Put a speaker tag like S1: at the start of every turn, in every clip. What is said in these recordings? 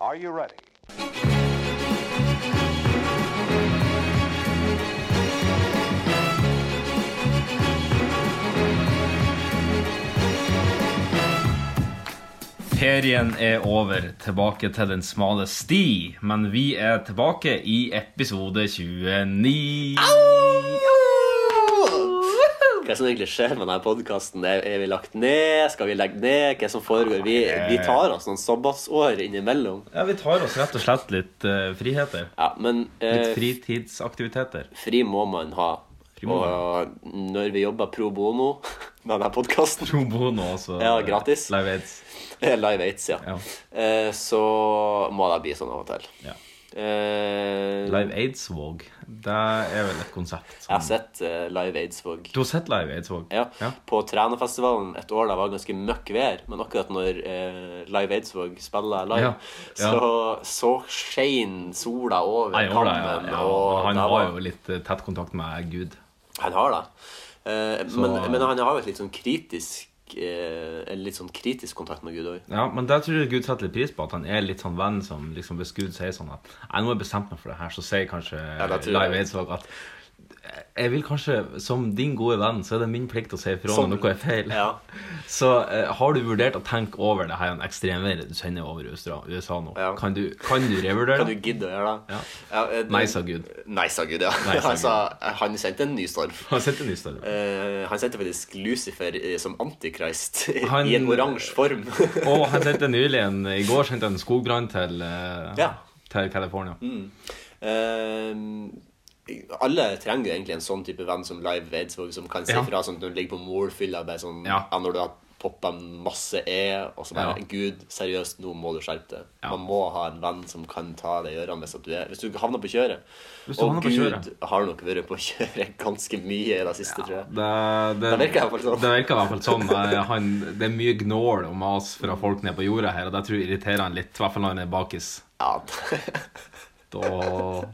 S1: Are you ready?
S2: Ferien er over, tilbake til den smale sti, men vi er tilbake i episode 29.
S3: Hva som egentlig skjer med denne podkasten? Er, er vi lagt ned? Skal vi legge ned? Hva som foregår? Vi, vi tar oss noen sabbatsår innimellom.
S2: Ja, vi tar oss rett og slett litt eh, friheter.
S3: Ja, men eh,
S2: Litt fritidsaktiviteter.
S3: fri må man ha.
S2: Fri må
S3: og eh, når vi jobber pro bono med denne podkasten
S2: Pro bono også.
S3: Ja, gratis.
S2: Live Aids.
S3: Live Aids, ja.
S2: Ja.
S3: Eh, så må det bli sånn av og til.
S2: Ja.
S3: Eh,
S2: Live Aids-våg. Det er vel et konsept.
S3: Jeg har
S2: Som...
S3: sett eh, Live Aids-våg.
S2: Du har sett Live Aids-våg?
S3: Ja, På Trænefestivalen et år da var det ganske møkk vær, men akkurat når eh, Live Eidsvåg spiller live,
S2: Ja, ja.
S3: så, så skein sola over
S2: Nei, jo, da, ja,
S3: kammen.
S2: ja.
S3: og
S2: Han
S3: det
S2: har
S3: var-
S2: jo litt eh, tett kontakt med Gud.
S3: Han har det. Eh, men,
S2: Så-
S3: men han har jo et litt sånn kritisk eh, en litt sånn kritisk kontakt med Gud òg.
S2: Ja, men der tror jeg Gud setter litt pris på at han er litt sånn venn som liksom Hvis Gud sier sånn at Nei, nå har jeg bestemt meg for det her, så sier kanskje
S3: det tror jeg.
S2: Live Aidsvåg at jeg vil kanskje, som din gode venn, så er det min plikt å si ifra
S3: Som-
S2: når noe er feil.
S3: Ja.
S2: Så eh, har du vurdert å tenke over det her ekstremværet du sender over USA, USA nå?
S3: Ja.
S2: Kan, du, kan du revurdere?
S3: Kan du gidde å gjøre det?
S2: Ja.
S3: eh,
S2: Nei, sa Gud.
S3: Nei, sa Gud, ja.
S2: Nei, sa
S3: Han sa- han sendte en ny storm.
S2: Han sitter i Nystad.
S3: Eh, han sendte faktisk Lucifer eh, som antikrist
S2: Han-
S3: i en oransje form.
S2: Og han sendte nylig en I går sendte han en skogbrann til, eh,
S3: Ja.
S2: til California.
S3: Eh, alle trenger jo egentlig en sånn type venn som Live Eidsvåg, som kan si
S2: Ja.
S3: fra sånn at når du ligger på målfylla bare sånn, ja.
S2: Ja.
S3: når du har poppa masse E, og så bare
S2: Ja.
S3: Gud, seriøst, nå må du skjerpe deg.
S2: Ja.
S3: Man må ha en venn som kan ta deg i ørene hvis at du er Hvis du havner på kjøret.
S2: Hvis du havner
S3: og
S2: på
S3: Gud
S2: kjøret.
S3: har nok vært på kjøret ganske mye i det siste, tror jeg.
S2: Det, det,
S3: Det virker i hvert fall sånn.
S2: Det virker i hvert fall sånn. Eh, Han, det er mye gnål og mas fra folk nede på jorda her, og det tror jeg irriterer han litt. I hvert fall når han er bakis.
S3: Ja.
S2: Da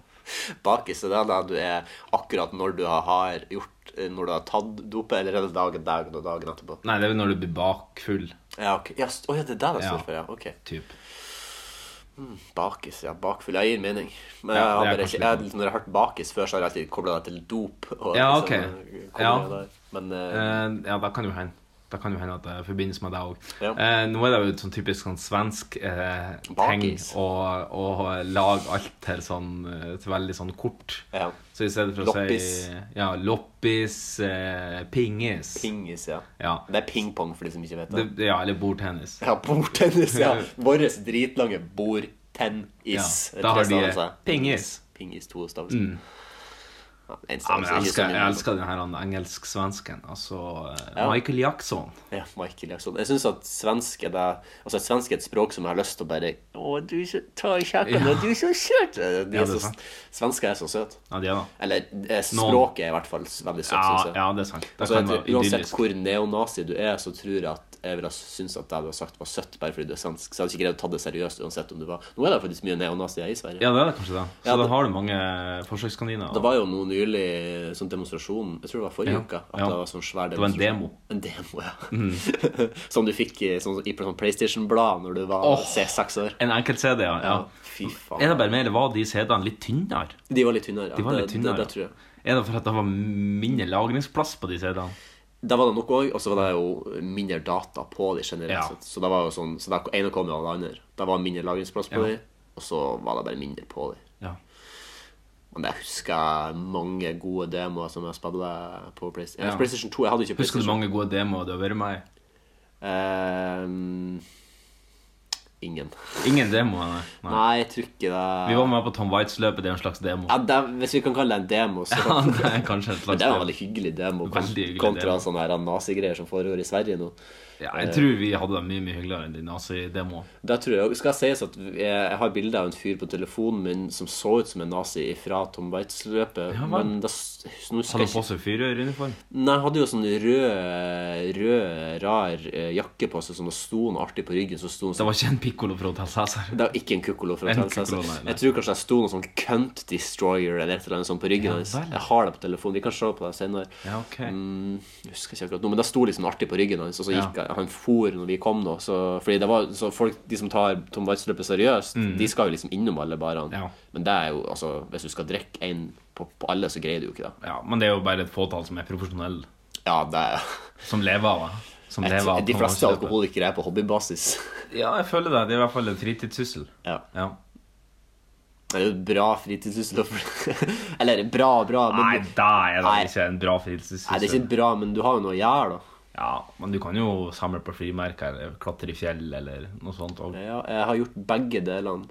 S3: bakis, det er da du er akkurat når du har gjort Når du har tatt dopet, eller er det dagen, dagen og dagen etterpå?
S2: Nei, det er vel når du blir bakfull,
S3: Ja, ok. Ja, st- å, ja, det er der det
S2: Ja.
S3: står for, ja. Ok.
S2: typ.
S3: Bakis, ja. Bakfull. Jeg gir mening. Men
S2: Ja, det er
S3: jeg har bare
S2: kanskje
S3: ikke, jeg, når jeg har hørt bakis før, så har jeg alltid kobla det til dop. Og,
S2: Ja,
S3: liksom,
S2: ok.
S3: koblet
S2: Ja.
S3: det der. Men eh,
S2: Eh, ja, det kan jo hende. Det kan jo hende at det forbindes med deg òg.
S3: Ja.
S2: Eh, nå er det jo et sånn typisk sånn svensk eh, ting
S3: Bakis.
S2: å, å lage alt til sånn eh, til veldig sånn kort.
S3: ja.
S2: Så i stedet for å
S3: Loppis.
S2: si ja, loppis, eh, pingis
S3: Pingis, ja.
S2: Ja.
S3: Det er pingpong, for de som ikke vet det.
S2: Det, ja, eller bordtennis.
S3: Ja, bordtennis, ja. Vår dritlange bordtennis.
S2: Ja, da har
S3: Tre
S2: de-
S3: stavelser.
S2: pingis. Mm.
S3: Pingis, to stavelser. Ja, en
S2: Ja, men
S3: stavelse,
S2: jeg
S3: ikke så
S2: elsker,
S3: mye.
S2: jeg elsker den her han engelsk-svensken. Altså eh,
S3: Ja.
S2: Michael Jackson.
S3: Ja, Michael Jackson. Jeg syns at svensk er det Altså, svensk er et språk som jeg har lyst til å bare Å, du er så Ta i kjakken, og du er så søt! De
S2: Ja,
S3: er
S2: det er
S3: så,
S2: sant.
S3: svensker er så søte.
S2: Ja, det er da.
S3: Eller eh, språket er i hvert fall veldig søtt,
S2: Ja,
S3: syns jeg.
S2: ja, det er sant. Det
S3: Så jeg
S2: kan
S3: tror,
S2: være
S3: uansett
S2: idyllisk.
S3: hvor neonazi du er, så tror jeg at jeg ville syntes at det du har sagt, var søtt bare fordi du er svensk. Så jeg hadde ikke greid å ta det seriøst uansett om du var Nå er det faktisk mye neonazier i Sverige.
S2: Ja, det er det kanskje det. Så
S3: Ja,
S2: da
S3: det-
S2: har du mange eh, forsøkskaniner.
S3: Det var jo noe nylig sånn demonstrasjon Jeg tror det var forrige
S2: Ja,
S3: uke. At
S2: ja.
S3: det var sånn svær
S2: var en Mm.
S3: demonstrasjon. En demo, ja. som du fikk i, sånn, i sånn PlayStation-blad når du var
S2: Åh.
S3: se- seks år.
S2: En enkelt CD, ja. ja.
S3: Fy
S2: Er
S3: faen.
S2: det bare meg, eller var de CD-ene litt tynnere?
S3: De var litt tynnere. Ja.
S2: De var litt
S3: det,
S2: tynnere.
S3: det, det tror jeg.
S2: Er det for at det var mindre lagringsplass på de CD-ene?
S3: Da var det nok òg, og så var det jo mindre data på de generelt
S2: Ja.
S3: sett. Så det var jo sånn Så det ene kom jo av det andre. Det var mindre lagringsplass på
S2: Ja.
S3: de, og så var det bare mindre på de.
S2: Ja.
S3: Men jeg husker mange gode demoer som jeg spilte på PlayStation.
S2: Ja.
S3: PlayStation 2. Jeg hadde ikke
S2: Husker
S3: PlayStation
S2: du mange gode demoer du har vært med i?
S3: Ehm, ingen.
S2: Ingen demoer, nei. nei.
S3: Nei, jeg tror ikke
S2: Vi
S3: det.
S2: var med på Tom Waits-løpet, det er en slags demo.
S3: Ja, det hvis vi kan kalle det en demo, så
S2: Ja, det er kanskje en
S3: Men
S2: slags
S3: det er en
S2: demo.
S3: veldig hyggelig demo kon-
S2: Veldig hyggelig
S3: kontra
S2: demo.
S3: sånne her nazigreier som foregår i Sverige nå.
S2: Ja,
S3: Eh,
S2: jeg tror vi hadde det mye, mye hyggeligere enn de nazi-demoene.
S3: Da tror jeg, skal sies at jeg jeg har bilde av en fyr på telefonen min som så ut som en nazi fra Tom Waits-løpet.
S2: Ja, vel.
S3: men da, s-
S2: Hadde
S3: nå husker
S2: han
S3: jeg ikke
S2: på seg fyreruniform?
S3: Nei, han hadde jo sånn rød, rød rar eh, jakke på seg som det sto noe artig på ryggen. Så sto han sånn
S2: Det var ikke en pikkolo fra Hotell Cæsar.
S3: Det var ikke en kukkolo fra
S2: En
S3: Trans. Altså.
S2: kukkolo, nei, nei.
S3: Jeg tror kanskje det sto noe sånn Cunt Destroyer eller et eller annet sånt på ryggen
S2: Ja,
S3: hans.
S2: vel.
S3: Jeg har det på telefonen. Vi kan se på det senere.
S2: Ja, ok.
S3: Mm, jeg husker ikke akkurat nå, men det sto liksom artig på ryggen hans, og så
S2: Ja.
S3: gikk han for når vi kom nå. Så, fordi det var, så folk, de som tar Tom Waitz-løpet seriøst, de skal jo liksom innom alle barene.
S2: Mm. Ja.
S3: Men det er jo, altså, hvis du skal drikke én på, på alle, så greier du jo ikke det.
S2: Ja, men det er jo bare et fåtall som er profesjonelle.
S3: Ja, det er
S2: Som lever av det. Som
S3: Et,
S2: lever av
S3: De fleste
S2: konkurranseløpet.
S3: alkoholikere er på hobbybasis.
S2: Ja, jeg føler det. Det er i hvert fall en fritidssyssel.
S3: Ja.
S2: Ja.
S3: Det er jo et bra fritidssyssel. å- Eller bra, bra men,
S2: Nei, da er det
S3: Nei.
S2: ikke en bra
S3: Nei, det er
S2: fritidssyssel.
S3: ikke bra, men du har jo noe å gjøre, da.
S2: Ja, men du kan jo samle på frimerker eller klatre i fjell eller noe sånt òg.
S3: Ja, jeg har gjort begge delene.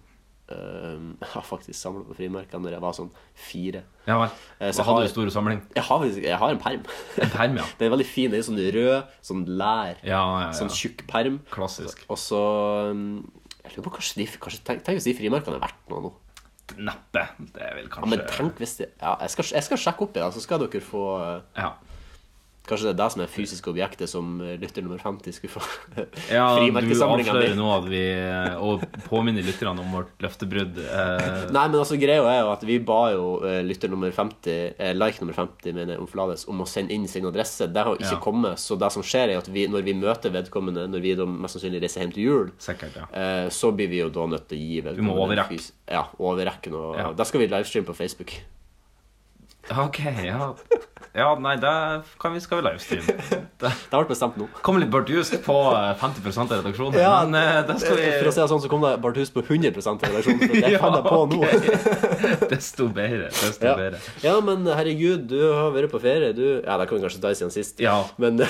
S3: Ehm, Jeg har faktisk samla på frimerker når jeg var sånn fire.
S2: Ja vel.
S3: Eh,
S2: Så
S3: så
S2: hadde
S3: har-
S2: du stor samling.
S3: Jeg har, faktisk- jeg har en perm.
S2: En perm, ja.
S3: Den er veldig fin. Den er sånn rød, sånn lær,
S2: Ja, ja,
S3: sånn
S2: ja.
S3: tjukk perm.
S2: Klassisk.
S3: Og så ehm, Jeg lurer på kanskje de kanskje, tenk, tenk hvis de frimerkene er verdt noe nå.
S2: Neppe. Det er vel
S3: Ja, men
S2: kanskje
S3: tenk hvis de Ja, jeg skal, jeg skal sjekke opp i det, så skal dere få eh,
S2: Ja.
S3: Kanskje det er det som er fysiske objektet som eh, lytter nummer 50 skulle få
S2: Ja, du
S3: frimerkesamlinga mi.
S2: avslører nå at vi eh, Og påminner lytterne om vårt løftebrudd. Eh,
S3: Nei, men altså greia er jo at vi ba jo eh, lytter nummer 50, eh, like nummer 50, mener jeg, om Flades, om å sende inn sin adresse. Det har jo ikke
S2: Ja.
S3: kommet, så det som skjer er at vi, når vi møter vedkommende, når vi da mest sannsynlig reiser hjem til jul,
S2: sikkert, ja.
S3: eh, så blir vi jo da nødt til å gi vedkommende
S2: må overrekke.
S3: en fys- Ja, overrekke noe.
S2: Ja.
S3: Da skal vi livestreame på Facebook.
S2: Ok, ja. Ja, nei, det kan vi, skal vi livestreame. Det
S3: Det har vært bestemt nå.
S2: kom litt bardust på eh, 50 av redaksjonen,
S3: Ja,
S2: men eh, det skal vi
S3: For å si det sånn, så kom det Barthus på 100 til redaksjonen, for det
S2: Ja,
S3: fant jeg på nå.
S2: Desto bedre. Desto
S3: Ja.
S2: bedre.
S3: ja, men herregud, du har vært på ferie, du Ja, det kan vi kanskje ta siden sist.
S2: Ja.
S3: Men det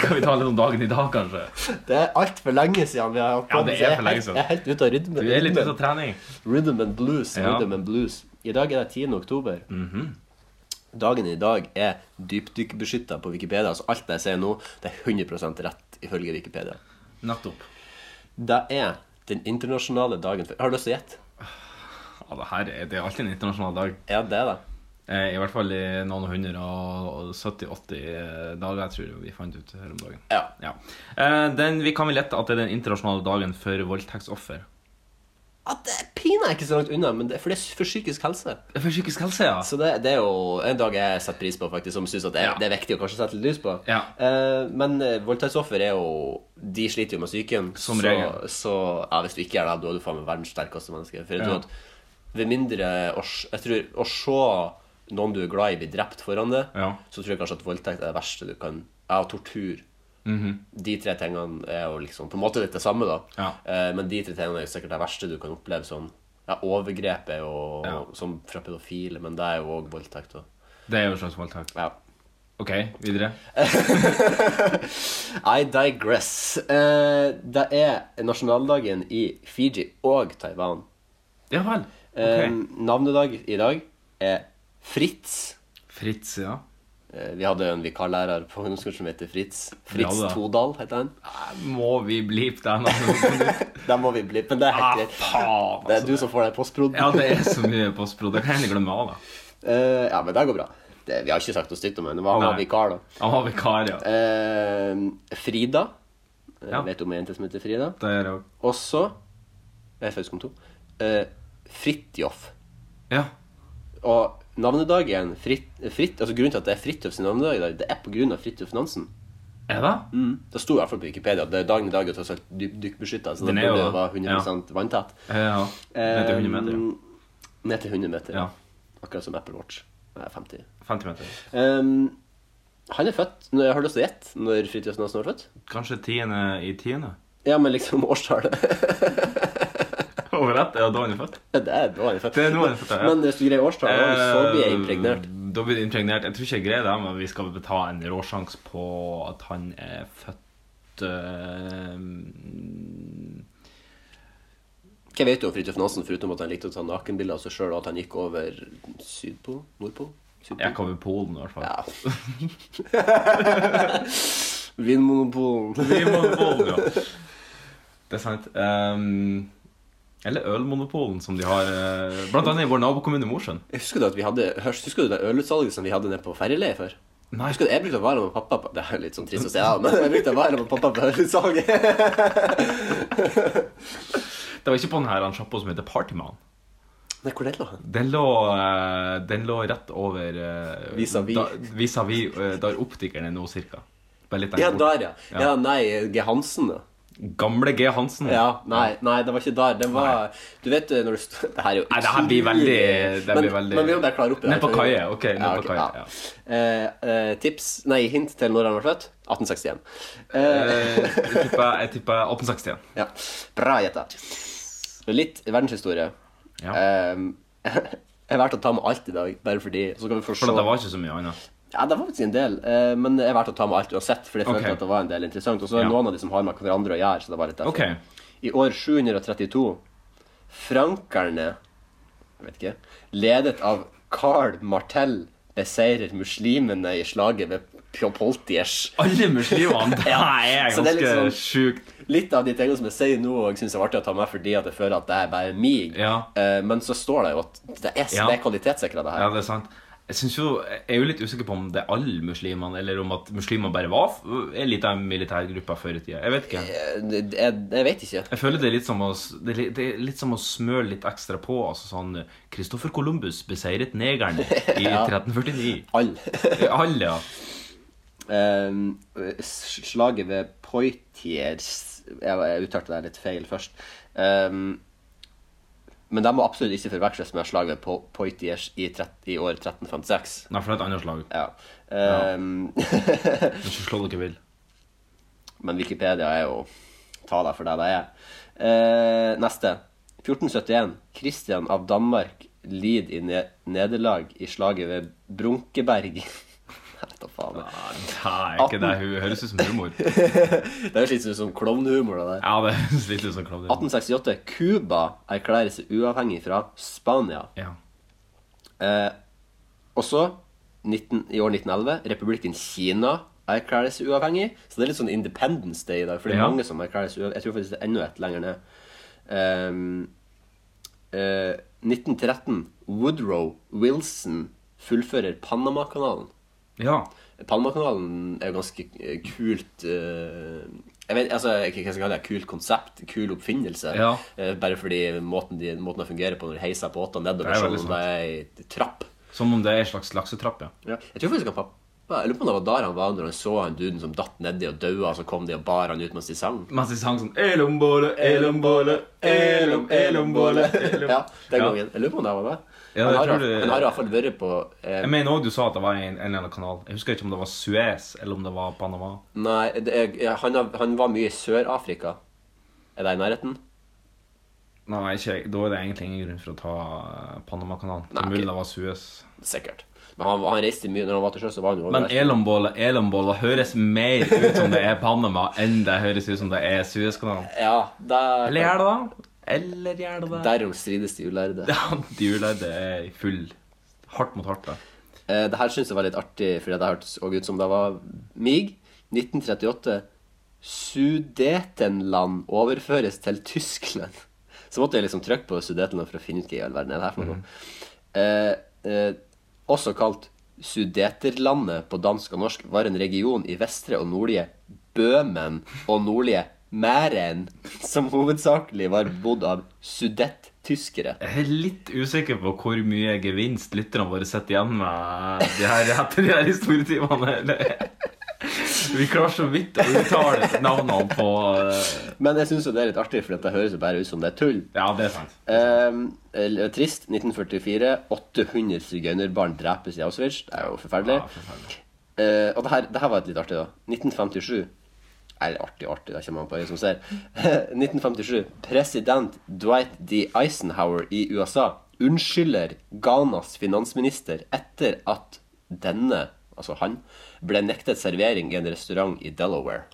S2: Kan vi ta litt om dagen i dag, kanskje?
S3: er altfor lenge siden vi har hatt
S2: Ja, det
S3: så jeg
S2: er for lenge
S3: helt-
S2: siden.
S3: Jeg er helt ute av rytmen.
S2: Du er litt ute
S3: rytmen.
S2: av trening.
S3: Rhythm and blues.
S2: Ja. Mhm.
S3: Rhythm and blues. I dag er det 10. oktober. Dagen i dag er dypdykkbeskytta på Wikipedia. Så alt jeg sier nå, det er 100 rett ifølge Wikipedia.
S2: Nettopp.
S3: Det er den internasjonale dagen for Har du lyst til å gjette?
S2: Ja, det her er, det er alltid en internasjonal dag.
S3: Ja, det er det.
S2: Eh, I hvert fall i noen hundre og 70-80 eh, dager, tror jeg vi fant ut her om dagen.
S3: Ja.
S2: Ja. Eh, Den, vi kan vel gjette at det er den internasjonale dagen for voldtektsoffer.
S3: At det er pinadø ikke så langt unna, men det er, for det er for psykisk helse.
S2: For psykisk helse, ja.
S3: Så det, det er jo en dag jeg setter pris på, faktisk, som syns det, er-
S2: Ja.
S3: det er viktig å kanskje sette litt lys på.
S2: Ja.
S3: Eh, men eh, voldtektsoffer er jo De sliter jo med psyken.
S2: Som
S3: så,
S2: regel.
S3: Så ja, hvis du ikke gjør det, da er du faen meg verdens sterkeste menneske. For jeg
S2: Ja.
S3: tror at ved mindre å, s- Jeg tror å se noen du er glad i, bli drept foran deg,
S2: Ja.
S3: så tror jeg kanskje at voldtekt er det verste du kan Ja, og tortur. De tre tingene er jo liksom på en måte litt det samme, da.
S2: Mhm. Ja.
S3: Eh, men de tre tingene er jo sikkert det verste du kan oppleve sånn. Ja, overgrep er jo
S2: Ja.
S3: som fra pedofile, men det er jo òg voldtekt. da.
S2: Det er jo en slags voldtekt.
S3: Ja.
S2: OK, videre.
S3: I digress. Eh, det er nasjonaldagen i Fiji og Taiwan.
S2: Ja vel.
S3: Eh,
S2: Ok.
S3: Navnedag i dag er Fritz.
S2: Fritz, ja.
S3: Eh, vi hadde jo en vikarlærer på ungdomsskolen som heter Fritz. Fritz
S2: Ja, da.
S3: Todal heter han.
S2: Må vi bleepe det navnet?
S3: Der må vi bli, men det er
S2: Ah,
S3: helt greit.
S2: faen,
S3: Det er
S2: altså.
S3: du som får den postproden.
S2: Ja, det er så mye postpro. Det kan jeg egentlig glemme av, da.
S3: Eh, ja, men det går bra. Det, vi har ikke sagt noe stygt om henne. men Han var
S2: Nei.
S3: vikar, da.
S2: Han var vikar, ja.
S3: Eh, Frida. Eh,
S2: Ja.
S3: Vet du om ei jente som heter Frida?
S2: Det er jo
S3: Og så Jeg er faktisk om to. Eh, Fridtjof.
S2: Ja.
S3: Og navnedagen Fritt, fritt, altså Grunnen til at det er Fridtjof sin navnedag i dag, det er på grunn av Fridtjof Nansen.
S2: Er det?
S3: Det sto i hvert fall på Wikipedia at det er dagen i dag er tross alt dykkbeskytta, så det
S2: Den er jo
S3: burde
S2: det.
S3: være 100 vanntett.
S2: Ja. Ned til 100 meter.
S3: Eh, Ned til 100 meter.
S2: Ja.
S3: Akkurat som Apple Watch. Det er 50.
S2: 50 meter.
S3: Ehm, han er født når, Har du lyst til å gjette når Fridtjof Nansen var født?
S2: Kanskje tiende i tiende?
S3: Ja, men liksom årstallet
S2: Over ett? Ja, da han er født?
S3: Det er da han er født.
S2: Det er nå han er født, ja.
S3: Men hvis du greier årstallet, så blir jeg impregnert.
S2: Eh, Da blir du impregnert. Jeg tror ikke jeg greier det, men vi skal ta en råsjanse på at han er født eh,
S3: Hva vet du om Fridtjof Nansen, foruten at han likte å ta nakenbilder av seg sjøl, og at han gikk over Sydpolen? Nordpolen?
S2: Jeg
S3: Sydpolen?
S2: kom i Polen, i hvert fall.
S3: Ja. Vinmonopolen.
S2: Vinmonopol, ja. Det er sant. Ehm, eller Ølmonopolen, som de har eh, blant annet i vår nabokommune Mosjøen.
S3: Husker du at vi hadde Hørs, Husker du det ølutsalget som vi hadde nede på ferjeleiet før?
S2: Nei.
S3: Husker du, Jeg brukte å være med pappa på Det er litt sånn trist å si, ja, men jeg brukte å være med pappa på ølutsalget.
S2: Det var ikke på den her han sjappa som heter Partyman.
S3: Nei, hvor det lå han?
S2: Den lå, eh, den lå rett over eh,
S3: Vis-à-vis.
S2: da- vis-à-vis, eh, der optikeren er nå, cirka. Bare litt
S3: Ja,
S2: lenger bort.
S3: der, ja. Ja, nei, G. Hansen, da.
S2: Gamle G. Hansen.
S3: Ja, nei, nei, det var ikke der. Det var Du vet eh, når du sto Det her er jo
S2: Nei, det her blir veldig det her
S3: men,
S2: blir veldig...
S3: men vi må bare klare opp i det.
S2: Ned på kaia. Ok, ned på
S3: ok,
S2: kaia. Ja.
S3: Eh, eh, tips Nei, hint til når han var født? 1861. Eh,
S2: Eh, Jeg tipper- jeg tipper 1861.
S3: ja. Bra gjetta. Litt verdenshistorie.
S2: Ja.
S3: Eh, jeg har valgt å ta med alt i dag, bare fordi Så kan vi få se
S2: For det var ikke så mye annet.
S3: Ja, det var faktisk en del, eh, men jeg valgte å ta med alt uansett, for jeg følte
S2: Ok.
S3: at det var en del interessant. Og så er
S2: Ja.
S3: det noen av de som har med hverandre å gjøre, så det var litt derfor.
S2: Ok.
S3: I år 732 Frankerne jeg vet ikke, ledet av Carl Martel beseirer muslimene i slaget ved Pjopoltiers.
S2: Alle muslimene! Det
S3: Ja,
S2: er
S3: så det er litt
S2: ganske
S3: sånn-
S2: sjukt.
S3: Litt av de tingene som jeg sier nå, og jeg synes er artig å ta med fordi at jeg føler at det er bare mig.
S2: Ja.
S3: Eh, Men så står det jo at det er,
S2: Ja.
S3: det er kvalitetssikra, det her.
S2: Ja, det er sant. Jeg, synes jo, jeg er jo litt usikker på om det er alle muslimene, eller om at muslimer bare var f- en liten militærgruppe før i tida. Jeg vet ikke.
S3: Eh, det- Jeg, jeg vet ikke.
S2: Jeg føler det er litt som å, s- det er li- det er litt som å smøre litt ekstra på. Altså sånn Christopher Columbus beseiret negeren i 1349.
S3: Alle.
S2: Alle, ja.
S3: Ehm, s- slaget ved Poitiers Jeg, jeg uttalte det litt feil først. Ehm, men det må absolutt ikke forveksles med slaget ved Po- Poitiers i, 30, i år 1356.
S2: Nei, for det er et annet slag.
S3: Ja. Ehm,
S2: Men så slå dere vil.
S3: men Wikipedia er jo taler for det det er. Eh, neste. 1471. Kristian av Danmark lider i ne nederlag i slaget ved Brunkeberg. Nei, da faen.
S2: Nei, ikke det. Hun høres ut som humor.
S3: Det høres litt ut som klovnehumor. det der.
S2: Ja, det høres litt ut som klovn.
S3: 1868. Cuba erklærer seg uavhengig fra Spania.
S2: Ja.
S3: Eh, og så, 19, i år 1911, republikken Kina erklærer seg uavhengig. Så det er litt sånn Independence Day i dag, for det er
S2: Ja.
S3: mange som erklærer seg uavhengig. Jeg tror faktisk det er enda et lenger ned. Ehm, eh, 1913. Woodrow Wilson fullfører Panamakanalen.
S2: ja.
S3: Panamakanalen er jo ganske eh, kult eh, Jeg vet altså, hva skal jeg kalle det? Kult konsept, kul oppfinnelse.
S2: Ja.
S3: Eh, bare fordi måten, de, måten det fungerer på når de heiser båter nedover,
S2: Det er
S3: som
S2: veldig
S3: om det er ei trapp.
S2: Som om det er en slags laksetrapp, ja.
S3: Jeg tror faktisk han pappa Jeg lurer på om det var der han var når han så han duden som datt nedi og daua, så kom de og bar han ut mens de sang.
S2: Mens de sang sånn Elombole, elombole, elom, elombole elom.
S3: Ja, den gangen. Jeg lurer på om det var det.
S2: Ja,
S3: han,
S2: jeg
S3: har,
S2: tror det-
S3: han har i hvert fall vært på eh,
S2: Jeg mener òg du sa at det var en, en eller annen kanal. Jeg husker ikke om det var Suez eller om det var Panama.
S3: Nei, det, er- han, har, han var mye i Sør-Afrika. Er det i nærheten?
S2: Nei, ikke, jeg. da er det egentlig ingen grunn for å ta eh, Panamakanalen. Det
S3: Nei,
S2: er
S3: ok.
S2: mulig det var Suez.
S3: Sikkert. Men han, han reiste mye når han var til sjøs. så var han jo
S2: Men
S3: overalt.
S2: Elombole, Elombole høres mer ut som det er Panama enn det høres ut som det er Suezkanalen.
S3: Ja,
S2: Eller
S3: der,
S2: gjør det da? Eller gjør det da?
S3: derom strides de ulærde.
S2: Ja, dyrelærde er i full hardt mot hardt, da.
S3: Eh, det her syns jeg var litt artig, fordi det hørtes også ut som det var mig. 1938. Sudetenland overføres til Tyskland. Så måtte jeg liksom trykke på Sudetenland for å finne ut hva i all verden er det her for noe. Eh, eh, også kalt Sudeterlandet på dansk og norsk var en region i vestre og nordlige Bøhmen og nordlige Mæren, som hovedsakelig var bodd av sudettyskere.
S2: Jeg er litt usikker på hvor mye gevinst lytterne våre sitter igjen med de her, etter de her historietimene. eller- Vi klarer så vidt å uttale navnene på eh,
S3: Men jeg syns jo det er litt artig, for det høres jo bare ut som det er tull.
S2: Ja, det er sant.
S3: Ehm, eller trist. 1944. 800 sigøynerbarn drepes i Auschwitz. Det er jo forferdelig.
S2: Ja, forferdelig.
S3: Eh, og det her, det her var et litt artig, da. 1957. Eller artig, artig, det kommer an på øyet som ser. 1957. President Dwight D. Eisenhower i USA unnskylder Ghanas finansminister etter at denne, altså han, ble nektet servering i en restaurant i Delaware.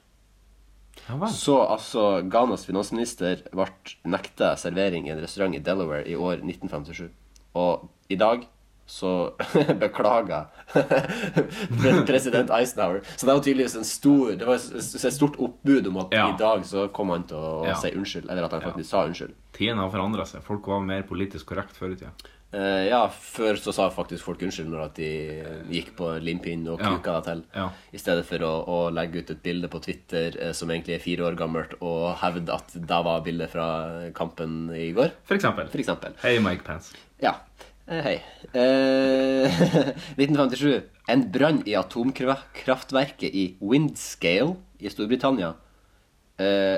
S2: Ja vel.
S3: Så altså, Ghanas finansminister ble nekta servering i en restaurant i Delaware i år 1957. Og i dag så beklager pre- president Eisenhower. Så det var tydeligvis en stor, det var s- s- et stort oppbud om at
S2: Ja.
S3: i dag så kom han til å
S2: Ja.
S3: si unnskyld. Eller at han faktisk sa unnskyld.
S2: Tidene har forandra seg. Folk var mer politisk korrekt før i tida.
S3: Eh, ja, før så sa faktisk folk unnskyld når at de gikk på limpinn og
S2: Ja.
S3: kuka det til.
S2: Ja.
S3: I stedet for å, å legge ut et bilde på Twitter eh, som egentlig er fire år gammelt, og hevde at det var bildet fra kampen i går,
S2: For eksempel.
S3: for eksempel.
S2: Hei, Mike Pence.
S3: Ja. Eh, Hei. Eh, 1957. En brann i atomkraftverket i Windscale i Storbritannia eh,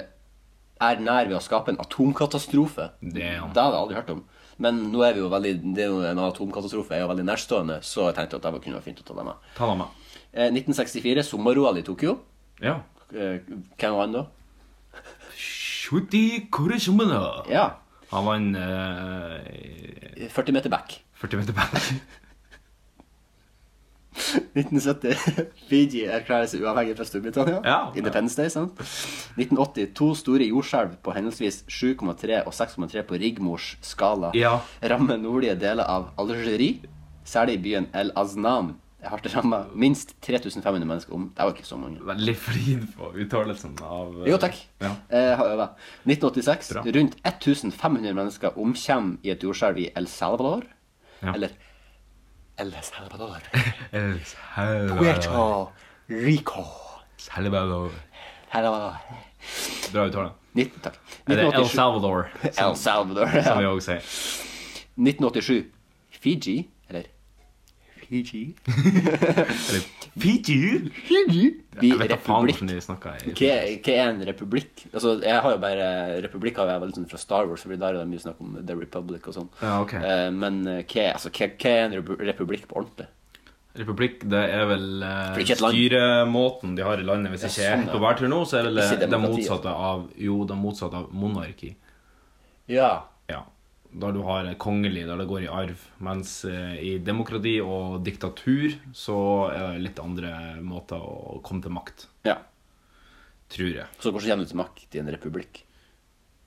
S3: er nær ved å skape en atomkatastrofe.
S2: Damn.
S3: Det hadde jeg aldri hørt om. Men nå er vi jo veldig, det er jo en atomkatastrofe er jo veldig nærstående, så jeg tenkte at det var- kunne være fint å ta det med.
S2: Ta den med.
S3: Eh, 1964, sommer-OL i Tokyo.
S2: Ja.
S3: Eh, Hvem var han da?
S2: Shuti Kurishumana.
S3: Ja.
S2: Han vant eh,
S3: 40 meter back.
S2: 40 meter back.
S3: 1970 Fiji erklærer seg uavhengig fra Storbritannia.
S2: Ja.
S3: Independence Day, sant? 1980 to store jordskjelv på henholdsvis 7,3 og 6,3 på Rigmors skala
S2: Ja.
S3: rammer nordlige deler av Algerie, særlig i byen El Aznam. Det er hardt ramma. Minst 3500 mennesker om. Det var ikke så mange.
S2: Veldig flid på uttalelsen av eh,
S3: Jo, takk.
S2: Ja.
S3: Eh, har øva. 1986.
S2: Bra.
S3: Rundt 1500 mennesker omkommer i et jordskjelv i El Salvador.
S2: Ja.
S3: Eller El Salvador.
S2: El Salvador.
S3: Puerto Rico.
S2: Salvador.
S3: Hello.
S2: Bra uttale.
S3: 19, takk.
S2: Er det El
S3: 1987,
S2: Salvador,
S3: El Salvador.
S2: som vi
S3: Ja.
S2: også sier.
S3: 1987. Fiji, eller Fiji
S2: Eller Fiji.
S3: Fiji
S2: Jeg
S3: blir
S2: vet da faen
S3: republikk.
S2: hvordan de snakker.
S3: Hva
S2: i-
S3: hva er en republikk? Altså, jeg har jo bare Republikk har jeg veldig sånn fra Star Wars, for der er det mye snakk om The Republic og sånn.
S2: Ja, ok.
S3: Eh, Men eh, hva er- altså, hva- hva er en repu- republikk på ordentlig?
S2: Republikk, det er vel eh,
S3: For det er ikke et land.
S2: styremåten de har i landet. Hvis
S3: Ja,
S2: jeg ikke er
S3: sånn,
S2: helt
S3: ja.
S2: på bærtur nå, så er vel eh,
S3: Ikke
S2: det
S3: demokrati,
S2: motsatte av Jo, det motsatte av monarki.
S3: Ja.
S2: Ja. Der du har kongelig, der det går i arv. Mens eh, i demokrati og diktatur så er det litt andre måter å komme til makt,
S3: ja.
S2: tror jeg.
S3: Så hvordan kommer du til makt i en republikk?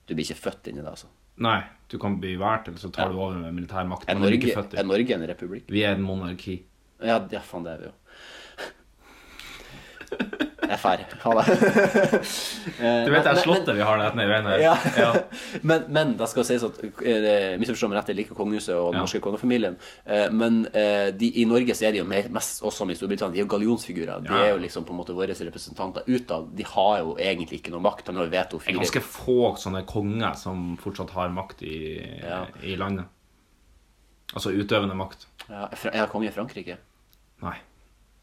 S3: Du blir ikke født inn i det, altså.
S2: Nei, du kan bli valgt, eller så tar du over med militær makt.
S3: Er
S2: men du blir ikke
S3: Norge,
S2: født i-
S3: er Norge en republikk?
S2: Vi er et monarki.
S3: Ja, ja faen, det er vi jo. Jeg er ferdig. Ha det.
S2: Du vet det er slottet vi har der nede i veien her.
S3: Ja.
S2: Ja.
S3: Men, men det skal sies at eh, misforstå meg rett, jeg liker kongehuset og den
S2: Ja.
S3: norske kongefamilien. eh, Men eh, de, i Norge så er de jo mer, mest også som i Storbritannia. De er jo gallionsfigurer. De
S2: Ja.
S3: er jo liksom på en måte våre representanter utad. De har jo egentlig ikke noe makt. De har jo veto
S2: Det er
S3: fire
S2: ganske få sånne konger som fortsatt har makt i,
S3: Ja.
S2: i landet. Altså utøvende makt.
S3: ja, Fra- Er det konge i Frankrike?
S2: Nei.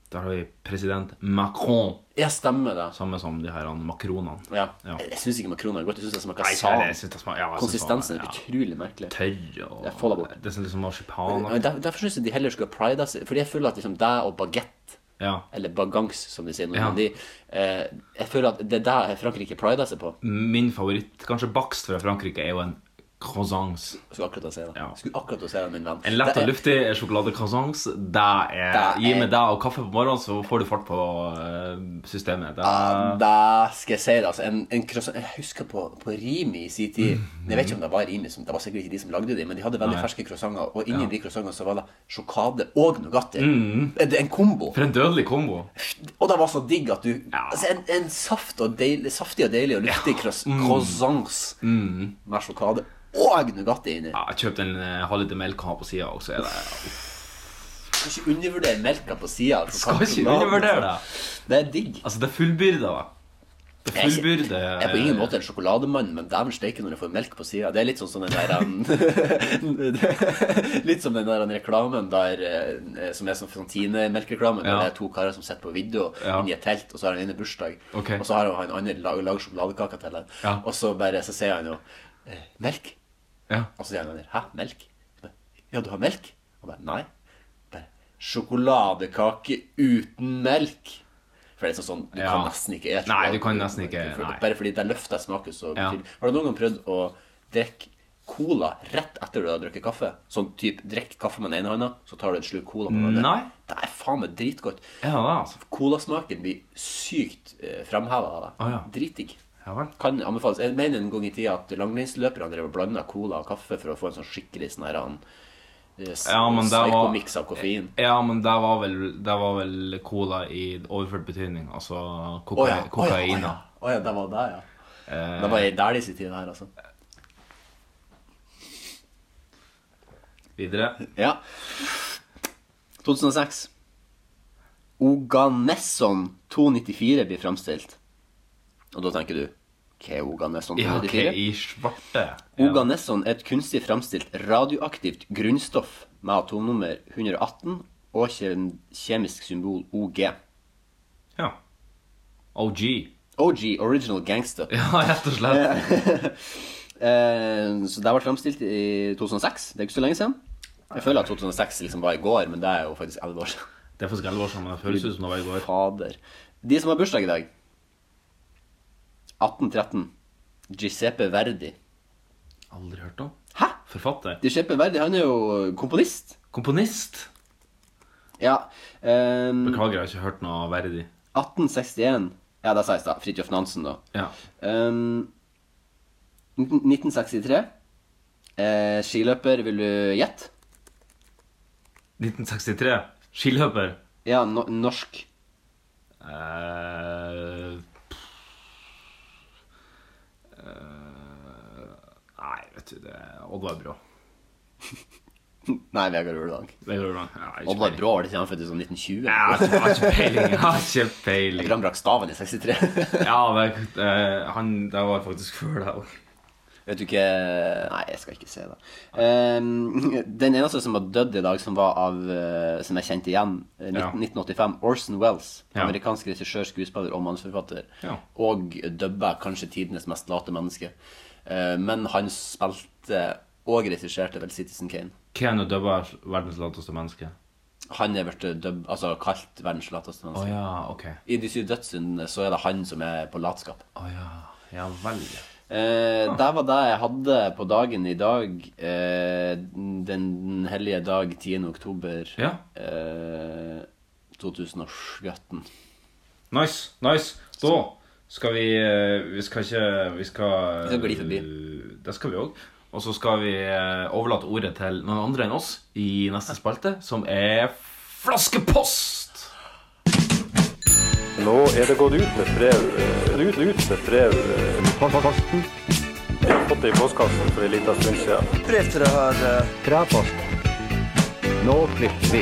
S2: Der har vi president Macron,
S3: Ja, stemmer det. altså.
S2: samme som de her han makronene.
S3: Ja.
S2: Ja.
S3: Jeg syns ikke makroner er godt. Jeg syns det smaker
S2: Nei,
S3: sal.
S2: jeg synes det smaker- ja, jeg synes det smaker-
S3: Konsistensen er
S2: ja.
S3: utrolig merkelig.
S2: Tørr og
S3: Jeg får det bort.
S2: Det er sånn liksom
S3: Men
S2: marsipan.
S3: der, derfor syns jeg de heller skulle pride seg. Fordi jeg føler at liksom deg og bagett
S2: Ja.
S3: eller bagangs, som de sier nå.
S2: Ja.
S3: men De, eh, jeg føler at det er der Frankrike prider seg på.
S2: Min favoritt, kanskje bakst fra Frankrike, er jo en croissance.
S3: Skulle akkurat å si det.
S2: Ja.
S3: Skulle akkurat å si det, min venn.
S2: En lett og
S3: Det er-
S2: luftig sjokoladecroissance. Det er
S3: Det er-
S2: Gi meg det og kaffe på morgenen, så får du fart på eh, systemet. Det er,
S3: Ja, Da skal jeg si det, altså. En, en croissant Jeg husker på, på Rimi i sin tid Jeg vet ikke om det var Rimi, som, det var sikkert ikke de som lagde de, men de hadde veldig
S2: Mm. Nei.
S3: ferske croissanter, og inni de croissantene så var det sjokade og Nugatti.
S2: Mm.
S3: Det er en kombo.
S2: for en dødelig kombo.
S3: Og det var så digg at du
S2: Ja.
S3: Altså, en, en saft og deilig, saftig og deilig og luftig croiss-
S2: Mm.
S3: croissants med sjokade og Nugatti inni.
S2: Ja, jeg kjøpte en eh, halvliter melk og ha på sida også. Er det,
S3: Skal ikke undervurdere melka på sida. Altså,
S2: Skal ikke
S3: sjokoladen,
S2: undervurdere
S3: altså. Det er digg.
S2: altså, det er fullbyrda. Det er
S3: Jeg er ikke-
S2: fullbyrde
S3: Jeg er på ingen måte en sjokolademann, men dæven steike når jeg får melk på sida. Det er litt sånn som den der han- Litt som den der han reklamen der eh, som er sånn Fantine-melkereklamen, der
S2: Ja.
S3: det er to karer som sitter på vidda
S2: Ja.
S3: inni et telt, og så har han ene bursdag,
S2: Ok.
S3: og så har han han andre lag, lager sjokoladekaker til han,
S2: Ja.
S3: og så bare så sier han jo eh, Melk?
S2: Ja.
S3: Og så sier han andre Hæ, melk? Så bare, Ja, du har melk? Og bare Nei. Bare, Sjokoladekake uten melk. For det er sånn sånn, Du
S2: Ja.
S3: kan nesten ikke spise
S2: Nei, du
S3: sjokolade-
S2: kan nesten ikke- nei.
S3: Bare fordi det løfter smaken så
S2: Ja.
S3: betydelig. Har du noen gang prøvd å drikke cola rett etter du har drukket kaffe? Sånn typ, drikk kaffe med den ene hånda, så tar du en slurk cola med den andre.
S2: Nei.
S3: Det er faen meg dritgodt.
S2: Er det det, altså?
S3: Colasmaken blir sykt eh, framheva av det.
S2: Å, ja.
S3: Dritdigg.
S2: Ja vel.
S3: Kan anbefales. Jeg mener en gang i tida at langrennsløperne drev og blanda cola og kaffe for å få en sånn skikkelig sånn her han, eh, s-
S2: Ja, men det var-
S3: psycho-mix av koffein.
S2: Ja, men det var vel, det var vel cola i overført betydning. Altså koka, Eh.
S3: Å ja, å ja, å
S2: kokaina.
S3: ja. Å ja, det var det, ja. Det var i der de sin tid her, altså.
S2: Videre.
S3: Ja. 2006. Oganesson 294 blir framstilt. Og da tenker du Hva er Oganesson 294?
S2: Ja, hva i svarte? Ja.
S3: Oganesson er et kunstig framstilt radioaktivt grunnstoff med atomnummer 118 og kjem, kjemisk symbol OG.
S2: Ja. OG.
S3: OG, Original Gangster.
S2: Ja, rett og slett.
S3: Eh, så det ble fremstilt i 2006. Det er ikke så lenge siden. Jeg føler at 2006 liksom var i går, men det er jo faktisk 11 år siden.
S2: Det er faktisk 11 år siden, men det føles ut som det var i går.
S3: Fader. De som har bursdag i dag 1813. Giuseppe Verdi.
S2: Aldri hørt om.
S3: Hæ?
S2: Forfatter.
S3: Giuseppe Verdi han er jo komponist.
S2: Komponist.
S3: Ja. ehm,
S2: Beklager, jeg har ikke hørt noe verdig.
S3: 1861 Ja, det sa jeg i stad. Fridtjof Nansen, da.
S2: Ja.
S3: Ehm, 1963. Eh, skiløper, vil du gjette?
S2: 1963. Skiløper.
S3: Ja, no norsk.
S2: Eh, pff. Eh, Nei, vet du det Oddvar Brå.
S3: Nei, Vegard Ulvang.
S2: Vegard Ulvang. Ja, jeg har ikke
S3: Oddvar
S2: peiling.
S3: Brå var det ikke han født i sånn 1920?
S2: Ja, Jeg har ikke peiling. Jeg har ikke
S3: Jeg
S2: peiling.
S3: tror han brakk staven i 63.
S2: Ja, det, eh, han, det var faktisk før deg òg.
S3: Vet du ikke Nei, jeg skal ikke si det. Ehm, den eneste som har dødd i dag, som var av eh, Som jeg kjente igjen, eh,
S2: Ja.
S3: 1985, Orson Wells.
S2: Ja.
S3: Amerikansk regissør, skuespiller og manusforfatter.
S2: Ja.
S3: Og dubba kanskje tidenes mest late menneske. Eh, men han spilte og regisserte vel Citizen Kane.
S2: Keanu Dubba er verdens lateste menneske.
S3: Han er blitt dubb... Altså kalt verdens lateste
S2: Å
S3: menneske.
S2: ja, ok.
S3: I De syv dødssyndene så er det han som er på latskap.
S2: Å ja. Ja vel.
S3: Eh,
S2: Ah.
S3: det var det jeg hadde på dagen i dag, eh, den hellige dag 10. oktober
S2: Ja.
S3: eh, 2017.
S2: Nice. Nice. Da skal vi eh, Vi skal ikke Vi skal eh,
S3: Vi skal gli forbi.
S2: Det skal vi òg. Og så skal vi eh, overlate ordet til noen andre enn oss i neste spalte, som er Flaskepost!
S1: Nå er det gått ut med brev eh, Ut, ut med brev eh, Posten. Jeg har fått det i postkassen for en liten stund siden.
S4: brev til deg her. eh,
S1: Nå klipper vi.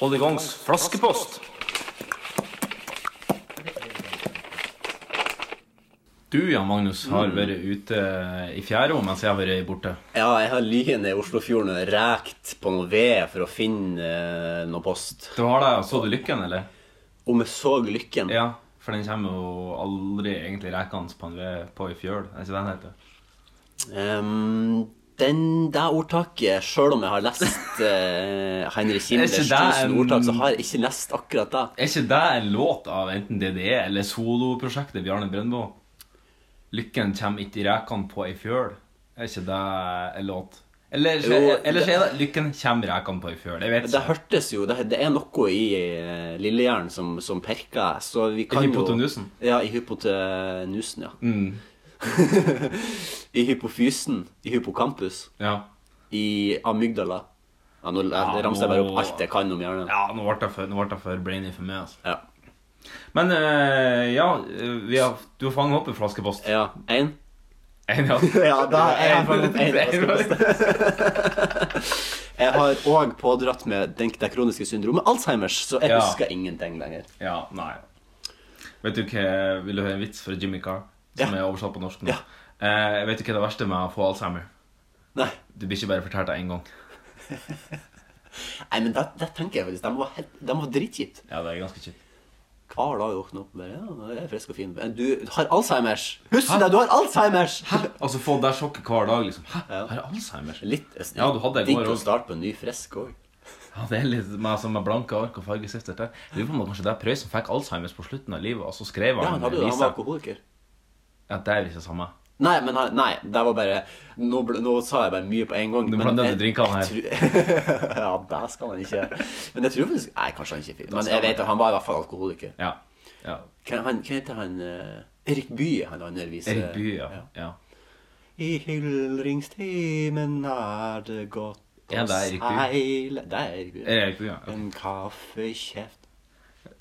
S2: Hold i gangs flaskepost! Du, Jan Magnus, har
S3: Mm.
S2: vært ute i fjæra mens jeg har vært borte.
S3: Ja, jeg har ligget ned i Oslofjorden og rekt på noe ved for å finne eh, noe post.
S2: Du har det, Så du lykken, eller?
S3: Om jeg så lykken?
S2: Ja, for den kommer jo aldri egentlig rekende på en ved på ei fjøl. Er ikke det den heter?
S3: Ehm, den, det ordtaket, sjøl om jeg har lest eh, Heinrich
S2: Er ikke
S3: Himmlers
S2: det
S3: 1000
S2: en-
S3: ordtak, så har jeg ikke lest akkurat det.
S2: Er ikke det en låt av enten DDE eller soloprosjektet Bjarne Brøndbo? Lykken kommer ikke i rekene på ei fjøl. Er ikke det en låt? Eller,
S3: Jo,
S2: eller så
S3: det-
S2: er det Lykken kommer i rekene på ei fjøl. Jeg vet
S3: Det
S2: ikke.
S3: hørtes jo Det, det er noe i eh, lillehjernen som, som perker. Så vi kan
S2: hypotenusen?
S3: Jo, ja, i hypotenusen, ja.
S2: Mm,
S3: I hypofysen. I hippocampus.
S2: ja.
S3: I amygdala. Ja, nå jeg- det ramser jeg bare opp alt jeg kan om hjernen.
S2: ja, nå ble det for, nå ble det for brainy for meg. Altså.
S3: Ja.
S2: Men eh, ja, eh, vi har, du har fanget opp en flaskepost.
S3: Ja. Én?
S2: En, ja.
S3: Ja, da er jeg fanget opp en
S2: flaskepost.
S3: Jeg har òg pådratt med den- det kroniske syndromet Alzheimers, så jeg
S2: Ja.
S3: husker ingenting lenger.
S2: Ja, nei. Vet du hva, Vil du høre en vits fra Jimmy Carr? Som
S3: Ja.
S2: er oversatt på norsk nå.
S3: Ja.
S2: Eh, vet du hva det verste med å få alzheimer?
S3: Nei,
S2: Du blir ikke bare fortalt det én gang.
S3: Nei men det, det tenker jeg faktisk. De var, helt- de var dritkjipt.
S2: Ja, det er ganske kjipt.
S3: Hver dag jeg våkner opp med Ja, jeg er frisk og fin. Men Du har Alzheimers! Husk det, du har Alzheimers!
S2: Altså, få det sjokket hver dag, liksom. Hæ,
S3: Ja.
S2: har jeg alzheimer?
S3: Litt
S2: Ja, du hadde en
S3: digg
S2: år
S3: å
S2: også.
S3: starte på en ny frisk òg.
S2: Ja, det er litt med, som med blanke ark og fargestifter der. Lurer på om det kanskje det er Prøysen fikk alzheimers på slutten av livet, og så skrev
S3: Ja,
S2: han,
S3: han, hadde, jo- han var
S2: vise.
S3: alkoholiker.
S2: Ja, det er jo ikke det samme.
S3: Nei, men han, nei, det var bare nå, ble- nå sa jeg bare mye på en gang.
S2: Du
S3: men
S2: blander
S3: jeg-
S2: drinkene her.
S3: jeg tror- ja, det skal han ikke gjøre. Men jeg tror faktisk Nei, kanskje han ikke er fin. Men jeg vet at han var i hvert fall alkoholiker.
S2: Ja. ja.
S3: Hvem han- hvem heter han eh, Erik Bye, han andre viser
S2: Erik Bye, ja. ja.
S3: I hyldringstimen er det godt
S2: Ja, det er Erik Bye. Eh,
S3: seile Det er Erik Bye.
S2: Erik Bye, ja.
S3: En kaffekjeft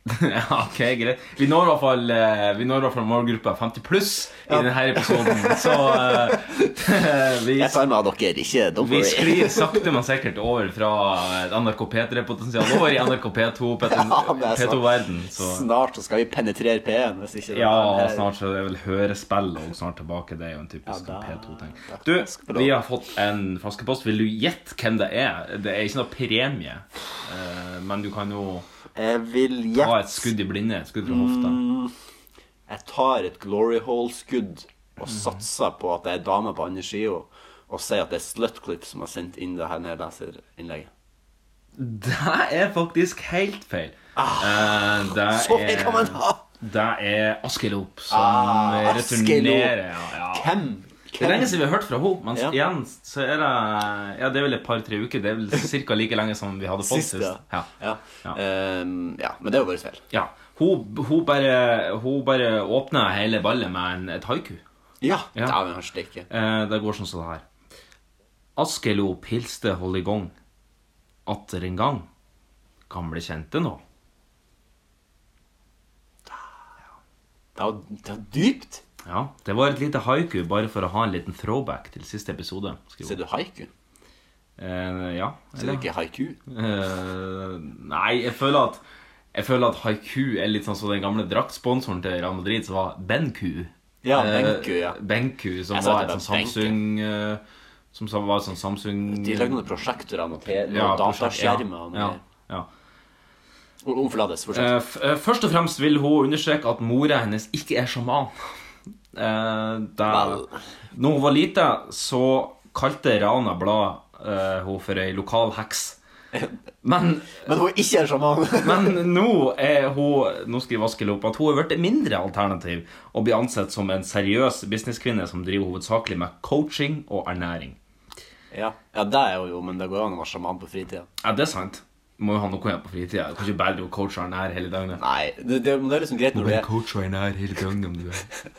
S2: ja, ok, greit. Vi når i hvert fall, eh, vi når i hvert fall målgruppa 50 pluss i denne episoden, så eh, vi,
S3: Jeg tar meg av dere, ikke don't
S2: vi
S3: worry.
S2: sklir sakte, men sikkert over fra et NRK P3-potensial over i NRK P2,
S3: Ja, det er sant.
S2: P2-verden. så...
S3: Snart så skal vi penetrere P1, hvis ikke det
S2: Ja,
S3: er-
S2: snart så er vel hørespill og snart tilbake. Det er jo en typisk
S3: Ja, da-
S2: P2-ting.
S3: da-
S2: Du,
S3: da skal vi lov.
S2: vi har fått en flaskepost. Vil du gjette hvem det er? Det er ikke noe premie, eh, men du kan jo
S3: Jeg vil
S2: ta et
S3: gjette
S2: skudd i blinde. et Skudd fra hofta.
S3: Mm. Jeg tar et glory hole-skudd og
S2: Mhm.
S3: satser på at det er dame på andre sida, og sier at det er Slutclip som har sendt inn det her neserinnlegget.
S2: Det er faktisk helt feil. Eh, det
S3: Ah, så feil kan man ha!
S2: Det er Askelop som
S3: Ah, Askelop.
S2: returnerer. Ja, ja.
S3: Hvem?
S2: Det er lenge
S3: Hvem?
S2: siden vi har hørt fra henne, men
S3: Ja.
S2: igjen så er det Ja, det er vel et par-tre uker. Det er vel cirka like lenge som vi hadde fått
S3: Sist,
S2: sist.
S3: ja.
S2: Ja.
S3: Ja.
S2: Ja.
S3: Ehm, ja. Men det er jo vår feil.
S2: Ja, hun, hun, bare, hun bare åpner hele ballet med en, et haiku.
S3: Ja.
S2: Ja.
S3: Dæven steike.
S2: Eh, det går sånn som det her. Askelo pilste holligong. Atter en gang. Gamle kjente nå.
S3: Det var, det var dypt.
S2: Ja, Det var et lite haiku bare for å ha en liten throwback til siste episode. skriver hun.
S3: Sier du haiku?
S2: Eh, ja.
S3: Sier du ikke haiku?
S2: Eh, nei, jeg føler at jeg føler at haiku er litt sånn som den gamle draktsponsoren til Real Madrid, som var Benku.
S3: Ja,
S2: Eh,
S3: Benku, ja.
S2: Benku, som
S3: Jeg sa
S2: var
S3: at
S2: et sånn
S3: det var
S2: Samsung eh, Som sa- var et sånn Samsung
S3: De lagde noen prosjektorer og, te- og
S2: Ja, prosjekt- ja,
S3: dataskjermer og noe.
S2: ja, ja.
S3: Og Overflates, fortsett.
S2: Eh, f- eh, Først og fremst vil hun understreke at mora hennes ikke er sjaman. Eh, da
S3: Vel.
S2: når hun var lita, så kalte Rana Blad eh, hun for ei lokal heks. Men
S3: Men hun er ikke en sjaman.
S2: Men nå er hun Nå skriver Askild opp at hun er blitt mindre alternativ og blir ansett som en seriøs businesskvinne som driver hovedsakelig med coaching og ernæring.
S3: ja. ja, det er hun jo, men det går jo an å være sjaman på fritida.
S2: Ja, det er sant. Må jo ha noe igjen på fritida. Du kan ikke bare drive og coache og ernære hele døgnet.
S3: Nei, det, det, men det er liksom greit når du er
S2: coach og ernære hele døgnet om du vil.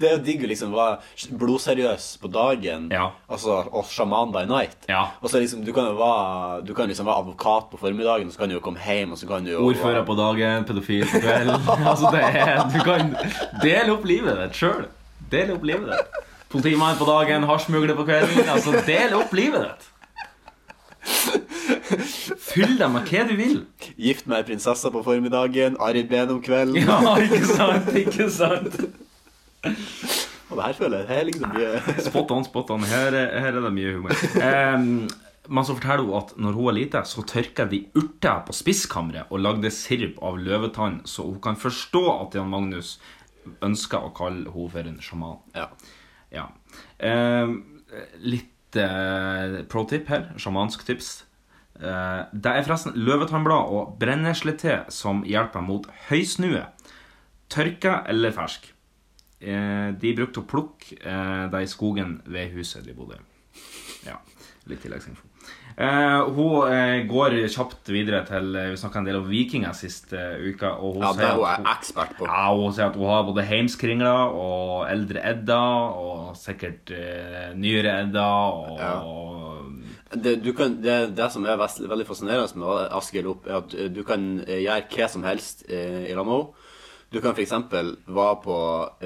S3: Det er jo digg å liksom være blodseriøs på dagen
S2: Ja.
S3: altså, og sjaman by night.
S2: Ja.
S3: Og så liksom, du kan jo være, du kan liksom være advokat på formiddagen, og så kan du jo komme hjem, og så kan du jo
S2: Ordfører på dagen, pedofil på kvelden. altså, det er Du kan dele opp livet ditt sjøl. Del opp livet ditt. Politimann på dagen, hasjmugler på kvelden. Altså, del opp livet ditt. Fyll deg med hva du vil.
S3: Gift med ei prinsesse på formiddagen, arbeid om kvelden
S2: Ja, ikke sant? Ikke sant?
S3: Og det her føler jeg det er liksom mye
S2: Spot on, spot on. Her, er- her er det mye humor. Em, men så forteller hun at når hun er lite, så tørker de urter på spisskammeret og lagde sirup av løvetann, så hun kan forstå at Jan Magnus ønsker å kalle henne for en sjaman.
S3: Ja.
S2: Ja. Em, litt eh, pro tip her. Sjamansk tips. Eh, det er forresten løvetannblad og brenneslete som hjelper mot høysnue. Tørka eller fersk. Eh, de brukte å plukke eh, det i skogen ved huset de bodde i. Ja, litt tilleggsinfo. Eh, hun eh, går kjapt videre til eh, Vi snakka en del om vikinger sist eh, uke. Og hun
S3: ja, det
S2: sier
S3: er hun
S2: at
S3: er ekspert på.
S2: ja, hun sier at hun har både heimskringla og eldre Edda, og sikkert eh, nyere Edda, og
S3: Det, du kan, det, det som er vest, veldig fascinerende med Askild opp, er at eh, du kan eh, gjøre hva som helst eh, i lag med henne. Du kan f.eks. være på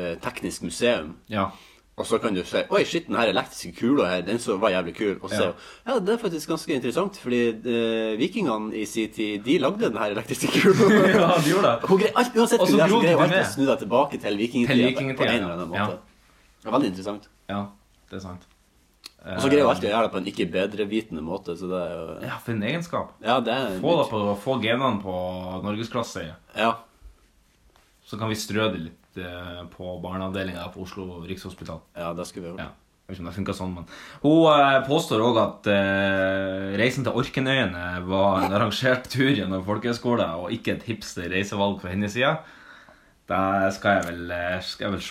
S3: eh, teknisk museum.
S2: Ja.
S3: Og så kan du si Oi, shit, den her elektriske kula her, den som var jævlig kul. Og så
S2: Ja.
S3: ja. ja, det er faktisk ganske interessant, fordi eh, vikingene i sin tid, de lagde den her elektriske
S2: ja.
S3: kula.
S2: de gjorde det.
S3: Hun greier alt, uansett
S2: Og så
S3: hvordan det er,
S2: dro
S3: så
S2: de
S3: greier
S2: det
S3: hun alltid å
S2: med.
S3: snu deg tilbake til
S2: Til
S3: vikingtida
S2: vikingtida,
S3: på en eller annen
S2: ja.
S3: måte. Det er veldig interessant.
S2: Ja, det er sant.
S3: Og så greier hun alltid å gjøre det på en ikke bedrevitende måte, så det er jo
S2: Ja, for en egenskap.
S3: Ja, det er
S2: Få, da på, få genene på norgesklasse,
S3: Ja.
S2: så kan vi strø det litt eh, på barneavdelinga på Oslo Rikshospital.
S3: ja, det skulle vi gjort.
S2: Ja. Jeg vet ikke om det funket sånn, men Hun eh, påstår òg at eh, reisen til Orkenøyene var en arrangert tur gjennom folkehøyskole, og ikke et hipster reisevalg på hennes side. Det skal jeg vel, eh, skal jeg vel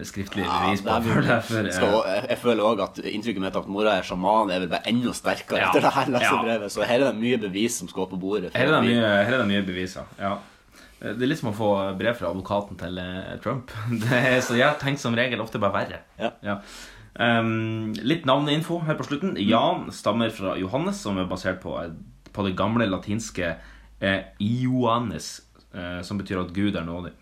S2: se skriftlig bevis på.
S3: det er
S2: for det, for,
S3: mulig.
S2: eh,
S3: Skal også- jeg, jeg føler òg at inntrykket mitt av at mora er sjaman, er vel bare enda sterkere
S2: Ja.
S3: etter det her
S2: Ja.
S3: lesebrevet. Så her er det mye bevis som skal på bordet. for
S2: her, er
S3: at
S2: det
S3: vi-
S2: mye, her er det mye beviser. Ja. Det er litt som å få brev fra advokaten til eh, Trump. Det er, så jeg tenker som regel ofte bare verre.
S3: Ja.
S2: Ja. Ehm, litt navneinfo her på slutten.
S3: Mm.
S2: Jan stammer fra Johannes, som er basert på, på det gamle latinske eh, Ioannes, eh, som betyr at Gud er nådig.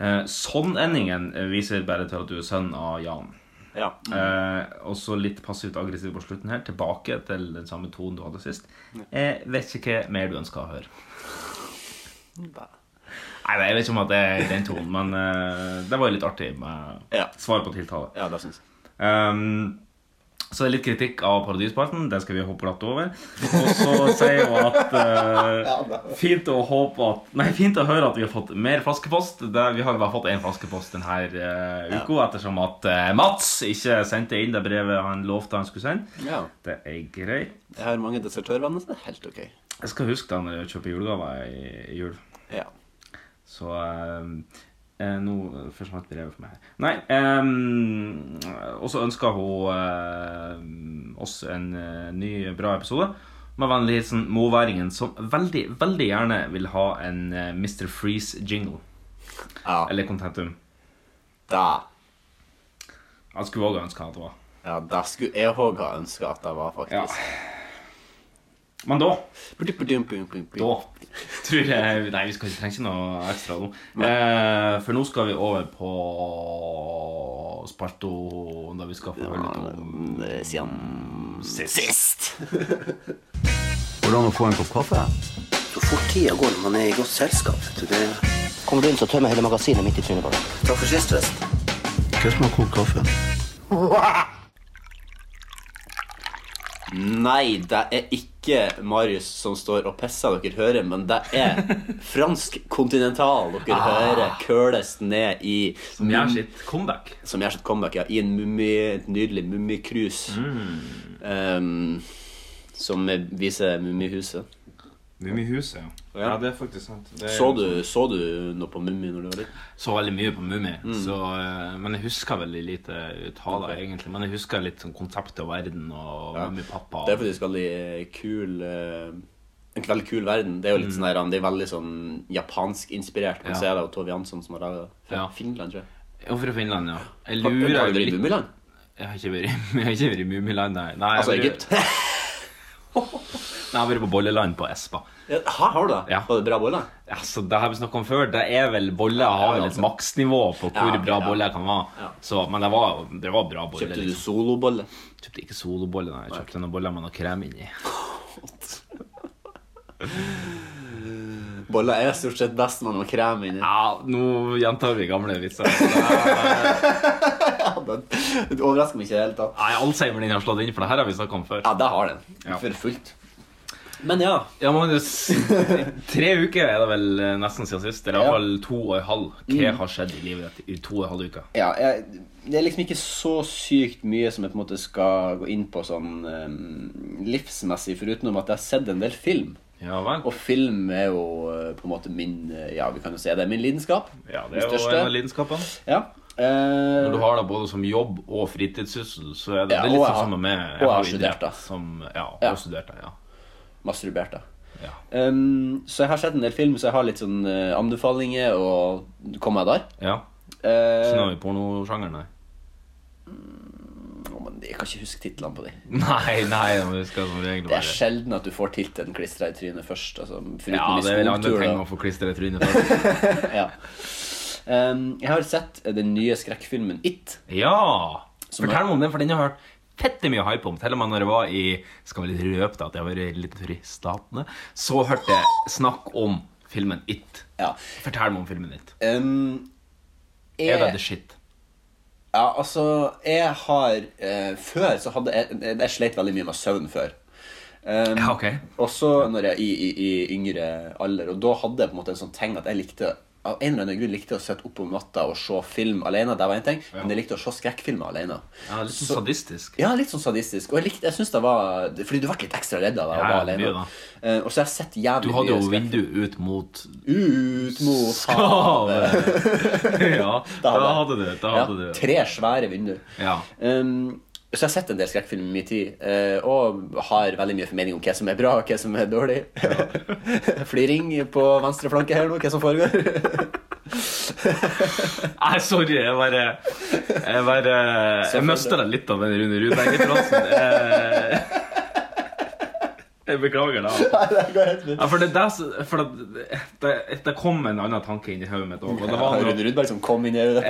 S2: Eh, Sånn-endingen viser bare til at du er sønn av Jan.
S1: Ja.
S3: Mm.
S2: Eh, og så litt passivt aggressiv på slutten her. Tilbake til den samme tonen du hadde sist. Jeg vet ikke hva mer du ønsker å høre. Nei, nei, jeg vet ikke om at det er den tonen, men eh, det var jo litt artig med
S1: Ja.
S2: svar på tiltale.
S1: ja, det syns jeg.
S2: Ehm, så det er litt kritikk av Paradisparten. Den skal vi hoppe glatt over. Og så sier hun at eh, fint, å håpe at nei, fint å høre at vi har fått mer flaskepost. Det, vi har jo bare fått én flaskepost denne eh, uka, ettersom at eh, Mats ikke sendte inn det brevet han lovte han skulle sende.
S3: Ja.
S2: Det er greit.
S3: Jeg har mange desertørvenner, så det er helt ok.
S2: Jeg skal huske det når jeg kjøper julegaver i, i jul.
S3: Ja.
S2: Så eh, eh, Nå først et brev for meg her. Nei. eh, og så ønsker hun eh, oss en eh, ny, bra episode. Med vennlig hilsen moværingen, som veldig, veldig gjerne vil ha en eh, Mr. Freeze-jingle.
S3: Ja,
S2: Eller Contentum.
S3: da.
S2: Jeg skulle òg ønske at det var.
S3: Ja, da skulle jeg òg ha ønska at det var,
S2: Ja.
S3: faktisk.
S2: Men da
S3: Ja.
S2: Da tror jeg Nei, vi skal ikke trenge noe ekstra nå. Eh, for nå skal vi over på Sparto, der vi skal få høre litt om
S3: Siden sist.
S4: Hvordan å få en kopp kaffe?
S5: Så fort tida går når man er i godt selskap. vet du. Det...
S6: Kommer du inn, så tømmer jeg hele magasinet midt i trynet på deg.
S5: Takk for sist, Vest.
S4: Hva som er kokt kaffe?
S3: Nei, det er ikke Marius som står og pisser dere hører, men det er fransk kontinental dere hører køles ned i
S2: Ah. Som gjør sitt comeback.
S3: som gjør sitt comeback ja, i en mummi, et nydelig mummikrus.
S2: Mm.
S3: Um, som viser Mummihuset.
S2: Mummihuset, ja.
S3: Ja,
S2: det er faktisk sant.
S3: Så du, så du noe på Mummi når du var liten?
S2: så veldig mye på Mummi,
S3: Mm.
S2: så, eh, men jeg husker veldig lite ut av det, egentlig. Men jeg husker litt sånn konseptet og verden og
S3: Ja.
S2: Mummipappa.
S3: Det er faktisk veldig kul eh, En veldig kul verden. Det er jo litt sånn her, det er veldig sånn japansk-inspirert. Man
S2: Mm. Ja.
S3: ser det jo Tove Jansson som har laga det. Fra
S2: Ja.
S3: Finland, tror jeg.
S2: Jo, fra Finland, ja. Jeg
S3: Har
S2: lurer
S3: har du vært i
S2: litt-
S3: Mummiland?
S2: Jeg har ikke vært, i- jeg har ikke vært i Mummiland, nei. nei. jeg
S3: Altså
S2: har vært-
S3: Egypt?
S2: Nei, jeg har vært på Bolleland på Espa.
S3: Ja, Hæ, har du det?
S2: Ja.
S3: Var det bra boller?
S2: Altså, det har vi snakket om før. Det er vel boller har vel et
S3: altså.
S2: maksnivå på hvor
S3: Ja, ok,
S2: bra
S3: ja.
S2: boller kan være.
S3: Ja.
S2: Så, men det var, det var bra boller.
S3: Kjøpte du
S2: Liksom.
S3: solobolle?
S2: Kjøpte ikke soloboller, nei. Jeg kjøpte noen boller med noe krem inni.
S3: Boller er stort sett best når man har krem inni.
S2: Ja, nå gjentar vi gamle vitser.
S3: Ja, den- det overrasker meg ikke i det hele tatt.
S2: Nei, Alzheimer din har slått inn, for det her har vi snakket om før.
S3: Ja, det har den.
S2: Ja.
S3: For fullt. Men ja.
S2: Ja, Magnus. Tre uker er det vel eh, nesten siden sist. Eller
S3: Ja. Mm.
S2: iallfall to og en halv. Hva har skjedd i livet ditt i to og en halv uke?
S3: ja jeg, det er liksom ikke så sykt mye som jeg på en måte skal gå inn på sånn eh, livsmessig, foruten om at jeg har sett en del film.
S2: Ja vel.
S3: Og film er jo eh, på en måte min eh, Ja, vi kan jo si det er min lidenskap.
S2: Ja, det er jo
S3: Min største.
S2: en av lidenskapene.
S3: Ja. eh,
S2: Når du har det både som jobb og fritidssyssel, så er det, det
S3: Ja,
S2: er litt
S3: og jeg
S2: sånn
S3: har-
S2: som med meg.
S3: og jeg har
S2: jo
S3: studert,
S2: idrett
S3: da.
S2: Som, ja,
S3: Ja.
S2: og studert, da, ja.
S3: masturbert, da.
S2: Ja.
S3: Um, så jeg har sett en del film, så jeg har litt sånn eh, anbefalinger, og kom jeg der?
S2: ja.
S3: Eh,
S2: Så nå er vi i pornosjangeren, nei.
S3: å, men jeg kan ikke huske titlene på de.
S2: Nei, nei, men vi skal som regel
S3: Det er
S2: være
S3: sjelden at du får tittelen klistra i trynet først. Altså, foruten
S2: Ja,
S3: i
S2: det er vel andre
S3: skogtur, da.
S2: ting å få klistre i trynet for.
S3: ja. um, Jeg har sett eh, den nye skrekkfilmen It.
S2: Ja!
S3: Som
S2: Fortell meg om den, for den har jeg hørt fette mye hype om. Til og med når jeg var i Skal vi litt røpe da, at jeg har vært litt tur i Statene, så hørte jeg snakk om filmen It.
S3: Ja.
S2: Fortell meg om filmen It.
S3: Um, jeg,
S2: Er det the shit?
S3: Ja, altså, jeg har eh, Før så hadde jeg Jeg, jeg sleit veldig mye med søvn før. Um,
S2: Ja, ok.
S3: Også når jeg i, i, i yngre alder. Og da hadde jeg på en måte en sånn ting at jeg likte av en eller annen grunn likte jeg å sitte oppe om natta og se film alene. Det var en ting, Men jeg likte å se skrekkfilmer alene.
S2: Ja, litt sånn sadistisk.
S3: Ja, litt sånn sadistisk. Og jeg likte, jeg synes det var Fordi du ble litt ekstra redd av
S2: Ja,
S3: deg å
S2: ja,
S3: være alene.
S2: mye da.
S3: Eh, og så har jeg sett
S2: Du
S3: jævlig
S2: hadde jo
S3: skrekk-
S2: vinduet ut mot
S3: Ut mot
S2: Havet! ja, da hadde du det. Da
S3: Ja,
S2: hadde du det.
S3: tre svære vinduer.
S2: Ja.
S3: Um, så jeg har sett en del skrekkfilm i min tid, eh, og har veldig mye formening om hva som er bra, og hva som er dårlig. Fliring på venstre flanke her nå, hva som foregår.
S2: Nei, sorry, jeg bare Jeg bare Jeg mista deg litt av den Rune Rudberg-referansen. Eh, Jeg beklager da. Ja, for det, der, så- for det, det, det kom en annen tanke inn i hodet mitt òg. Og det var
S3: Rune
S2: noe
S3: Rudberg som kom inn i øyet.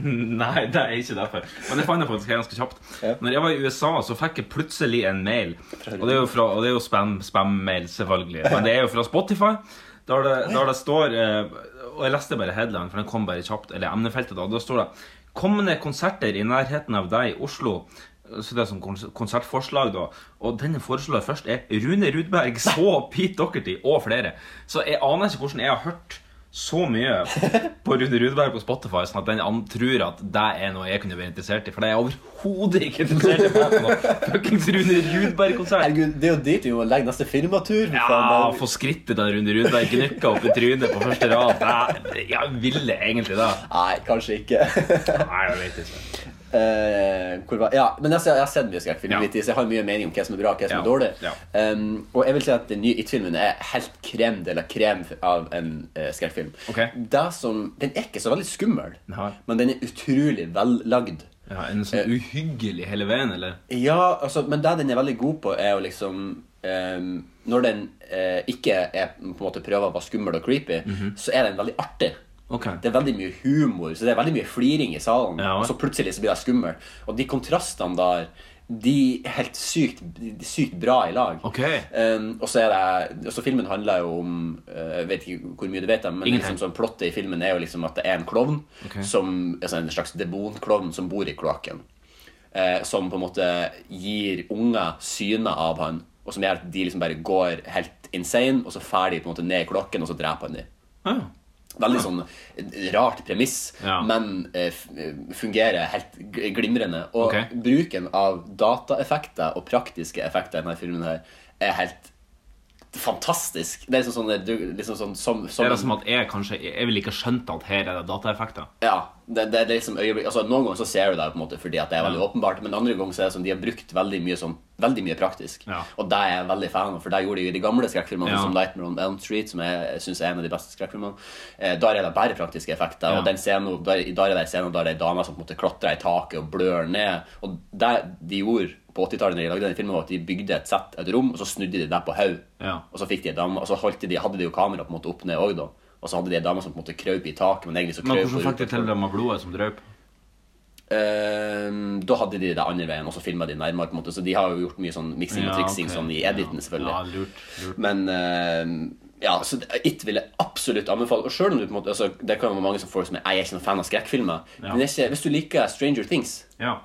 S2: Nei, det er ikke derfor. Men det fant jeg faktisk ganske kjapt.
S3: Ja.
S2: Når jeg var i USA, så fikk jeg plutselig en mail. Og det er jo, fra, og det er jo spam, spam-mail, selvfølgelig. Men det er jo fra Spotify. Der det, der det står eh, Og jeg leste bare headline, for den kom bare kjapt. Eller emnefeltet, da. Da står det 'Kommende konserter i nærheten av deg i Oslo'. Så det er som kons- konsertforslag, da. Og den jeg foreslår først, er Rune Rudberg, så Pete Doherty og flere. Så jeg aner ikke hvordan jeg har hørt så mye på Rune Rudberg på Spotify sånn at den an tror at det er noe jeg kunne være interessert i. For det er jeg overhodet ikke interessert i. på noe Fuckings Rune Rudberg-konsert.
S3: Herregud, det er jo dit vi må legge neste firmatur. for
S2: Ja,
S3: faen, det er-
S2: få skrittet den Rune Rudberg gnukka opp i trynet på første rad. Det, jeg ville egentlig det.
S3: Nei, kanskje ikke.
S2: Nei, jeg vet ikke.
S3: Eh, hvor var, ja, men jeg, ser- jeg har sett mye skrekkfilm,
S2: Ja.
S3: i min tid, så jeg har mye mening om hva som er bra og hva som
S2: Ja.
S3: er dårlig.
S2: Ja.
S3: Em, og jeg vil si at den nye It-filmen er helt krem de la krem av en eh, skrekkfilm.
S2: Ok.
S3: Det som, den er ikke så veldig skummel,
S2: Nei.
S3: men den er utrolig vellagd.
S2: Ja, en sånn uhyggelig hele veien, eller?
S3: Ja, altså, men det den er veldig god på, er jo liksom em, Når den eh, ikke er, på en måte prøver å være skummel og creepy,
S2: Mhm.
S3: så er den veldig artig.
S2: Ok.
S3: Det er veldig mye humor, så det er veldig mye fliring i salen.
S2: Ja.
S3: Og så plutselig så blir det skummel. Og de kontrastene der, de er helt sykt, de er sykt bra i lag.
S2: Ok.
S3: Em, og så er det Og så filmen handler jo om eh, Jeg vet ikke hvor mye du vet, om, men
S2: Ingenting.
S3: liksom, sånn plottet i filmen er jo liksom at det er en klovn,
S2: Ok.
S3: som, altså en slags demonklovn, som bor i kloakken eh, som på en måte gir unger syner av han, og som gjør at de liksom bare går helt insane, og så fær de på en måte ned i klokken, og så dreper han dem.
S2: Ja.
S3: Veldig sånn rart premiss,
S2: Ja.
S3: men eh, f- fungerer helt gl- glimrende. Og
S2: Ok.
S3: bruken av dataeffekter og praktiske effekter i denne filmen her er helt fantastisk. Det er liksom sånn, du- liksom sånn som, som
S2: Det er det som at jeg kanskje Jeg ville ikke skjønt at her er det dataeffekter.
S3: Ja, det, det, det er liksom øyeblikk Altså Noen ganger så ser du det på en måte fordi at det er veldig
S2: Ja.
S3: åpenbart, men andre ganger så er det som de har brukt veldig mye sånn Veldig mye praktisk.
S2: Ja.
S3: Og det er jeg veldig fan av, for det gjorde de jo i de gamle skrekkfilmene,
S2: Ja.
S3: som Nightmare on Elm Street, som jeg syns er en av de beste skrekkfilmene. Eh, der er det bare praktiske effekter,
S2: Ja.
S3: og den scenen, der, der er det en scene der det er ei dame som på en måte klatrer i taket og blør ned. Og det de gjorde på 80-tallet når de lagde den filmen, var at de bygde et sett, et rom, og så snudde de det på hodet.
S2: Ja.
S3: Og så fikk de ei dame, og så holdt de, hadde de jo kamera på en måte opp ned òg, da. Og så hadde de ei dame som på en måte krøp i taket, men egentlig så
S2: Men
S3: krøp
S2: hvordan
S3: hun
S2: fikk de til det med blodet som drøp?
S3: Ehm, da hadde de det andre veien, og så filma de nærmere. på en måte Så de har jo gjort mye sånn miksing og triksing
S2: ok.
S3: sånn i editen,
S2: Ja. Ja,
S3: selvfølgelig.
S2: lurt, lurt.
S3: Men ehm, ja, så det- It vil jeg absolutt anbefale. Og selv om du på en måte altså, Det kan være mange som får som er Jeg er ikke noen fan av skrekkfilmer.
S2: Ja.
S3: Men det er ikke, hvis du liker Stranger Things
S2: Ja.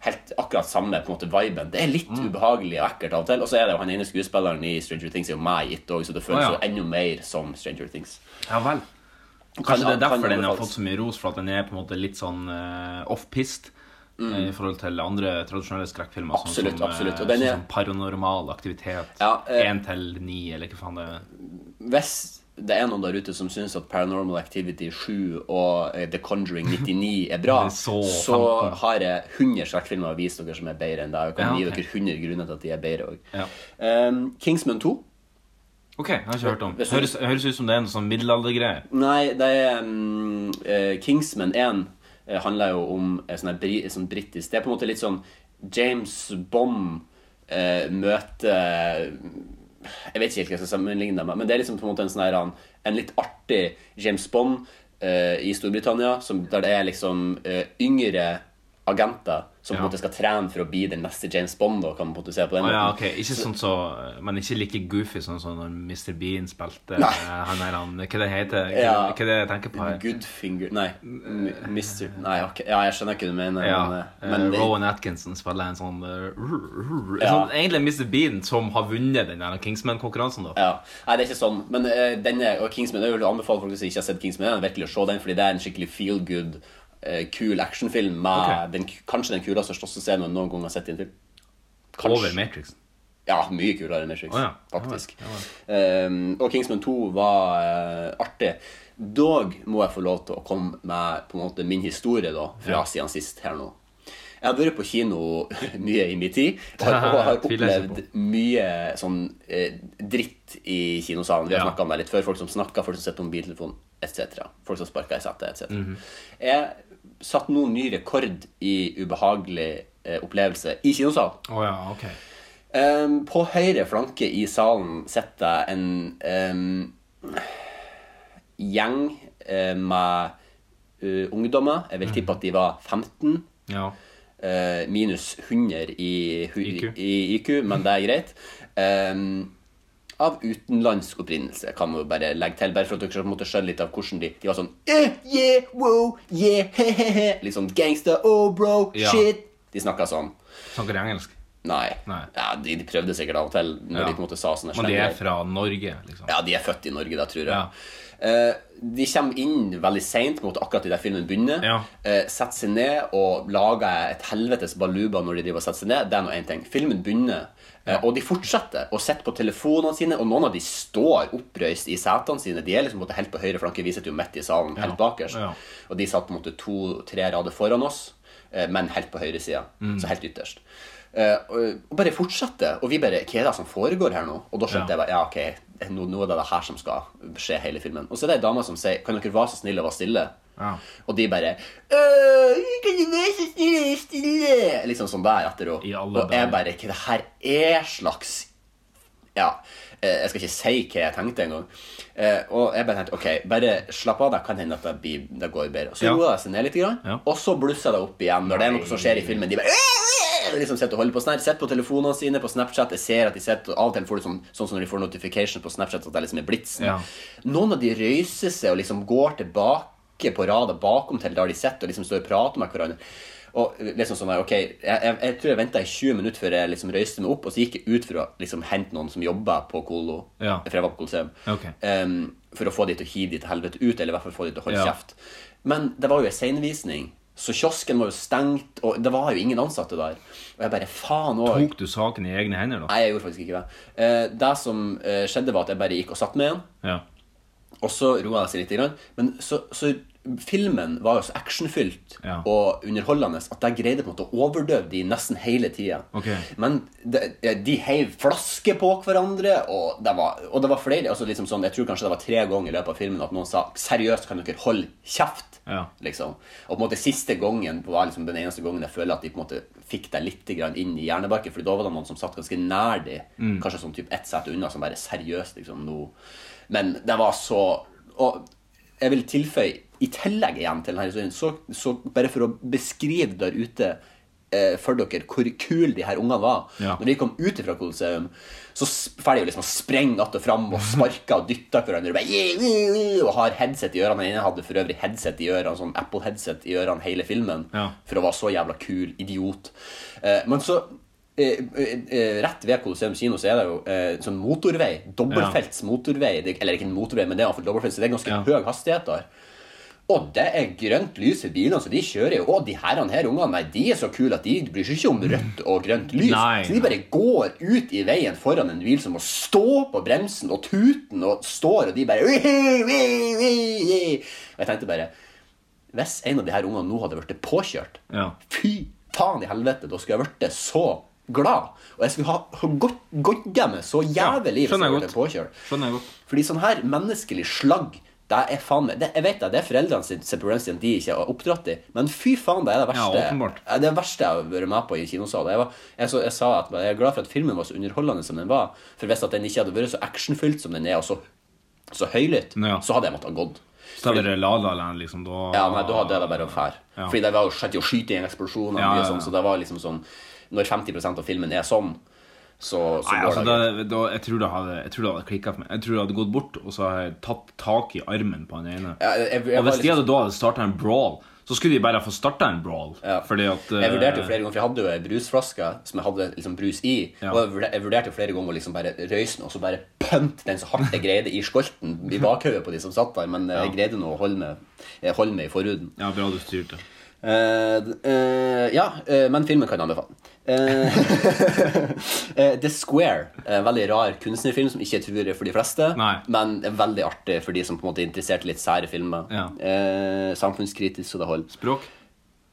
S3: Helt akkurat samme på en måte viben. Det er litt
S2: Mm.
S3: ubehagelig og ekkelt av og til. Og så er det jo han ene skuespilleren i Stranger Things er jo meg i It òg, så det føles
S2: Å, ja.
S3: jo enda mer som Stranger Things.
S2: ja vel.
S3: Kan-
S2: Kanskje det er
S3: kan
S2: derfor den har
S3: anbefales.
S2: fått så mye ros, for at den er på en måte litt sånn eh, off-pist eh, i forhold til andre tradisjonelle skrekkfilmer. sånn
S3: Mm. Absolutt,
S2: som, eh,
S3: absolutt, og den
S2: sånn
S3: er-
S2: som Paranormal aktivitet.
S3: Ja, eh,
S2: 1 til 9, eller hva faen det er.
S3: Hvis det er noen der ute som syns at Paranormal Activity 7 og eh, The Conjuring 99 er bra,
S2: Det er
S3: så,
S2: så fantastisk.
S3: har jeg 100 skrekkfilmer å vise dere som er bedre enn deg. Og
S2: Ja,
S3: kan gi
S2: ok.
S3: dere 100 grunner til at de er bedre òg.
S2: Ja.
S3: Kingsman 2
S2: Ok, jeg har ikke hørt om.
S3: Hvis du-
S2: Høres, høres ut som det er en sånn middelaldergreie.
S3: Nei, det er mm, eh, Kingsman 1 eh, handler jo om eh, sånn her bri, sånn britisk Det er på en måte litt sånn James Bond eh, møter Jeg vet ikke helt hva jeg skal sammenligne det med, men det er liksom på en måte en sånn her han- En litt artig James Bond eh, i Storbritannia, som, der det er liksom eh, yngre agenter som på en
S2: Ja.
S3: måte skal trene for å bli den neste James Bond, da, kan man på en måte se på den
S2: Å ja,
S3: måten.
S2: ok, ikke sånn så Men ikke like goofy sånn som når Mr. Bean spilte eh, han der han Hva det heter Hva,
S3: Ja.
S2: hva det jeg tenker på her?
S3: Goodfinger Nei, m- Mr. Nei, ok. ja, jeg skjønner ikke hva du mener.
S2: Mm, eh, Ja,
S3: men,
S2: eh,
S3: eh,
S2: Rowan Atkinson spiller en sånn, eh, rrr, rrr,
S3: Ja.
S2: sånn Egentlig Mr. Bean som har vunnet den der Kingsman-konkurransen, da.
S3: Ja. Nei, det er ikke sånn. Men eh, denne og Kingsman Jeg vil anbefale folk som ikke har sett Kingsman, den, virkelig å se den, fordi det er en skikkelig feel good, eh, kul actionfilm med
S2: Ok.
S3: den, kanskje den kuleste og største scenen jeg noen gang har sett i en film.
S2: Over Matrix.
S3: Ja, mye kulere enn Matrix,
S2: Å ja.
S3: faktisk. Ehm, og Kingsman 2 var eh, artig. Dog må jeg få lov til å komme med på en måte min historie da, fra
S2: Ja.
S3: siden sist her nå. Jeg har vært på kino mye i min tid og har, og har
S2: Tviler jeg ikke
S3: opplevd mye sånn eh, dritt i kinosalen. Vi har
S2: Ja.
S3: snakket om det litt før. Folk som snakker, folk som sitter på mobiltelefon etc. Folk som sparker i setet etc.
S2: Mhm.
S3: Jeg satte nå ny rekord i ubehagelig eh, opplevelse i kinosal.
S2: Å ja, ok.
S3: Ehm, på høyre flanke i salen sitter en ehm, gjeng eh, med eh, ungdommer. Jeg vil tippe at de var 15.
S2: Ja.
S3: eh, minus 100 i, hu-
S2: IQ.
S3: i IQ, men det er greit. Ehm, av utenlandsk opprinnelse, kan man jo bare legge til. Bare for at dere skal måtte skjønne litt av hvordan de De var sånn eh, yeah, wow, yeah, he-he-he. Litt sånn gangsta, oh bro,
S2: Ja.
S3: shit. De snakka sånn.
S2: Snakker de engelsk?
S3: Nei.
S2: Nei.
S3: Ja, de, de prøvde sikkert av og til når
S2: Ja.
S3: de på en måte sa sånne
S2: Men de
S3: slemme-
S2: er fra Norge, liksom?
S3: Ja, de er født i Norge, da, tror jeg.
S2: Ja.
S3: Eh, de kommer inn veldig seint, akkurat idet filmen begynner.
S2: Ja.
S3: Eh, setter seg ned og lager et helvetes baluba når de driver og setter seg ned. Det er nå én ting. Filmen begynner, eh, og de fortsetter å sitte på telefonene sine. Og noen av de står opprøyst i setene sine. De er liksom på en måte helt på høyre flanke. Vi sitter jo midt i salen, helt bakerst.
S2: Ja.
S3: Og de satt på en måte to-tre rader foran oss, eh, men helt på høyre sida.
S2: Mm.
S3: Så helt ytterst. Eh, og og bare fortsette. Og vi bare Hva er det som foregår her nå? Og da skjønte
S2: Ja.
S3: jeg bare Ja, ok, nå, nå er det det her som skal skje hele filmen. Og så er det ei dame som sier Kan dere være så snille å være stille?
S2: Ja.
S3: Og de bare «Øh, Kan du være så snille å være stille? Liksom sånn der etter
S2: I
S3: henne.
S2: alle
S3: Og jeg
S2: dager.
S3: bare Hva det her er slags ja, eh, jeg skal ikke si hva jeg tenkte engang. Eh, og jeg bare tenkte ok, bare slapp av, det kan hende at det, blir, det går bedre. Og så
S2: Ja.
S3: roa jeg seg ned litt, grann,
S2: Ja.
S3: og så blussa det opp igjen når det er noe som skjer i filmen. De bare «Åh, åh», liksom sitter og holder på sånn her, sitter på telefonene sine, på Snapchat. Jeg ser at de sitter, og Av og til får du sånn, sånn som når de får notification på Snapchat, at det liksom er blitsen.
S2: Ja.
S3: Noen av de røyser seg og liksom går tilbake på rada bakom til der de sitter, og liksom står og prater med hverandre. Og liksom sånn her, ok, jeg, jeg, jeg tror jeg venta i 20 minutter før jeg liksom røyste meg opp, og så gikk jeg ut for å liksom hente noen som jobba på Colo.
S2: Ja.
S3: For jeg var på Colosseum.
S2: Ok.
S3: Em, for å få de til å hive de til helvete ut, eller i hvert fall få de til å holde
S2: Ja.
S3: kjeft. Men det var jo ei seinvisning, så kiosken var jo stengt, og det var jo ingen ansatte der. Og jeg bare faen òg.
S2: Tok du saken i egne hender, da?
S3: Nei, jeg gjorde faktisk ikke det. Eh, det som eh, skjedde, var at jeg bare gikk og satt med en.
S2: Ja.
S3: Og så roa jeg seg litt. Grann. Men så, så filmen var jo så actionfylt
S2: Ja.
S3: og underholdende at jeg greide på en måte å overdøve de nesten hele tida.
S2: Ok.
S3: Men de, de heiv flasker på hverandre, og det var, og det var flere altså liksom sånn, Jeg tror kanskje det var tre ganger i løpet av filmen at noen sa 'seriøst, kan dere holde kjeft?'
S2: Ja.
S3: Liksom. Og på en måte siste gangen var liksom den eneste gangen jeg føler at de på en måte fikk deg litt grann inn i hjernebarken. For da var det noen som satt ganske nær de kanskje sånn typ ett sete unna, som bare seriøst liksom nå Men det var så Og jeg vil tilføye, i tillegg igjen til denne historien, så, så bare for å beskrive der ute eh, for dere hvor kule de her ungene var.
S2: Ja.
S3: Når de kom ut fra Colosseum, så ferdig liksom å sprenge att og fram og sparke og dytte hverandre. Og, bare, «Yeah, yeah, yeah», og har headset i ørene. Den ene hadde for øvrig headset i ørene, sånn Apple-headset i ørene hele filmen.
S2: Ja.
S3: For å være så jævla kul idiot. Eh, men så eh, eh, eh, Rett ved Colosseum kino så er det jo eh, sånn motorvei. Dobbeltfelts motorvei. Det, eller ikke en motorvei, men det er i hvert fall dobbeltfelts. så Det er ganske
S2: Ja.
S3: høy hastighet der. Og det er grønt lys i bilene, så de kjører jo. Og de herrene her ungene, nei, de er så kule at de bryr seg ikke om rødt og grønt lys.
S2: Nei,
S3: så de bare går ut i veien foran en bil som må stå på bremsen og tuten og står, og de bare «Wee, wee, wee, wee». Og jeg tenkte bare Hvis en av de her ungene nå hadde blitt påkjørt,
S2: Ja.
S3: fy faen i helvete, da skulle jeg blitt så glad. Og jeg skulle ha gått, gått hjemme så jævlig hvis jeg
S2: skjønner
S3: hadde
S2: jeg
S3: blitt påkjørt.
S2: Skjønner jeg godt.
S3: Fordi sånn her menneskelig slagg det er faen meg, det, Jeg vet det, det er foreldrene sin sin problemstilling de ikke har oppdratt i, men fy faen, det er det verste
S2: Ja, åpenbart.
S3: Ja, det er det verste jeg har vært med på i kinosalen. Jeg, var, jeg, så, jeg sa at jeg er glad for at filmen var så underholdende som den var, for hvis at den ikke hadde vært så actionfylt som den er, og så, så høylytt,
S2: Ja.
S3: så hadde jeg måttet ha gått.
S2: Så hadde det La La Land, liksom, da
S3: Ja, nei, da hadde jeg det bare å fære.
S2: Ja.
S3: Fordi det var jo skjedd å skyte i en eksplosjon, og
S2: Ja,
S3: mye
S2: ja, ja.
S3: sånn, så det var liksom sånn Når 50 av filmen er sånn, så, så
S2: Nei,
S3: går
S2: altså,
S3: det
S2: da,
S3: greit.
S2: da, jeg tror det hadde, jeg tror det hadde klikket for meg. Jeg tror det hadde gått bort, og så hadde jeg tatt tak i armen på han ene.
S3: Ja, jeg- jeg- jeg
S2: og
S3: var
S2: hvis de
S3: liksom-
S2: hadde da hadde startet en brawl, så skulle de bare få startet en brawl.
S3: Ja.
S2: Fordi at...
S3: Jeg vurderte
S2: eh,
S3: jo flere ganger, for jeg hadde jo ei brusflaske som jeg hadde liksom brus i.
S2: Ja.
S3: Og jeg vurder- jeg vurderte jo flere ganger å liksom bare røyse meg og så bare pønte den så hardt jeg greide i skolten i bakhodet på de som satt der, men eh, jeg greide nå å holde meg, eh, holde meg i forhuden.
S2: Ja, bra du styrte.
S3: Eh, d- eh, ja, eh, men filmen kan jeg anbefale. Eh, eh, The Square. En veldig rar kunstnerfilm som ikke er tur for de fleste,
S2: Nei.
S3: men er veldig artig for de som på en måte er interessert i litt sære filmer.
S2: Ja.
S3: Eh, samfunnskritisk så det holder.
S2: Språk,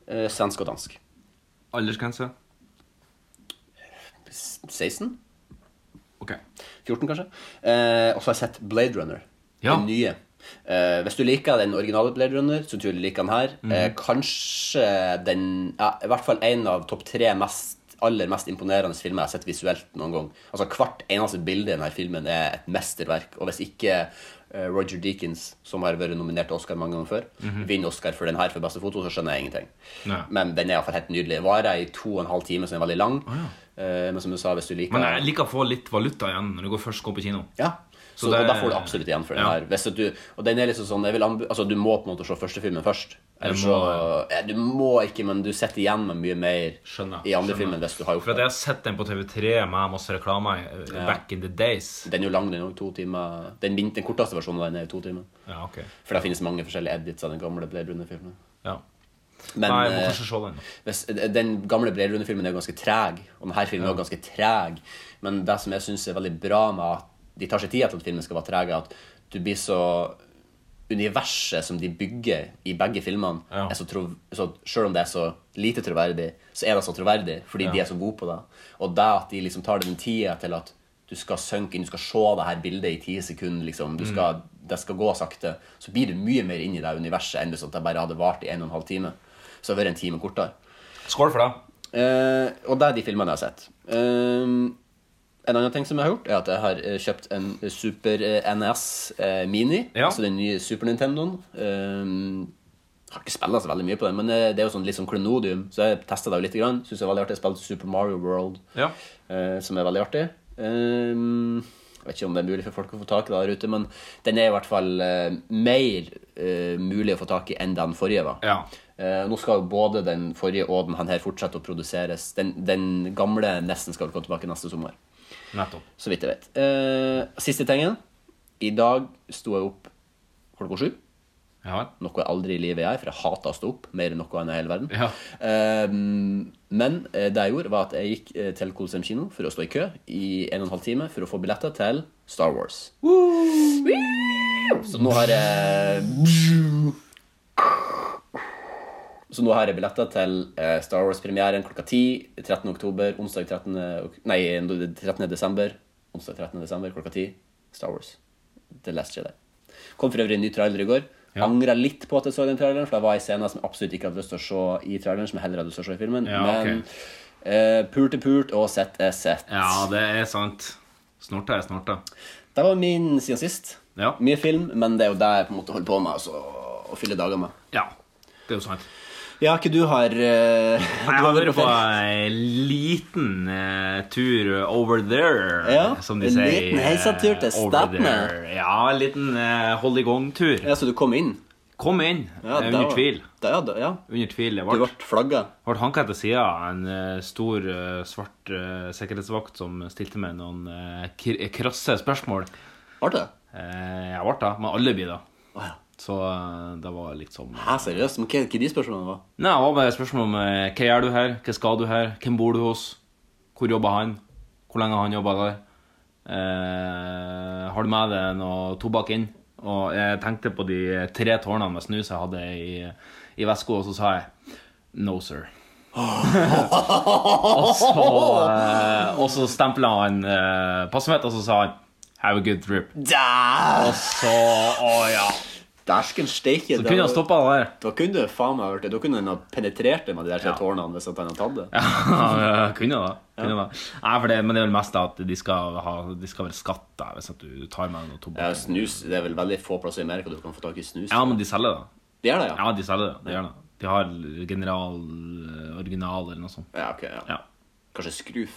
S3: Eh, svensk og dansk.
S2: aldersgrense.
S3: S- 16?
S2: Ok.
S3: 14, kanskje. Eh, og så har jeg sett Blade Runner.
S2: Ja.
S3: Den nye. Eh, hvis du liker den originale Blade Runner, så
S2: Mhm.
S3: tror jeg du liker den her. Eh, kanskje den ja, I hvert fall en av topp tre mest aller mest imponerende filmer jeg har sett visuelt noen gang. Altså Hvert eneste bilde i denne filmen er et mesterverk. Og hvis ikke eh, Roger Deakins, som har vært nominert til Oscar mange ganger før, vinner Oscar for den her for beste foto, så skjønner jeg ingenting.
S2: Mhm. Nei.
S3: Men den er iallfall helt nydelig. Varer i to og en halv time, så den er veldig lang. Eh, men som du sa, hvis du liker
S2: Men jeg liker å få litt valuta igjen når du går først går på kino.
S3: ja. Så,
S2: Så det-
S3: og da får du absolutt igjen for den
S2: Ja.
S3: her. Hvis at du, og den er liksom sånn jeg vil anbe altså, Du må på en måte se første filmen først. Eller
S2: Jeg
S3: så,
S2: må-
S3: ja, du må ikke, men du sitter igjen med mye mer
S2: Skjønner.
S3: i andre
S2: skjønner.
S3: filmen hvis du har
S2: For
S3: gjort
S2: at jeg
S3: det.
S2: har sett den på TV3 med masse reklame eh, back in the days.
S3: Den er jo lang, den er jo to timer. Den, min, den korteste versjonen av den er jo to timer.
S2: Ja, ok.
S3: For det finnes mange forskjellige edits av den gamle Blade Runner-filmen.
S2: Ja.
S3: Men
S2: Nei, jeg må
S3: eh,
S2: kanskje se den.
S3: hvis, den gamle Blade Runner-filmen er jo ganske treg, og denne filmen er jo ganske treg. Men det som jeg syns er veldig bra med at de tar seg tid til at filmen skal være treg, er at du blir så Universet som de bygger i begge filmene,
S2: Ja.
S3: er så tro, så selv om det er så lite troverdig, så er det så troverdig fordi de er så gode på det. Og det at de liksom tar den tida til at du skal synke inn, du skal se det her bildet i ti sekunder, liksom. du skal, det skal gå sakte, så blir du mye mer inn i det universet enn hvis at det bare hadde vart i en og en halv time. Så det hadde vært en time kortere.
S2: Skål for det.
S3: Eh, og det er de filmene jeg har sett. Eh, en annen ting som jeg har gjort, er at jeg har eh, kjøpt en Super eh, NES eh, Mini.
S2: Ja.
S3: Altså den nye Super Nintendoen. Eh, har ikke spilla så veldig mye på den, men eh, det er jo sånn litt sånn klenodium, så jeg testa det jo litt. grann. Syns det er veldig artig. Jeg spilte Super Mario World,
S2: Ja.
S3: eh, som er veldig artig. Eh, jeg vet ikke om det er mulig for folk å få tak i det der ute, men den er i hvert fall eh, mer eh, mulig å få tak i enn den forrige var.
S2: Ja.
S3: Eh, nå skal jo både den forrige og den her fortsette å produseres. Den, den gamle nesten skal vel komme tilbake neste sommer.
S2: Nettopp.
S3: Så vidt jeg vet. Eh, siste tingen. I dag sto jeg opp klokka sju.
S2: Ja vel.
S3: Noe jeg aldri i livet gjør, for jeg hater å stå opp mer enn noe annet i hele verden.
S2: Ja.
S3: Eh, men eh, det jeg gjorde, var at jeg gikk eh, til Colosseum kino for å stå i kø i en og en halv time for å få billetter til Star Wars. Woo! Så nå har jeg så nå har jeg billetter til eh, Star Wars-premieren klokka 10, 13. oktober, onsdag 13. ok- Nei, 13. desember. Onsdag 13. desember klokka 10. Star Wars. The Last Jedi. Kom for øvrig en ny trailer i går.
S2: Ja.
S3: Angra litt på at jeg så den traileren, for det var en scene som jeg absolutt ikke hadde lyst til å se i traileren, som jeg heller hadde lyst til å se i filmen.
S2: Ja,
S3: Men eh, pult er pult, og sett er sett.
S2: Ja, det er sant. Snorta er snorta.
S3: Det var min siden sist.
S2: Ja.
S3: Mye film, men det er jo det jeg på en måte holder på med, altså. Å fylle dager med.
S2: Ja. Det er jo sant.
S3: Ja, ikke du har eh, du
S2: Jeg
S3: har
S2: har
S3: vært
S2: vært på
S3: ferie.
S2: en liten eh, tur over there, eh,
S3: Ja,
S2: som de
S3: en
S2: sier.
S3: liten heisatur til
S2: eh, over
S3: Statene.
S2: there. Ja, en liten eh, hold i gang-tur.
S3: Ja, så du kom inn?
S2: Kom inn,
S3: Ja,
S2: eh,
S3: det
S2: under
S3: var-
S2: tvil.
S3: Da, ja, da, ja.
S2: Under tvil. Det
S3: Du
S2: ble,
S3: ble flagga.
S2: ble hanka etter sida av en eh, stor, eh, svart eh, sikkerhetsvakt som stilte meg noen eh, kr- krasse spørsmål.
S3: Ble det?
S2: Eh, jeg ble det, men alle blir det.
S3: Å ja.
S2: Så eh, det var liksom
S3: Hæ, seriøst? Men hva, hva de spørsmålene var?
S2: Nei, det var bare et spørsmål om eh, hva gjør du her, hva skal du her, hvem bor du hos, hvor jobber han, hvor lenge har han jobba der, eh, har du med deg noe tobakk inn? Og jeg tenkte på de tre tårnene med snus jeg hadde i, i veska, og så sa jeg no, sir. og så, eh, og så stempla han eh, passet mitt, og så sa han have a good trip.
S3: Dæ-
S2: Så, å ja.
S3: Dæsken steike.
S2: Så
S3: det
S2: kunne
S3: var-
S2: han stoppa det der.
S3: Da kunne du faen meg vært det. Da kunne han ha penetrert det med de der tre
S2: Ja.
S3: tårnene hvis at han hadde tatt det.
S2: Ja, kunne det. Kunne det. Nei, for det, men det er vel mest at de skal, ha, de skal være skatta hvis at du tar med noe
S3: Ja,
S2: tobakk.
S3: snus, Det er vel veldig få plasser i Amerika du kan få tak i snus.
S2: Ja, men de selger det.
S3: Det er det, ja?
S2: Ja, de selger det. De, gjør det. de har general eh, original eller noe sånt.
S3: Ja, ok, ja.
S2: Ja.
S3: Kanskje skruf.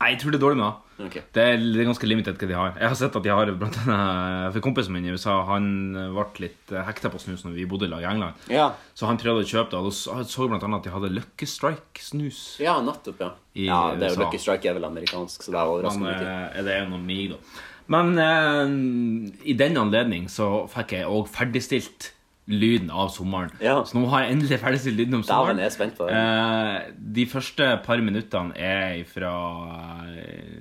S2: Nei, jeg tror det er dårlig med det.
S3: Ok.
S2: Det er det er ganske limited hva de har. Jeg har sett at de har blant annet eh, For kompisen min i USA, han eh, ble litt hekta på snus når vi bodde i lag i England.
S3: Ja.
S2: Så han prøvde å kjøpe det, og da så- så jeg blant annet at de hadde Lucky Strike-snus.
S3: ja, nettopp, ja.
S2: I
S3: ja, det er
S2: USA.
S3: jo Lucky Strike er vel amerikansk, så det er overraskende
S2: Men
S3: ikke.
S2: eh, det er jo noe mig, da. Men eh, i den anledning så fikk jeg òg ferdigstilt lyden av sommeren.
S3: Ja.
S2: Så nå har jeg endelig ferdigstilt lyden om
S3: Dæven,
S2: sommeren.
S3: jeg er spent på det.
S2: Eh, de første par minuttene er fra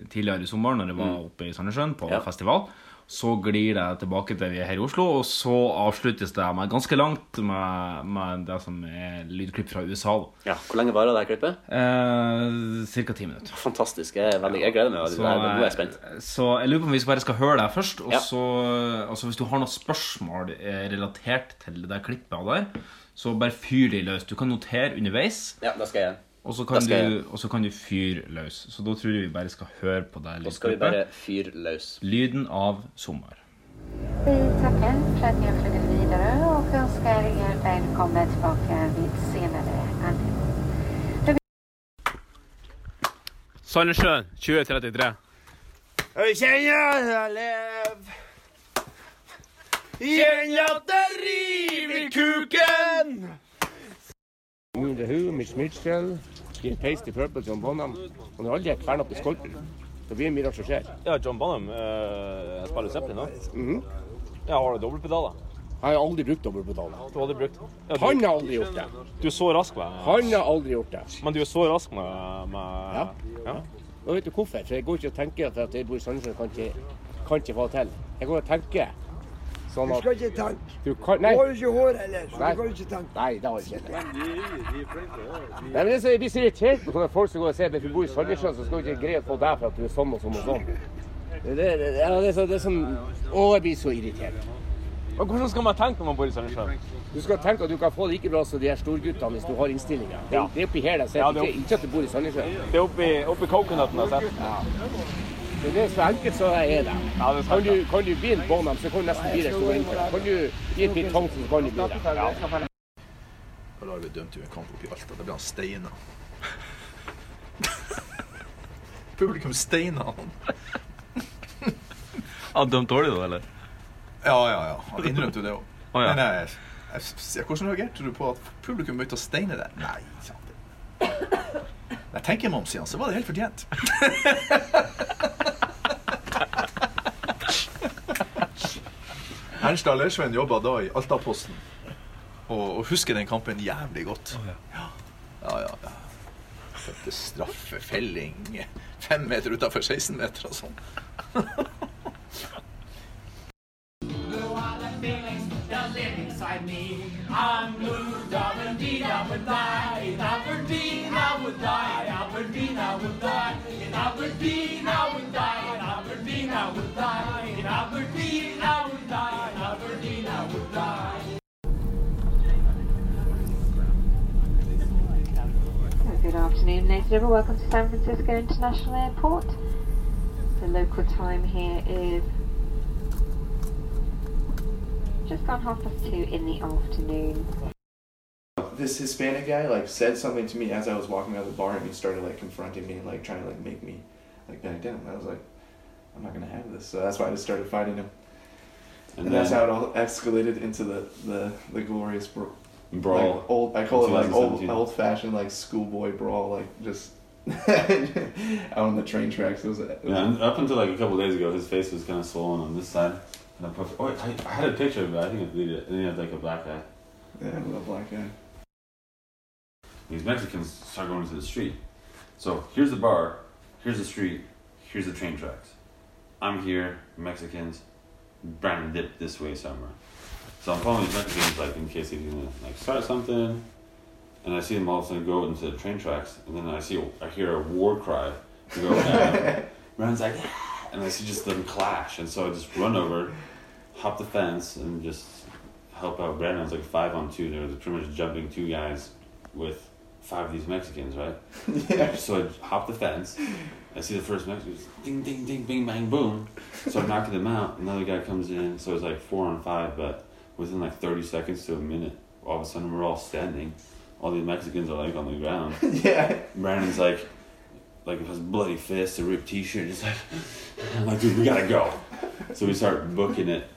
S2: tidligere i sommer, når jeg var oppe i Sandnessjøen på
S3: Mm. Ja.
S2: festival. Så glir det tilbake til vi er her i Oslo, og så avsluttes det med ganske langt med, med det som er lydklipp fra USA. da.
S3: Ja. Hvor lenge varer det her klippet?
S2: Eh, Cirka ti minutter.
S3: Fantastisk. Jeg, er veldig, jeg gleder meg. veldig.
S2: Så, eh,
S3: Det er- Nå er jeg spent.
S2: så jeg lurer på om vi skal bare skal høre deg først. Og
S3: Ja.
S2: så, og så hvis du har noen spørsmål eh, relatert til det der klippet der, så bare fyr de løs. Du kan notere underveis,
S3: Ja, det skal jeg gjøre.
S2: Og så kan,
S3: Da skal
S2: du- og så kan du fyre løs. Så da tror jeg vi bare skal høre på deg.
S3: Da skal vi bare fyre løs.
S2: Lyden av sommer.
S7: Vi tackar för att ni har flyttat vidare och önskar er välkomna tillbaka vid senare anledning.
S8: Sandnessjøen 2033. Jeg kjenner jeg lever Kjenner at det river i kuken! Ja, John Bonham eh, spiller Zeppelin nå.
S9: Mhm.
S8: Ja, har du dobbeltpedaler?
S9: Jeg har aldri brukt dobbeltpedaler.
S8: Du hadde brukt ja, du,
S9: Han har aldri gjort det.
S8: du er så rask med
S9: Han har aldri gjort det.
S8: Men du er så rask med, med
S9: Ja. Og vet du hvorfor? For jeg går ikke og tenker at at jeg bor i Sandnessjøen, kan ikke, kan ikke få det til. Jeg går og tenker sånn at
S10: ikke tenke.
S9: du kan Nei,
S10: ikke hår heller, så
S9: Nei. kan
S10: ikke tenke.
S9: nei det har jeg ikke. Nei, men det som jeg blir så irritert på sånne folk som går og sier sånn at hvis du bor i Sandnessjøen, så skal du ikke greie å få deg for at du er sånn og sånn og sånn. Det, det, det, ja, det, er så, det er sånn Å, jeg blir så irritert.
S8: Men hvordan skal man tenke når man bor i Sandnessjøen?
S9: Du skal tenke at du kan få det like bra som de her storguttene hvis du har innstillinga. Det, det er oppi her de
S8: Ja,
S9: sitter,
S8: det er
S9: ikke, ikke at du bor i Sandnessjøen.
S8: Det er oppi, oppi coconutten jeg har sett.
S9: Det er så enkelt som det er det.
S8: Ja, det er
S9: Kan
S8: sant.
S9: du, kan du bli en Bonham, så kan du nesten bli det store innført. Kan du bli en Pete Tongsen, så kan du bli det. Ja.
S4: Har vi dømt jo en kamp oppi Alta. Da ble han steina. Publikum steina han.
S2: Han dømte dårlig, da, eller?
S4: Ja, ja, ja. Han innrømte jo det òg.
S2: Å, ja.
S4: Men jeg, jeg, jeg, hvordan reagerte du på at publikum begynte å steine deg? Nei, sant. Jeg tenker meg om, sier han, så var det helt fortjent. Ernst Allersveien jobba da i Altaposten, og, og husker den kampen jævlig godt. Ja, ja, ja. Dette straffe, felling, fem meter utafor 16 meter og sånn.
S7: Good afternoon, native. Welcome to San Francisco International Airport. The local time here is just gone half past two in the afternoon.
S9: This Hispanic guy like said something to me as I was walking out of the bar, and he started like confronting me, like trying to like make me like back down. I was like, I'm not gonna have this, so that's why I just started fighting him. And, that's how it all escalated into the the, the glorious br- brawl. Like, old, I call it like old old fashioned like schoolboy brawl, like just out on the train tracks. It was, it was
S10: And up until like a couple days ago, his face was kind of swollen on this side. And I put- oh, I, I had a picture of it. I think I deleted it. And then he had like a black eye.
S9: yeah, I love black guy.
S10: These Mexicans start going to the street. So here's the bar, here's the street, here's the train tracks. I'm here, Mexicans, brown dip this way somewhere. So I'm following these Mexicans like in case he's gonna like start something. And I see them all of a sudden go into the train tracks, and then I see I hear a war cry. I go, "Ah." Brown's like, "Ah," and I see just them clash, and so I just run over, hop the fence, and just help out Brandon. I was like five on two. They were pretty much jumping two guys with five of these Mexicans, right? Yeah. So I hop the fence. I see the first Mexican. Ding, ding, ding, bing, bang, boom. So I'm knocking them out. Another guy comes in. So it's like four on five, but within like 30 seconds to a minute, all of a sudden we're all standing. All these Mexicans are like on the ground.
S9: Yeah,
S10: Brandon's like, like with his bloody fist, a ripped T-shirt. He's like, I'm like, dude, we gotta go. So we start booking it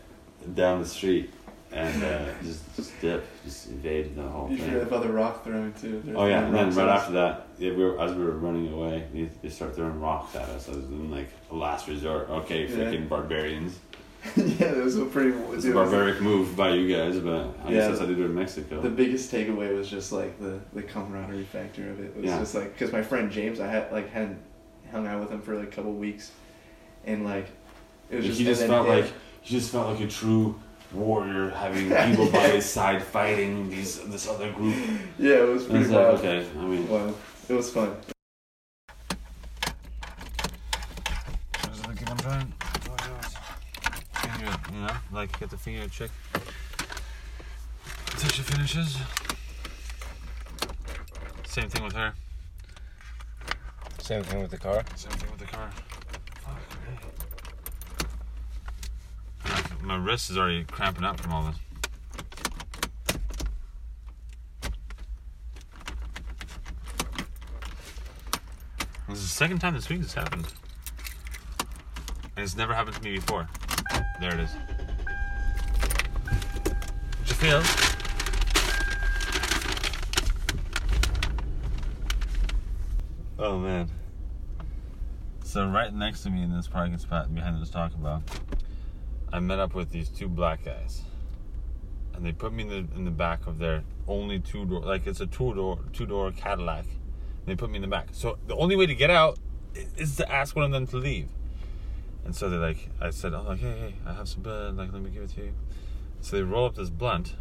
S10: down the street and uh, just just dip, just evade the whole
S9: you should
S10: thing.
S9: have other rock throwing too.
S10: Oh yeah, and then right after that, yeah, we were, as we were running away, they, they start throwing rocks at us. I was in like a last resort. Okay,
S9: Yeah.
S10: freaking barbarians.
S9: yeah, that was a pretty.
S10: It's
S9: dude,
S10: a
S9: it was-
S10: barbaric move by you guys, but I
S9: Yeah.
S10: guess that's how they do it in Mexico.
S9: The biggest takeaway was just like the, the camaraderie factor of it. It was
S10: Yeah.
S9: just like because my friend James, I had like hadn't hung out with him for like a couple weeks, and like it was
S10: Like,
S9: just
S10: he just
S9: and
S10: felt
S9: then him-
S10: like he just felt like a true warrior, having people by his side fighting these this other group.
S9: yeah, it was
S10: And
S9: pretty
S10: it's like,
S9: wild.
S10: okay, I mean,
S9: Wow, it was fun.
S10: finger, you know, like get the finger check until she finishes. Same thing with her.
S11: Same thing with the car.
S10: Same thing with the car. My wrist is already cramping up from all this. This is the second time this week this happened. And it's never happened to me before. There it is. Did you feel? Oh man. So right next to me in this parking spot behind this Taco Bell, I met up with these two black guys, and they put me in the in the back of their only two door like it's a two door two door Cadillac. And they put me in the back. So the only way to get out i- is to ask one of them to leave. And so they're like, I said, oh, like, hey, hey, I have some bud. Like, let me give it to you. So they roll up this blunt.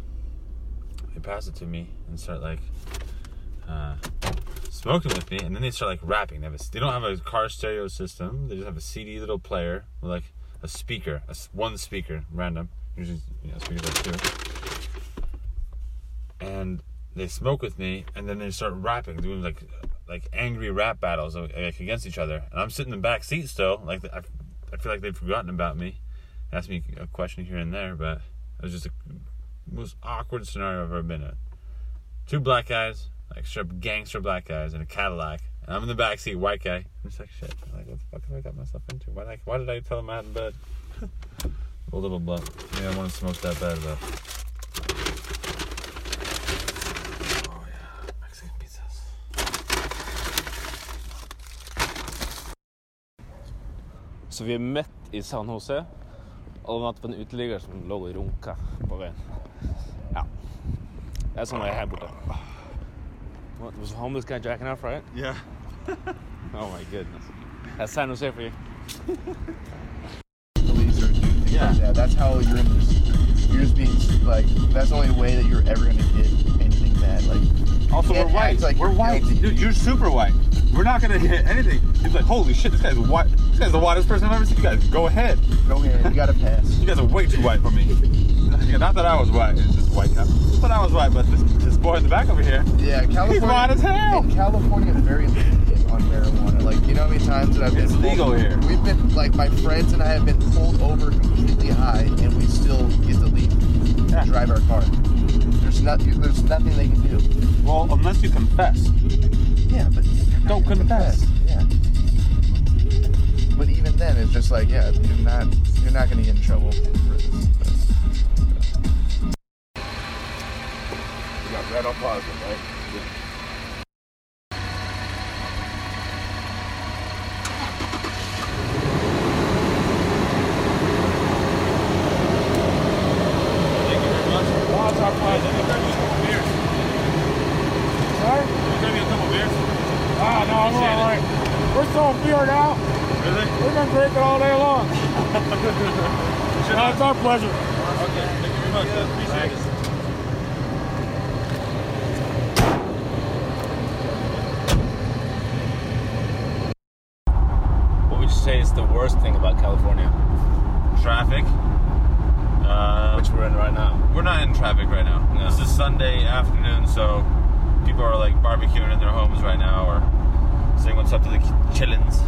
S10: They pass it to me and start like uh, smoking with me, and then they start like rapping. They, have a, they don't have a car stereo system. They just have a CD little player with like a speaker, a s one speaker, random. Usually, you know, speakers like two. And they smoke with me, and then they start rapping, doing like like angry rap battles like against each other. And I'm sitting in the back seat still, like I, I feel like they've forgotten about me. They asked me a question here and there, but it was just the most awkward scenario I've ever been in two black guys, like strip gangster black guys in a Cadillac. And I'm in the backseat, white guy. I'm just like shit. I'm like, what the fuck have I got myself into? Why did I, why did I tell him I had a bed? Old little blunt. Yeah, I want to smoke that bad, but
S8: Så vi er midt i San Jose, og vi møtte på en uteligger som lå og runka på veien. Ja. Det er sånn jeg er her borte. What, was a homeless guy jacking off, right? Yeah. oh my goodness. That's San Jose for you.
S9: Yeah. yeah, that's how you're in this. You're just being like that's the only way that you're ever gonna get anything bad. Like
S12: Also, we're white. we're white. Dude, you're super white. We're not gonna hit anything. He's like, holy shit, this guy's white. This guy's the whitest person I've ever seen. You guys, go ahead. Go ahead. You gotta pass. you guys are way too white for me. Yeah, not that I was white. It's just white. guy. Not that I was white, but this, this boy in the back over here.
S9: Yeah, California.
S12: He's white as hell.
S9: In California, it's very lenient on marijuana. Like, you know how many times that I've been
S12: It's
S9: pulled-
S12: legal here.
S9: We've been like my friends and I have been pulled over completely high, and we still get to leave, and drive our car. There's not, there's nothing they can do.
S12: Well, unless you confess.
S9: Yeah, but don't confess. Yeah. But even then, it's just like, yeah, you're not, you're not gonna get in trouble. For this.
S12: You got red on positive, right?
S13: Ah, no, I'm all right. We're so feared out. Really? We've been drinking all day long. no, it's our pleasure. Okay, thank you very much. appreciate it.
S8: What would you say is the worst thing about California?
S10: Traffic. Uh,
S8: Which we're in right now.
S10: We're not in traffic right now. This is Sunday afternoon, so people are like barbecuing in their homes right now or saying what's up to the chillins.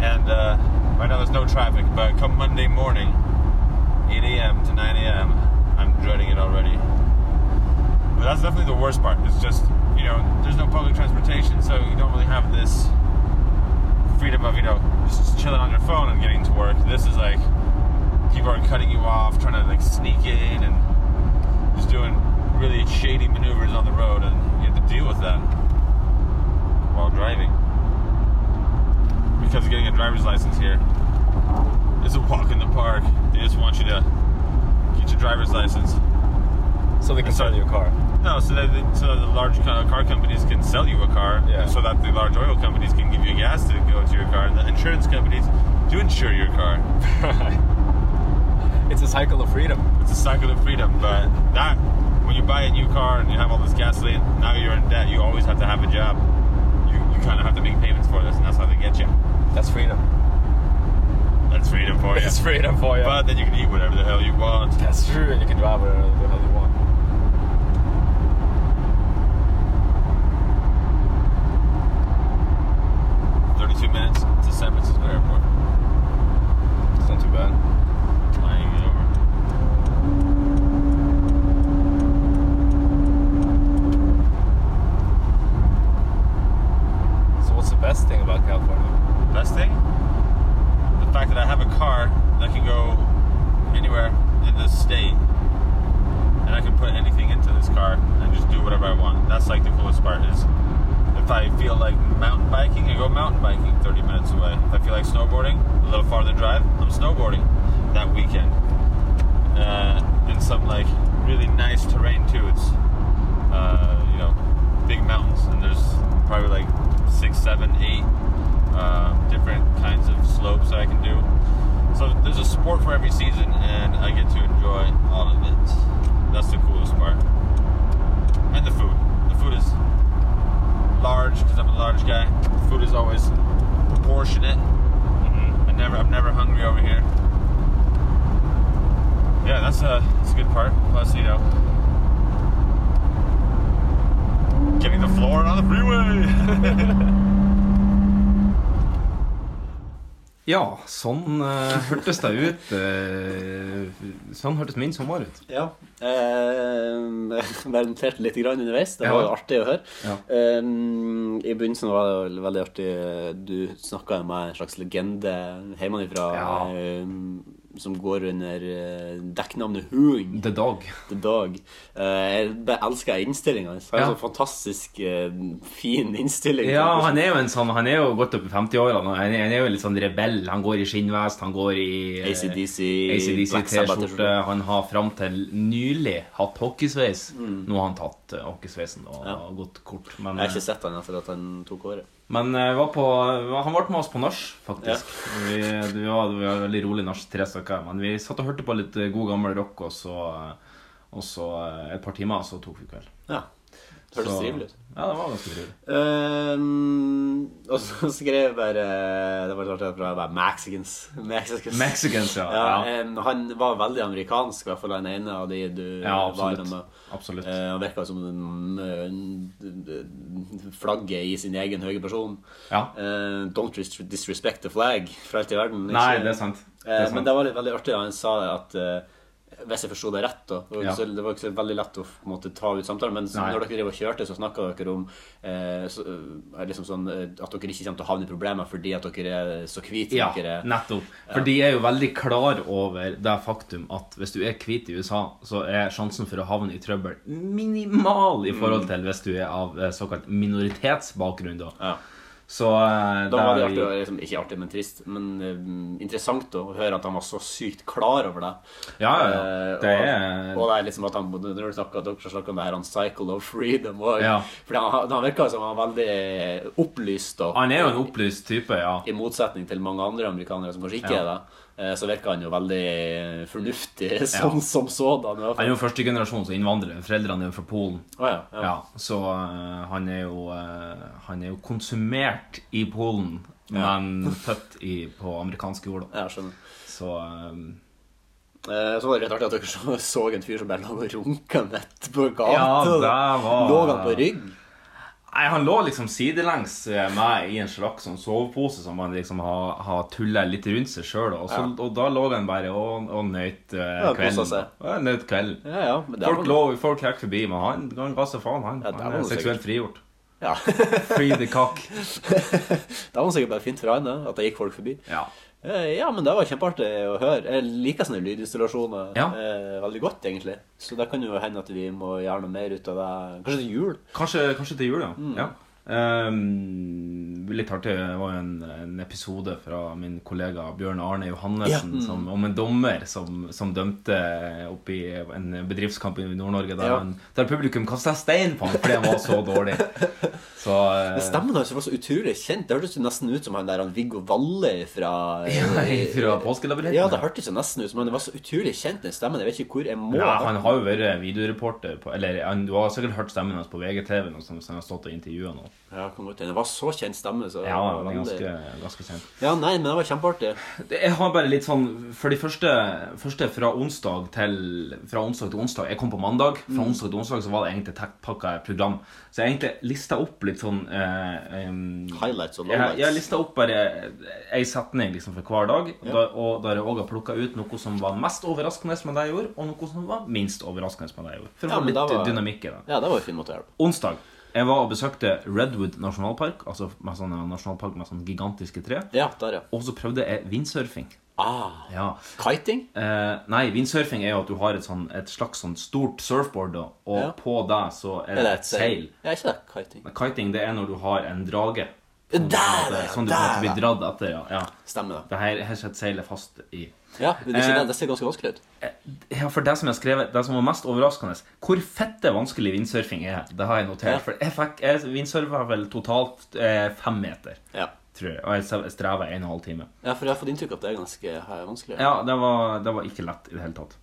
S10: And uh, right now there's no traffic, but come Monday morning, 8 a.m. to 9 a.m., I'm dreading it already. But that's definitely the worst part. It's just, you know, there's no public transportation, so you don't really have this freedom of, you know, just chilling on your phone and getting to work. This is like, people are cutting you off, trying to like sneak in and just doing really shady maneuvers on the road, and you have to deal with that while driving. Because getting a driver's license here is a walk in the park. They just want you to get your driver's license.
S8: So they can sell you a car.
S10: No, so that the, so that the large co- car companies can sell you a car,
S8: Yeah.
S10: so that the large oil companies can give you gas to go to your car, and the insurance companies to insure your car.
S8: it's a cycle of freedom.
S10: It's a cycle of freedom, but that when you buy a new car and you have all this gasoline, now you're in debt. You always have to have a job. You, you kind of have to make payments for this, and that's how they get you.
S8: That's freedom.
S10: That's freedom for you.
S8: It's freedom for you.
S10: But then you can eat whatever the hell you want.
S8: That's true, and you can drive whatever the hell you want.
S14: about California?
S10: Best thing? The fact that I have a car that can go anywhere in this state. And I can put anything into this car and just do whatever I want. That's like the coolest part is if I feel like mountain biking, I go mountain biking 30 minutes away. If I feel like snowboarding, a little farther drive, I'm snowboarding that weekend. Uh, in some like really nice terrain too. It's uh, you know big mountains and there's probably like six, seven, eight um, different kinds of slopes that I can do. So there's a sport for every season, and I get to enjoy all of it. That's the coolest part. And the food. The food is large because I'm a large guy. The food is always proportionate. I never, I'm never hungry over here. Yeah, that's a, that's a good part. Plus, you know, getting the floor on the freeway.
S2: Ja, sånn eh, hørtes det ut. eh, sånn hørtes min sommer ut.
S3: Ja. Eh, Varianterte litt grann underveis. Det
S2: Ja.
S3: var jo artig å høre.
S2: Ja.
S3: Ehm, I begynnelsen var det vel veldig artig eh, Du snakka jo med en slags legende hjemmefra ehm, som går under eh, dekknavnet Hoong.
S2: The Dog.
S3: The Dog. Eh, jeg bare elsker innstillinga. Han har en
S2: Ja.
S3: sånn fantastisk eh, fin innstilling.
S2: Ja, han er jo en sånn Han er jo godt opp i 50-årene. og Han, er- han er jo en litt sånn rebell. Han går i skinnvest, han går i eh,
S3: AC/DC,
S2: ACDC
S3: Black Sabbath-skjorte.
S2: T-skjorte. Han har fram til nylig hatt hockeysveis.
S3: Mm.
S2: Nå har han tatt eh, hockeysveisen og gått kort. Men,
S3: Jeg har
S2: eh,
S3: ikke sett han etter at han tok håret.
S2: men eh, var på, han ble med oss på nach, faktisk. Vi, det var, det var veldig rolig nach, tre stykker. Men vi satt og hørte på litt eh, god gammel rock, og så, og så eh, et par timer, og så tok vi kveld.
S3: Ja. Hørtes
S2: Så-
S3: trivelig ut.
S2: Ja, det var ganske trivelig.
S3: Ehm, og så skrev jeg bare Det var litt artig at jeg bare Mexicans. Mexicans,
S2: Mexicans, ja, ja.
S3: em, han var veldig amerikansk, i hvert fall den ene av de du
S2: Ja, absolutt.
S3: var innom med.
S2: Absolutt.
S3: Eh, han virka som mm, eh, flagget i sin egen høye person.
S2: Ja.
S3: Eh, don't dis- disrespect the flag for alt i verden.
S2: Nei, det er sant. Det er
S3: Eh,
S2: sant.
S3: Men det var litt, veldig artig. Han sa at eh, hvis jeg forsto det rett, da Det var ikke
S2: Ja.
S3: så, det var ikke så veldig lett å på en måte, ta ut samtalen. Men så,
S2: Nei.
S3: når dere drev og kjørte, så snakka dere om eh, så, eh, liksom sånn, eh, at dere ikke kommer til å havne i problemer fordi at dere er så hvite.
S2: Ja,
S3: dere er-
S2: nettopp.
S3: Ja.
S2: For de er jo veldig klar over det faktum at hvis du er hvit i USA, så er sjansen for å havne i trøbbel minimal i
S3: Mm.
S2: forhold til hvis du er av eh, såkalt minoritetsbakgrunn, da. Så eh,
S3: Da var
S2: der
S3: det artig,
S2: vi-
S3: og liksom, ikke artig, men trist. Men eh, interessant da, å høre at han var så sykt klar over det.
S2: Ja, ja, ja.
S3: Eh,
S2: Det
S3: og,
S2: er-
S3: og det er liksom at han når dere snakker, dere snakker om det her, han cycle of freedom òg.
S2: Ja.
S3: For han, han virka som han var veldig eh, opplyst. Og,
S2: Han er jo en opplyst type, ja.
S3: I motsetning til mange andre amerikanere som kanskje ikke
S2: Ja.
S3: er det. eh, Så virka han jo veldig fornuftig
S2: Ja.
S3: sånn som sådan. i hvert
S2: Han er jo
S3: fall.
S2: første generasjons innvandrer. Foreldrene er jo fra Polen.
S3: Å ja, ja.
S2: så eh, han, er jo, eh, han er jo konsumert i Polen,
S3: Ja.
S2: men født i, på amerikansk jord.
S3: Ja, skjønner.
S2: Så eh,
S3: Eh, Så var det rett artig at dere så, så en fyr som bare lå og runka midt på gata.
S2: Ja, det var
S3: Lå han på rygg?
S2: Nei, han lå liksom sidelengs med i en slags sånn sovepose som han liksom har, har tullet litt rundt seg sjøl. Og, så-
S3: Ja.
S2: og da lå han bare og, og nøt eh,
S3: Ja, koset
S2: kvelden.
S3: seg.
S2: Ja, nøt kvelden.
S3: Ja, ja, men det
S2: folk
S3: var-
S2: lå, folk gikk forbi, men han, han ga seg faen, han.
S3: det
S2: han
S3: var
S2: er
S3: det
S2: seksuelt frigjort.
S3: Ja.
S2: Free the cock.
S3: Det var sikkert bare fint for han, da, at det gikk folk forbi. Eh,
S2: Ja.
S3: ja, men det var kjempeartig å høre. Jeg liker sånne lydinstallasjoner
S2: Ja.
S3: eh, veldig godt, egentlig. Så det kan jo hende at vi må gjøre noe mer ut av det. Kanskje til jul?
S2: Kanskje, kanskje til jul, ja.
S3: Mm.
S2: ja. Ehm, litt artig det var jo en, en episode fra min kollega Bjørn Arne Johannessen
S3: Ja. Mm.
S2: som, om en dommer som, som dømte oppi en bedriftskamp i Nord-Norge der,
S3: Ja.
S2: han- der publikum kasta stein på ham fordi han var så dårlig. Så eh,
S3: Men Stemmen hans var så utrolig kjent. Det hørtes jo nesten ut som han der han Viggo Valle fra
S2: fra Påskelabyrinten.
S3: Ja, det hørtes jo nesten ut som han det var så utrolig kjent, den stemmen. Jeg vet ikke hvor jeg må
S2: ja, han har jo vært videoreporter på Eller han, du har sikkert hørt stemmen hans på VGTV nå, som han har stått og intervjua nå.
S3: Ja, kom godt igjen. Det var så kjent stemme, så
S2: Ja, han er
S3: veldig-
S2: ganske, ganske kjent.
S3: Ja, nei, men det var kjempeartig.
S2: Det- Jeg har bare litt sånn For de første, første fra, onsdag til, fra onsdag til onsdag Jeg kom på mandag. Fra
S3: Mm.
S2: onsdag til onsdag så var det egentlig tettpakka program. Så jeg egentlig lista opp litt sånn eh, em,
S3: Highlights og
S2: Jeg,
S3: lowlights.
S2: jeg lista opp bare ei setning liksom for hver dag. og Da, og der jeg òg har plukka ut noe som var mest overraskende med det jeg gjorde, og noe som var minst overraskende med det jeg gjorde. For å
S3: Ja,
S2: få
S3: men
S2: litt
S3: det var-
S2: dynamikk i det.
S3: Ja, det var en fin måte å gjøre det på.
S2: Onsdag. Jeg var og besøkte Redwood nasjonalpark, altså med sånn nasjonalpark med sånn gigantiske tre.
S3: Ja, der, ja.
S2: Og så prøvde jeg vindsurfing.
S3: Ah,
S2: Ja.
S3: Kiting?
S2: Eh, nei, vindsurfing er jo at du har et, sånn, et slags sånn stort surfboard, da, og
S3: Ja.
S2: på deg så er
S3: er
S2: det
S3: det
S2: et seil.
S3: Ja, ikke det. Kiting.
S2: Men Kiting det er når du har en drage.
S3: Der,
S2: Sånn Som du på en måte- som du
S3: ja,
S2: på en måte blir
S3: der, ja.
S2: dratt etter. Ja. ja.
S3: Stemmer det.
S2: Det her, her sitter seilet fast i.
S3: Ja, men det, er ikke
S2: Eh,
S3: det. det ser ganske vanskelig ut.
S2: Ja, for det som jeg har skrevet, det som var mest overraskende, hvor fette vanskelig vindsurfing er. Det har jeg notert.
S3: Ja.
S2: For jeg fikk jeg vindsurfa vel totalt eh, fem meter,
S3: Ja.
S2: tror jeg. Og jeg streva en og en halv time.
S3: Ja, for jeg har fått inntrykk av at det er ganske eh, vanskelig.
S2: Ja, det var, det var ikke lett i det hele tatt.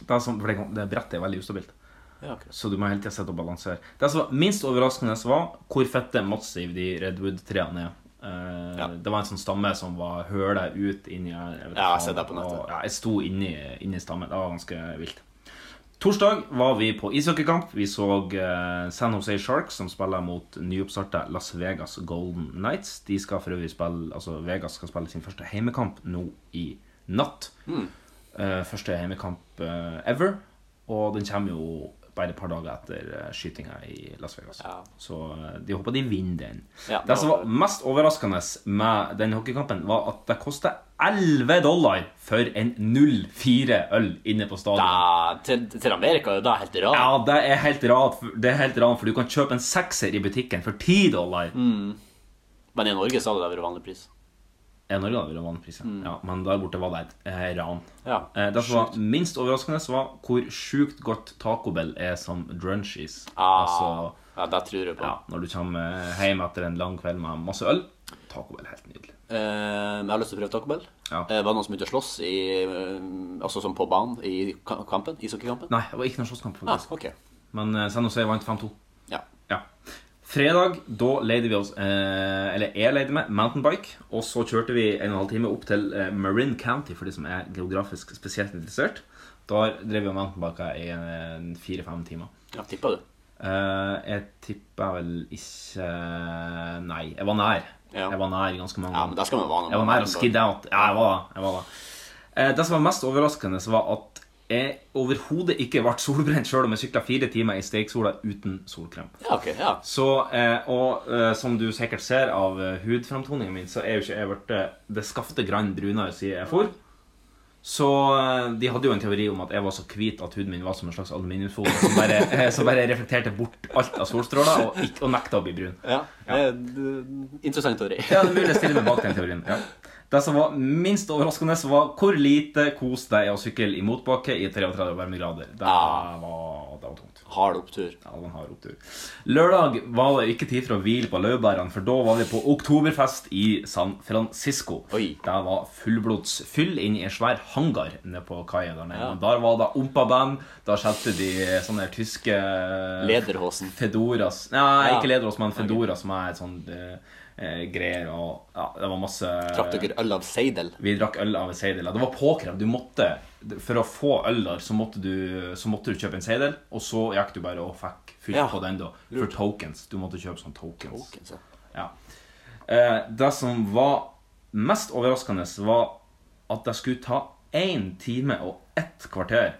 S2: Det, er sånn, for det, kan- det brettet er veldig ustabilt.
S3: Ja, akkurat.
S2: Så du må hele tiden sitte og balansere. Det som var minst overraskende, var hvor fette massive de redwood-trærne er. Eh, Det var en sånn stamme som var høla ut inni her. vet
S3: Ja, jeg
S2: ikke
S3: ser det på
S2: faen,
S3: nettet.
S2: og- Ja, jeg sto inni, inni stammen. Det var ganske vilt. Torsdag var vi på ishockeykamp. Vi så eh, San Jose Sharks, som spiller mot nyoppstarta Las Vegas Golden Knights. De skal for øvrig spille, altså Vegas skal spille sin første heimekamp nå i natt.
S3: Mm.
S2: Eh, første heimekamp eh, ever. Og den kommer jo bare et par dager etter uh, skytinga i Las Vegas. Så eh, de håper de vinner den.
S3: Ja,
S2: det som var mest overraskende med den hockeykampen, var at det kosta 11 dollar for en 04-øl inne på stadion.
S3: Da, til, til Amerika er jo det helt rart.
S2: Ja, det er helt rart, for- det er helt rart, for du kan kjøpe en sekser i butikken for 10 dollar.
S3: Mm. Men i Norge så hadde det vært vanlig pris.
S2: I Norge hadde det vært vanlig pris, ja. ja. Men der borte var det et eh, ran.
S3: Mm. Ja,
S2: Eh, det som var minst overraskende, så var hvor sjukt godt tacobell er som drunchies. Altså,
S3: Ah, ja, det tror jeg på.
S2: Ja, når du kommer eh, hjem etter en lang kveld med masse øl. Tacobell er helt nydelig.
S3: Eh, men jeg har lyst til å prøve Taco Bell.
S2: Ja.
S3: Eh, var det noen som begynte å slåss i, eh, altså som på banen i ka- kampen? Ishockeykampen?
S2: Nei, det var ikke noen slåsskamp,
S3: Ah,
S2: faktisk.
S3: ok.
S2: Men eh, San Jose vant 5-2.
S3: Ja.
S2: Fredag, da leide vi oss eh, Eller jeg leide meg mountain bike. Og så kjørte vi en og en halv time opp til eh, Marin County, for de som er geografisk spesielt interessert. Der drev vi og mountainbika i en- en fire-fem timer.
S3: Ja, tippa du?
S2: Eh, jeg tippa vel ikke Nei, jeg var nær. Jeg var nær ganske mange
S3: Ja, men da skal man være nær.
S2: Jeg var nær og skidde out. Ja, jeg var det. Jeg var det. Eh, det som var mest overraskende, så var at jeg overhodet ikke ble solbrent sjøl om jeg sykla fire timer i steiksola uten solkrem.
S3: Ja, ok, ja.
S2: Så, eh, og eh, som du sikkert ser av eh, hudframtoningen min, så er jo ikke jeg blitt eh, det skafte grann brunere siden jeg for. Så eh, de hadde jo en teori om at jeg var så hvit at huden min var som en slags aluminiumsfolie som bare, eh, som bare reflekterte bort alt av solstråler og, ikke- og nekta å bli brun.
S3: Ja, eh, d- Interessant teori.
S2: Ja, det er mulig jeg stiller meg bak den teorien. Ja. Det som var minst overraskende, var hvor lite kos det er å sykle i motbakke i 33 varmegrader. Det var, det var tungt.
S3: Hard opptur.
S2: Ja, det var en hard opptur. Lørdag var det ikke tid for å hvile på laurbærene, for da var vi på oktoberfest i San Francisco. Det var fullblods fyll inn i en svær hangar nede på kaia der nede.
S3: Ja.
S2: Og Der var det ompaband. Da skjelte de sånne her tyske eh,
S3: Lederhosen.
S2: Fedoras. Nei,
S3: Ja.
S2: ikke lederhås, men fedora, som er et sånt eh, greier. Og ja, det var masse
S3: Trakk dere øl av seidel?
S2: Vi drakk øl av en seidel. ja. Det var påkrevd. Du måtte For å få øl der, så måtte du, så måtte du kjøpe en seidel, og så gikk du bare og fikk fylt
S3: Ja.
S2: på den, da. For
S3: Lurt.
S2: tokens. Du måtte kjøpe sånn tokens.
S3: Tokens, ja.
S2: ja. Eh, det som var mest overraskende, var at det skulle ta én time og ett kvarter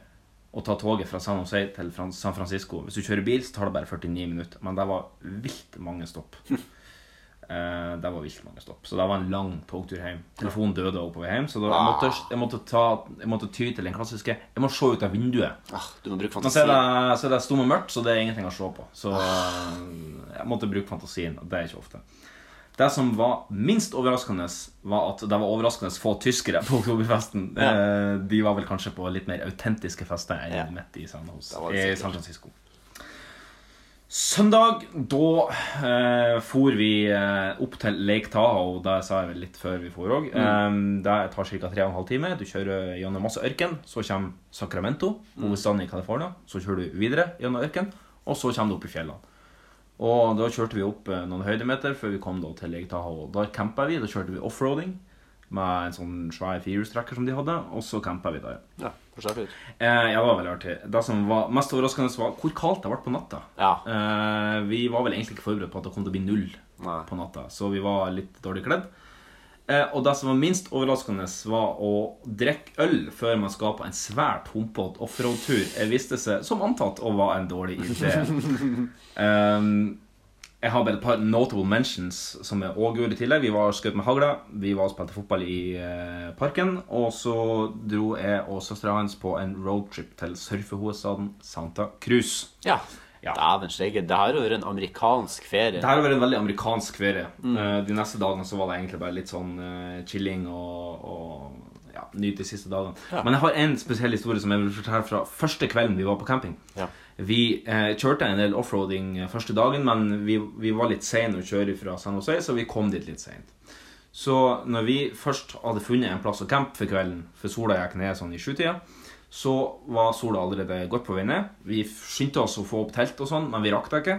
S2: å ta toget fra San Jose til Fran- San Francisco. Hvis du kjører bil, så tar det bare 49 minutter. Men det var vilt mange stopp. Eh, det var vilt mange stopp. Så det var en lang togtur hjem. Telefonen døde også på vei hjem, så da jeg måtte, jeg, måtte ta, jeg måtte ty til den klassiske Jeg må se ut av vinduet.
S3: ah, Du må bruke Ah.
S2: Men så er
S3: fantasi.
S2: det, så er det stum og mørkt, så det er ingenting å se på. Så eh, jeg måtte bruke fantasien, og det er ikke ofte. Det som var minst overraskende, var at det var overraskende få tyskere på oktoberfesten. Eh, De var vel kanskje på litt mer autentiske fester enn
S3: Ja.
S2: midt i San, Jose,
S3: Det var
S2: i
S3: det sikkert.
S2: Eh, San Francisco. Søndag, da eh, for vi eh, opp til Lake Tahoe. Det sa jeg vel litt før vi for òg.
S3: Mm.
S2: Eh, det tar ca. 3 12 timer. Du kjører gjennom masse ørken. Så kommer Sacramento,
S3: Mm.
S2: hovedstaden i California. Så kjører du videre gjennom ørken, og så kommer du opp i fjellene. Og da kjørte vi opp eh, noen høydemeter før vi kom da til Lake Tahoe. Der campa vi. Da kjørte vi offroading med en sånn svær firehjulstrekker som de hadde, og så campa vi der.
S3: Ja, forsøker.
S2: Eh, ja, det var veldig artig. Det som var mest overraskende, var hvor kaldt det ble på natta. Eh, vi var vel egentlig ikke forberedt på at det kom til å bli null på natta, så vi var litt dårlig kledd. Eh, Og det som var minst overraskende, var å drikke øl før man skal på en svært humpete offroad-tur. Det viste seg, som antatt, å være en dårlig idé. Ehm, jeg har bare et par notable mentions som er òg gjorde i tillegg. Vi var og skutt med hagla, vi var og spilte fotball i eh, parken, og så dro jeg og søstera hans på en roadtrip til surfehovedstaden Santa Cruz.
S3: Ja. Dæven steike. Det her har vært en amerikansk ferie.
S2: Det her har vært en veldig amerikansk ferie.
S3: Mm.
S2: Eh, De neste dagene så var det egentlig bare litt sånn eh, chilling og, og ja, nyte de siste dagene.
S3: Ja.
S2: Men jeg har en spesiell historie som jeg vil fortelle fra første kvelden vi var på camping.
S3: Ja.
S2: Vi eh, kjørte en del offroading eh, første dagen, men vi, vi var litt sene å kjøre fra San Jose, så vi kom dit litt sent. Så når vi først hadde funnet en plass å campe for kvelden, for sola gikk ned sånn i sjutida, så var sola allerede godt på vei ned. Vi skyndte oss å få opp telt og sånn, men vi rakk det ikke.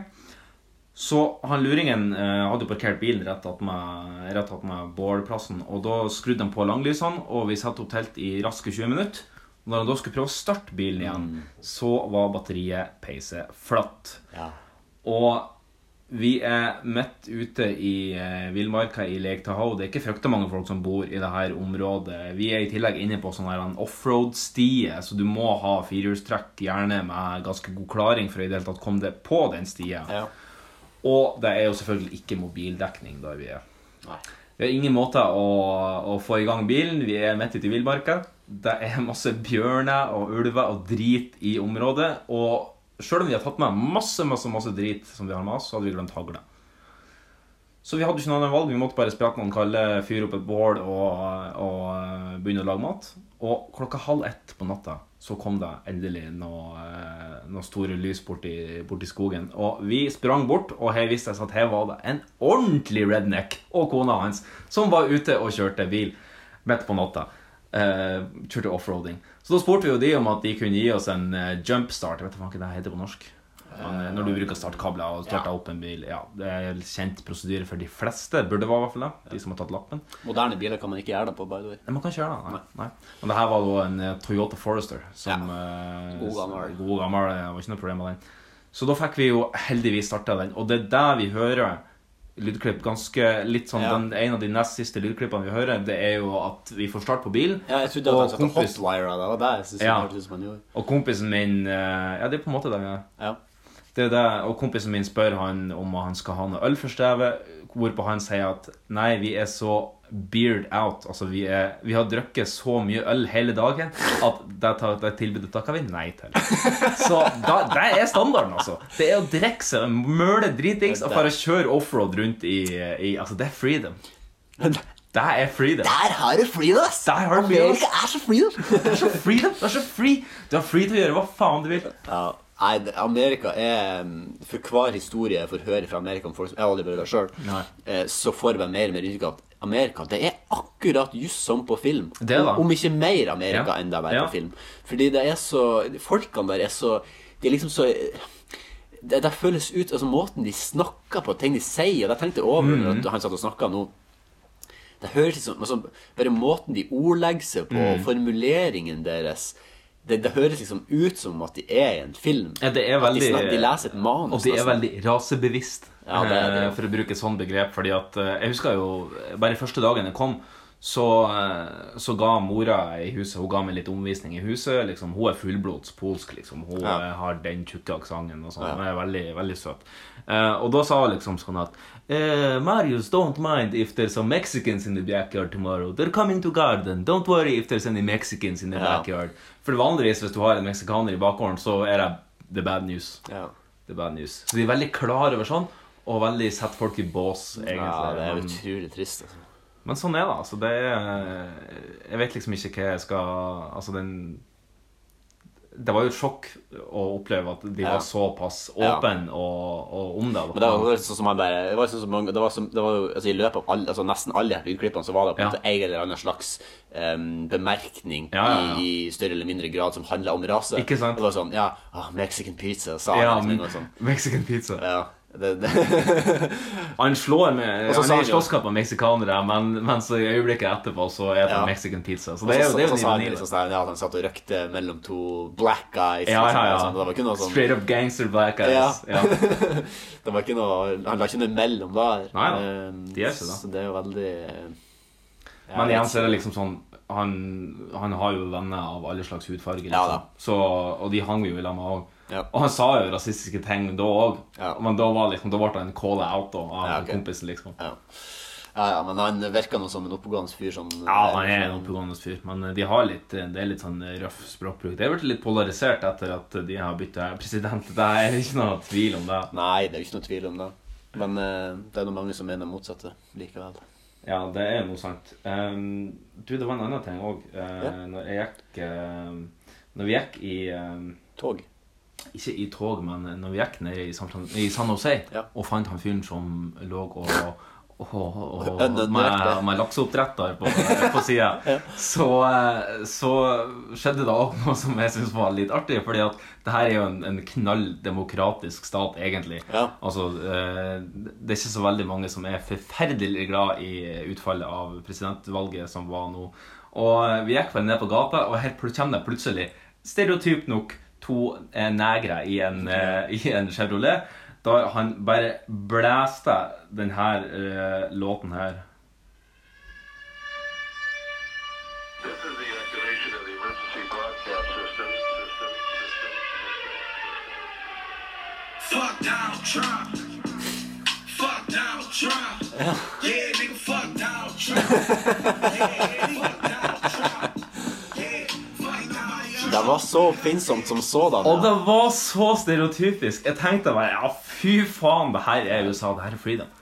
S2: Så han luringen eh, hadde jo parkert bilen rett attmed rett at med bålplassen, og da skrudde han på langlysene, og vi satte opp telt i raske 20 minutter. Og når han da skulle prøve å starte bilen igjen, så var batteriet peise flatt. Og vi er midt ute i eh, villmarka i Lake Tahoe. Det er ikke fryktelig mange folk som bor i det her området. Vi er i tillegg inne på sånn her en offroad-stie, så du må ha firehjulstrekk, gjerne med ganske god klaring for å i det hele tatt komme deg på den stia. Og det er jo selvfølgelig ikke mobildekning der vi er. Vi har ingen måte å, å få i gang bilen. Vi er midt ute i villmarka. Det er masse bjørner og ulver og drit i området. Og sjøl om vi har tatt med masse masse, masse drit, som vi har med oss, så hadde vi glemt hagle. Så vi hadde ikke noe annet valg. Vi måtte bare sprette noen kalde, fyre opp et bål og, og eh, begynne å lage mat. Og klokka halv ett på natta så kom det endelig noe, eh, noe store lys borti, borti skogen. Og vi sprang bort, og her viste det seg at her var det en ordentlig redneck og kona hans som var ute og kjørte bil midt på natta. Eh, kjørte offroading. Så da spurte vi jo de om at de kunne gi oss en eh, jumpstart. Jeg vet ikke hva det heter på norsk. Eh, Når du bruker startkabler og starter opp en bil. Ja, Det er kjent prosedyre for de fleste. Burde det være i hvert fall det. De som har tatt lappen.
S3: Moderne biler kan man ikke gjøre det på, by the way.
S2: Nei, man kan ikke gjøre det. Nei. Nei. Men det her var da en eh, Toyota Forester. Som, eh,
S3: God gammel.
S2: God gammel. Det var ikke noe problem med den. Så da fikk vi jo heldigvis starta den. Og det er der vi hører lydklipp ganske litt sånn
S3: Ja.
S2: den, En av de nest siste lydklippene vi hører, det er jo at vi får start på bilen.
S3: Ja, jeg trodde at han satte hotwire av det. og Det er jeg synes
S2: Ja.
S3: det hørtes ut som han gjorde.
S2: Og kompisen min eh, Ja, det er på en måte det vi er.
S3: Ja.
S2: Det er det, og kompisen min spør han om han skal ha noe øl for stevet, hvorpå han sier at nei, vi er så beard out. Altså, vi, er, vi har drukket så mye øl hele dagen at det, tar, det tilbudet takker vi nei til. Så da, det er standarden, altså. Det er å drikke seg møle dritings og bare kjøre offroad rundt i, i Altså, det er freedom. Det er freedom.
S3: Der har du freedom! ass.
S2: Der har du freedom.
S3: Amerika er så freedom!
S2: Det er så freedom. Det er så free. Du er free til å gjøre hva faen du vil.
S3: Ja. Nei, det- Amerika er mm, For hver historie jeg får høre fra Amerika om folk som Jeg har aldri prøvd det
S2: Nei.
S3: sjøl, så får jeg bare mer og mer inntrykk av at Amerika det er akkurat just som på film.
S2: Det da.
S3: Om ikke mer Amerika
S2: Ja.
S3: enn det er
S2: Ja.
S3: på film. Fordi det er så Folkene der er så De er liksom så det, det føles ut Altså, måten de snakker på, ting de sier Det tenkte jeg over
S2: Mhm.
S3: når han satt og snakka nå. Det høres ut som altså, Bare måten de ordlegger seg på,
S2: Mhm.
S3: formuleringen deres det, det høres liksom ut som at de er i en film.
S2: Ja, det er
S3: At
S2: veldig
S3: de, snak- de leser et manus. altså.
S2: Og de er
S3: nesten.
S2: veldig rasebevisst,
S3: Ja, det er det.
S2: eh, for å bruke et sånt begrep. Fordi at eh, Jeg husker jo eh, bare første dagen jeg kom, så, eh, så ga mora i huset Hun ga meg litt omvisning i huset. Liksom, hun er fullblods polsk, liksom. Hun
S3: Ja.
S2: eh, har den tjukke aksenten og sånn.
S3: Ja.
S2: Hun er veldig, veldig søt. Eh, og da sa hun liksom sånn at eh, Marius, don't mind if there's some Mexicans in the backyard tomorrow. They're coming to garden. Don't worry if there's any Mexicans in the
S3: Ja.
S2: backyard. For vanligvis hvis du har en meksikaner i bakgården, så er det the bad news. The bad news. Så de er veldig klar over sånn, og veldig setter folk i bås, egentlig.
S3: Ja, det er
S2: Men-
S3: utrolig trist. Altså.
S2: Men sånn er det. altså. Det er Jeg vet liksom ikke hva jeg skal Altså, den Det var jo et sjokk å oppleve at de
S3: Ja.
S2: var såpass
S3: Ja.
S2: åpne og, og om det. da.
S3: Men det var sånn som han bare Det var sånn som mange, det var som, det var, jo- altså, I løpet av alle, altså, nesten alle de her lydklippene så var det på en
S2: Ja.
S3: måte en eller annen slags em, bemerkning
S2: Ja, ja, ja.
S3: I, i større eller mindre grad som handla om rase.
S2: Ikke sant?
S3: Det var sånn Ja, ah, Mexican pizza, sa
S2: ja,
S3: han. liksom, og sånn.
S2: Mexican pizza.
S3: Det, det.
S2: Han slår med
S3: Og så
S2: Han
S3: sa
S2: er
S3: han
S2: i
S3: jo-
S2: slåsskamp med meksikanere, men, men så i øyeblikket etterpå så er det
S3: Ja.
S2: Mexican pizza. Så
S3: Og
S2: det er jo det er
S3: så
S2: jo
S3: sa han
S2: ironi, da.
S3: liksom sånn, ja, at han satt og røkte mellom to black guys.
S2: Ja,
S3: liksom,
S2: ja, ja.
S3: og sånn. Det var ikke noe sånn
S2: Straight up gangster black guys.
S3: Ja.
S2: Ja.
S3: det var ikke noe, Han la ikke noe mellom der.
S2: Nei da,
S3: Ehm,
S2: de gjør ikke det.
S3: Så det er jo veldig
S2: Men igjen så er det liksom sånn han, han har jo venner av alle slags hudfarger. Liksom. så, og de hang jo i lag òg. Og han sa jo rasistiske ting da òg, men da, var liksom, da ble han calla out da, av kompisen, liksom.
S3: Ja, ja, men han virker nå som en oppegående fyr som
S2: Ja, han er en oppegående fyr, men eh, de har litt, eh, det er litt sånn eh, røff språkbruk. Det er blitt litt polarisert etter at de har bytta president. Det er ikke noe tvil om det.
S3: Nei, det er jo ikke noe tvil om det. Men eh, det er noe mange som mener motsatte likevel.
S2: Ja, det er noe sant. Ehm, du, det var en annen ting òg. Når jeg gikk ehm, Når vi gikk i ehm,
S3: Tog?
S2: Ikke i tog, men når vi gikk ned i San, Fran- i San Jose og fant han fyren som lå og og, og, og
S3: Ønnen
S2: med,
S3: økte.
S2: med lakseoppdretter på, på sida. Så, eh, så skjedde det òg noe som jeg syns var litt artig. fordi at det her er jo en, en knalldemokratisk stat, egentlig. Altså, eh, det er ikke så veldig mange som er forferdelig glad i utfallet av presidentvalget som var nå. Og eh, vi gikk vel ned på gata, og her pl- kommer det plutselig, stereotyp nok, to eh, negre i en, eh, i en Chevrolet. Da han bare blæste denne eh, låten her.
S13: Fuck Donald Trump. Fuck Donald Trump. Yeah, nigga, fuck Donald Trump. Yeah, fuck Donald Trump.
S3: Det var så oppfinnsomt som sådan.
S2: Og det var så stereotypisk. Jeg tenkte bare ja, fy faen, det her er USA. Det her er freedom.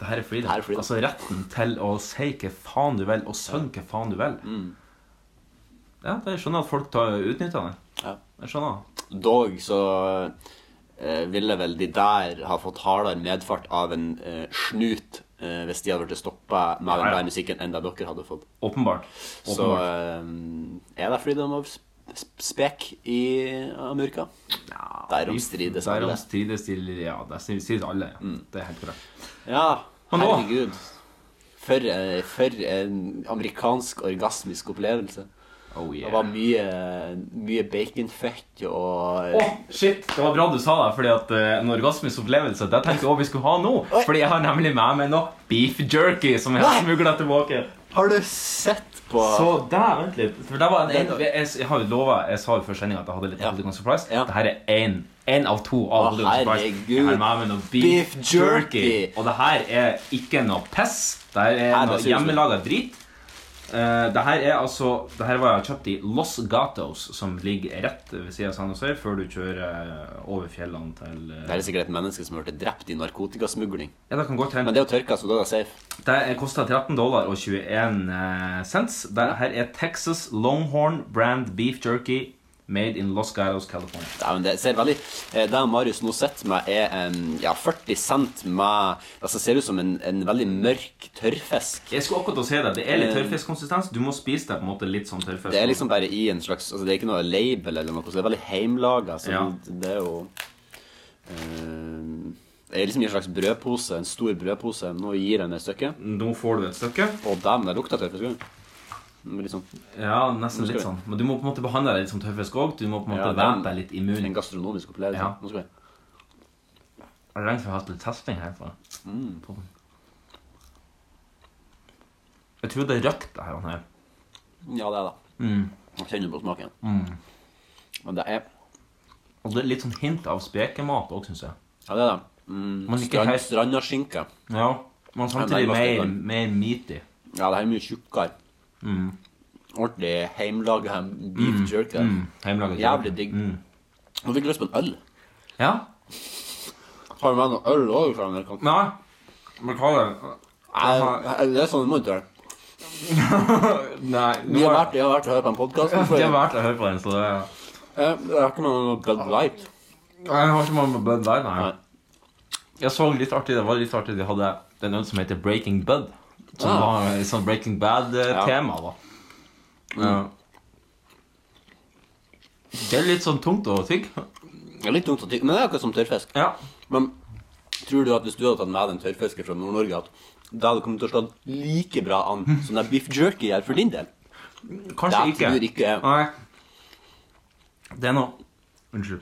S2: Det her er freedom. Altså retten til å si hva faen du vil, og synge hva faen du vil. Ja, det- jeg skjønner at folk tar utnytter det. Jeg skjønner.
S3: Dog så eh, ville vel de der ha fått hardere medfart av en eh, snut eh, hvis de hadde blitt stoppa med
S2: Ja,
S3: den
S2: ja.
S3: der musikken enn det dere hadde fått.
S2: Åpenbart.
S3: Så eh, er det freedom of sp- sp- spek i Amerika? Derom strides alle.
S2: Derom strides de, ja, det strides alle. Ja. Mm. Det er helt korrekt.
S3: Ja,
S2: Men nå-
S3: herregud. For, eh, for en amerikansk orgasmisk opplevelse.
S2: Oh,
S3: Det var mye, mye baconfett og eh,
S2: Åh, shit, Det var bra du sa det, fordi at eh, en orgasmisk opplevelse det tenkte jeg også vi skulle ha nå. Fordi jeg har nemlig med meg noe beef jerky som jeg har smugla tilbake.
S3: Har du sett på
S2: Så der, vent litt. For det var en, en, jeg, jeg har jo lovet, jeg sa jo før sendinga at jeg hadde litt Hollywood Surprise. Dette er en, en av to av
S3: Å,
S2: Hollywood Surprise. Jeg
S3: herregud.
S2: har med meg noe beef,
S3: Beef
S2: jerky.
S3: jerky.
S2: Og det her er ikke noe piss. Det her er
S3: Nei,
S2: noe
S3: det ser ut som-
S2: hjemmelaga drit. Uh, det her er altså Det her var kjøpt i Los Gatos, som ligger rett ved siden av San Jose, før du kjører eh, over fjellene til eh,
S3: Det er sikkert et menneske som ble drept i narkotikasmugling.
S2: Ja, det kan godt hende.
S3: Men det er jo tørka, så da er det safe.
S2: Det koster 13 dollar og 21 eh, cents. Det her er Texas Longhorn brand beef jerky made in Los Gatos, California.
S3: Ja, men det ser veldig eh, Det Marius nå sitter med, er en ja, 40 cent med Altså, ser ut som en, en veldig mørk tørrfisk.
S2: Jeg skulle akkurat å si det. Det er litt tørrfiskkonsistens. Du må spise det på en måte litt sånn tørrfisk.
S3: Eh. Det er liksom bare i en slags Altså, det er ikke noe label eller noe, så det er veldig heimlaga. Så
S2: Ja.
S3: det er jo eh, Det er liksom i en slags brødpose, en stor brødpose. Nå gir den et stykke.
S2: Nå får du et stykke.
S3: Å, dæven, det lukter tørrfisk. Det blir Litt sånn
S2: Ja,
S3: Nå
S2: nesten
S3: skal
S2: litt
S3: vi-
S2: sånn. Men du må på en måte behandle det litt som tørrfisk òg. Du må på en måte
S3: Ja, det er en-
S2: vente deg litt i munnen.
S3: en gastronomisk opplevelse.
S2: Ja.
S3: Nå skal vi
S2: Er det lenge siden vi har hatt litt testing her? på det?
S3: Mm.
S2: På den. Jeg tror det er røkt, det her. han her.
S3: Ja, det er det.
S2: Mm.
S3: Jeg kjenner på smaken.
S2: Mm.
S3: Men det er
S2: Og det er litt sånn hint av spekemat òg, syns jeg.
S3: Ja, det er det. Mm,
S2: Men ikke
S3: strand,
S2: helt-
S3: Strandaskinke.
S2: Ja, men samtidig mer, mer meaty.
S3: Ja, det her er mye tjukkere.
S2: Mm.
S3: Ordentlig heimlaga beef
S2: Mm,
S3: jerky.
S2: mm, heimlaget jerky.
S3: Jævlig digg. Nå fikk jeg lyst på en øl.
S2: Ja.
S3: Har du med noe øl òg fra Amerikan?
S2: Nei. Beklager.
S3: Nei, Det er sånn det må ikke være.
S2: Nei,
S3: Vi har vært, vi har vært og hørt på en podkast.
S2: Det er verdt å høre på den, så det er
S3: Jeg har ikke med noe Bud Light.
S2: Nei, Jeg har ikke mange Bud Light, nei. Jeg så litt artig, det var litt artig De hadde den øl som heter Breaking Bud. Som
S3: Ah.
S2: var et sånn Breaking Bad-tema, da.
S3: Mm.
S2: Ja. Det er litt sånn tungt å tygge.
S3: Det er litt tungt å tygge, men det er akkurat som tørrfisk. Men tror du at hvis du hadde tatt med deg en tørrfisker fra Nord-Norge, at det hadde kommet til å slå like bra an
S2: Mm.
S3: som det beef jerky gjør for din del?
S2: Kanskje
S3: det
S2: ikke.
S3: Tror ikke.
S2: Nei. Det er noe Unnskyld.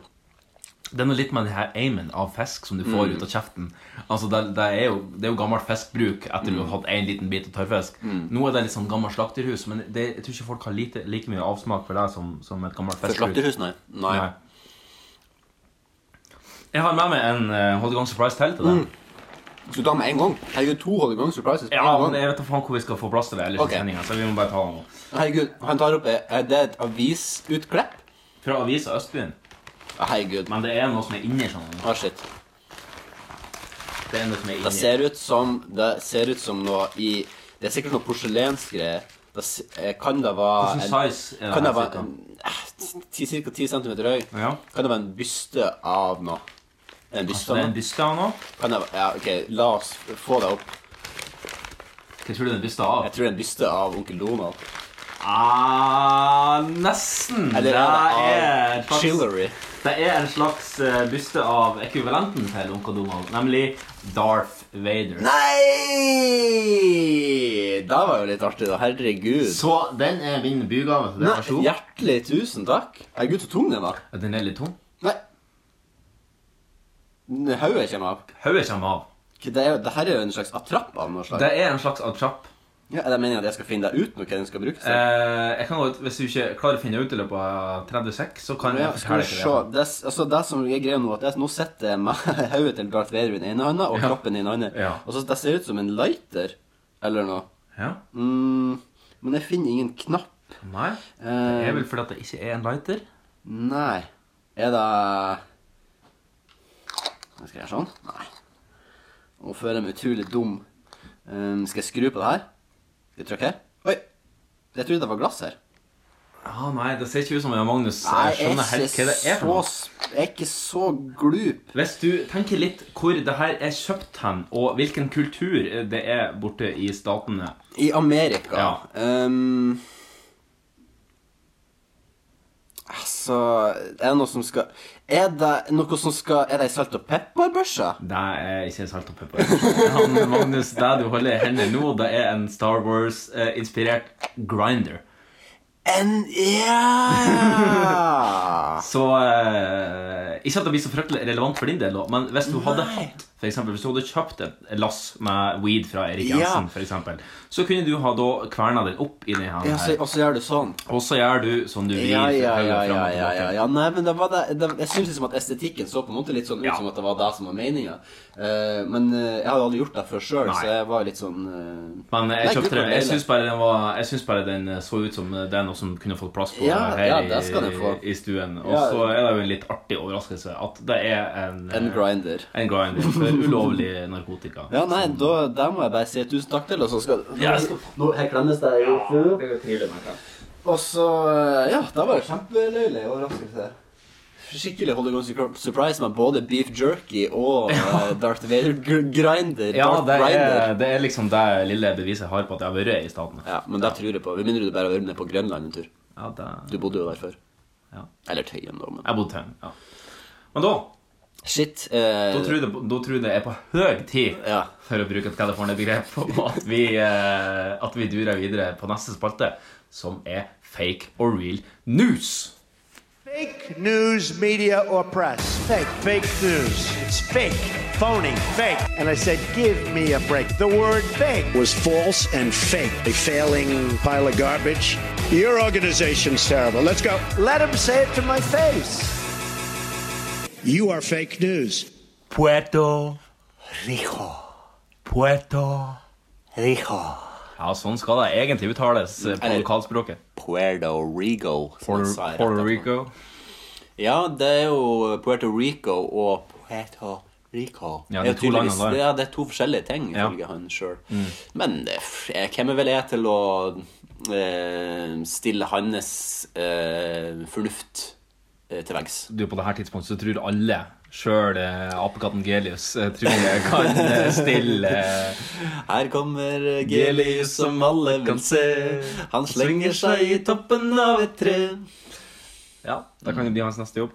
S2: Det er noe litt med den her aimen av fisk som du får
S3: Mm.
S2: ut av kjeften. Altså det, det, er jo, det er jo gammel fiskbruk etter du
S3: Mm.
S2: har hatt én liten bit av tørrfisk.
S3: Mm.
S2: Nå er det litt sånn gammelt slakterhus, men det, jeg tror ikke folk har lite, like mye avsmak for det som, som et gammelt
S3: For
S2: fiskbruk.
S3: slakterhus, nei. Nei.
S2: Jeg har med meg en uh, Hold i gang surprise til til deg.
S3: Mm. Skal du ta med en gang? Herregud, to holder gang surprises. på
S2: Ja,
S3: en gang.
S2: men jeg vet da faen hvor vi skal få plass til det ellers
S3: Ok.
S2: i sendinga, så vi må bare ta den nå.
S3: Herregud, han tar opp eh, Det er et avisutklipp?
S2: Fra avisa Østbyen.
S3: Herregud.
S2: Men det er noe som er inni sånn.
S3: Ah, shit.
S2: Det er noe som er
S3: Det
S2: inni.
S3: ser ut som Det ser ut som noe i Det er sikkert noe porselensgreier. Det s- eh, Kan det være
S2: Hvordan
S3: en-
S2: size er det
S3: Kan
S2: her
S3: det være eh, ca. 10 cm høy?
S2: Ja.
S3: Kan det være en byste av noe? En byste
S2: Altså, det er en byste av noe?
S3: Kan det være, ja, ok, La oss få det opp.
S2: Hva tror du det er en byste av?
S3: Jeg tror det er en byste av onkel Donald.
S2: Ah, nesten.
S3: Eller er det av
S2: en slags-
S3: Chillery?
S2: Det er en slags eh, byste av ekvivalenten til onkel Donald, nemlig Darth Vader.
S3: Nei! Det var jo litt artig, da. Herregud.
S2: Så den er min bygave til deg. Vær så
S3: Nei,
S2: god.
S3: hjertelig tusen takk. Herregud, så tung den var.
S2: Den er litt tung.
S3: Nei. Nei, Hodet kommer av.
S2: Hodet kommer av.
S3: Det, er, jo- det her er jo en slags attrapp av noe slag.
S2: Det er en slags attrapp.
S3: Ja, er det meningen at jeg skal finne deg ut når hva den skal brukes til?
S2: Eh, jeg kan godt, Hvis du ikke klarer å finne ut i løpet av 30 sek, så kan
S3: Ja,
S2: jeg
S3: skal vi
S2: fortelle
S3: se.
S2: deg det.
S3: Det, er- altså, det som er greia nå, at jeg, nå sitter jeg med hodet til Darth Vader i den ene hånda og kroppen i den andre.
S2: Ja.
S3: Og så det ser ut som en lighter eller noe.
S2: Ja.
S3: Mm, men jeg finner ingen knapp.
S2: Nei.
S3: Eh.
S2: Det er vel fordi at det ikke er en lighter?
S3: Nei. Er det Skal jeg gjøre sånn? Nei. Nå føler jeg meg utrolig dum. Um, skal jeg skru på det her? Skal jeg trykke her? Oi! Jeg trodde det var glass her.
S2: Ah, nei, det ser ikke ut som jeg og Magnus eh,
S3: Nei, jeg
S2: skjønner helt hva det er. for
S3: så
S2: noe.
S3: sp- Jeg er ikke så glup.
S2: Hvis du tenker litt hvor det her er kjøpt hen, og hvilken kultur det er borte i statene
S3: I Amerika
S2: ja.
S3: Ehm, Altså Er det noe som skal Er det noe som skal Er det ei salt og pepper-børse?
S2: Det er ikke salt og pepper. Han, Magnus, det du holder i hendene nå, det er en Star Wars-inspirert grinder.
S3: En Ja!
S2: Så eh, Ikke at det blir så fryktelig relevant for din del, da, men hvis du hadde hatt for eksempel, Hvis du hadde kjøpt et lass med weed fra Erik
S3: Ja.
S2: Jensen, for eksempel, så kunne du ha da kverna den opp i denne
S3: Ja, så-
S2: her.
S3: Og så gjør du sånn.
S2: Og så gjør du som du vil.
S3: Ja, ja,
S2: hodet
S3: ja,
S2: fram og
S3: ja, ja,
S2: tilbake.
S3: ja, ja. Nei, men det var det, det Jeg syns liksom at estetikken så på en måte litt sånn ut som at det var det som var meninga. men eh, jeg hadde aldri gjort det før sjøl,
S2: Nei.
S3: så jeg var litt sånn eh,
S2: Men
S3: Nei,
S2: jeg
S3: gud,
S2: kjøpte den.
S3: hvor
S2: Jeg
S3: deilig.
S2: syns bare den var Jeg synes bare den så ut som det er noe som kunne fått plass på
S3: Ja,
S2: her
S3: ja,
S2: i-
S3: det skal den få.
S2: i stuen. Og
S3: Ja.
S2: så er det jo en litt artig overraskelse at det er en
S3: En
S2: eh,
S3: grinder.
S2: En grinder for ulovlig narkotika.
S3: Ja, nei, da, der må jeg bare si tusen takk til, og så skal
S2: Ja, jeg
S3: skal... Nå, her klemmes det jo Og så eh, Ja, det var jo kjempeløyelig overraskelse. Skikkelig Holder Gone sur- Surprise med både beef jerky og eh, Darth Vader gr- grinder.
S2: Ja,
S3: Darth
S2: det
S3: grinder.
S2: er, det er liksom det lille beviset jeg har på at jeg har vært i staten.
S3: Ja, men det tror jeg på. Med mindre du bare har vært med på Grønland en tur.
S2: Ja, det-
S3: Du bodde jo der før.
S2: Ja.
S3: Eller Tøyen, da. Men...
S2: Jeg bodde Tøyen, ja. Men da
S3: Shit. Eh...
S2: Da tror jeg det, da tror jeg det er på høy tid, for å bruke et California-begrep, og at vi, eh, at vi durer videre på neste spalte, som er fake or real news.
S9: Fake news, media, or press. Fake. Fake news. It's fake. Phony. Fake. And I said, give me a break. The word fake was false and fake. A failing pile of garbage. Your organization's terrible. Let's go. Let him say it to my face. You are fake news. Puerto Rico. Puerto Rico.
S2: Ja, sånn skal det egentlig uttales eh, på
S3: Eller-
S2: lokalspråket.
S3: Puerto Rico. som jeg sa rett
S2: Puerto
S3: etterpå.
S2: Rico.
S3: Ja, det er jo Puerto Rico og Puerto Rico.
S2: Ja,
S3: det,
S2: de to
S3: er to
S2: landene der. Mm.
S3: det, er, det er to forskjellige ting, ifølge han sjøl. Men det, f- eh, hvem er vel jeg til å eh, stille hans eh, fornuft eh, til veggs?
S2: Du, på dette tidspunktet så tror alle, sjøl eh, apekatten Gelius, eh, tror jeg kan eh, stille eh,
S3: Her kommer eh, Gelius som alle vil se. Han slenger seg i toppen av et tre.
S2: Ja, Da kan det bli hans neste jobb.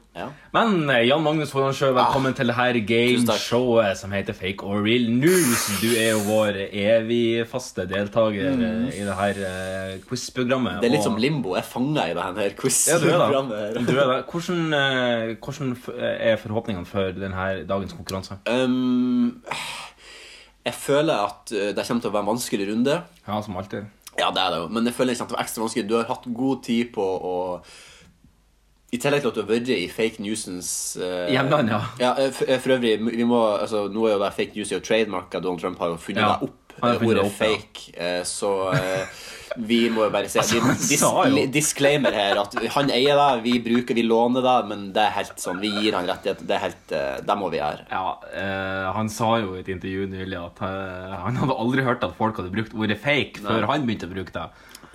S2: Men eh, Jan Magnus Holand Sjø,
S3: Ah,
S2: velkommen til det her gameshowet som heter Fake or real news. Du er jo vår evig faste deltaker
S3: Mm.
S2: eh, i det her eh, quiz-programmet.
S3: Det er litt
S2: og-
S3: som limbo. Jeg fanger i det
S2: ja,
S3: her
S2: du er da.
S3: quiz-programmet.
S2: Du er da. Hvordan, eh, hvordan f- er forhåpningene for denne dagens konkurranse?
S3: Um, jeg føler at uh, det kommer til å være en vanskelig runde.
S2: Ja, som alltid.
S3: Ja, det er det jo. Men jeg føler liksom det kommer til å være ekstra vanskelig. Du har hatt god tid på å I tillegg til at du har vært i fake newsens uh,
S2: Hjemland, ja.
S3: eh, for, eh, for øvrig, vi må, altså, nå er jo det fake news i og trademarka. Donald Trump har jo funnet
S2: Ja,
S3: deg opp.
S2: han har
S3: eh,
S2: funnet
S3: Ordet
S2: det opp, ja.
S3: fake. eh, Så eh, vi må jo bare se
S2: Altså, han
S3: dis
S2: sa jo-
S3: Disclaimer her at han eier deg, vi bruker, vi låner deg, men det er helt sånn, vi gir han rettighet. Det er helt, eh, det må vi gjøre.
S2: Ja, eh, Han sa jo i et intervju nylig at eh, han hadde aldri hørt at folk hadde brukt ordet fake
S3: Nei.
S2: før han begynte å bruke det.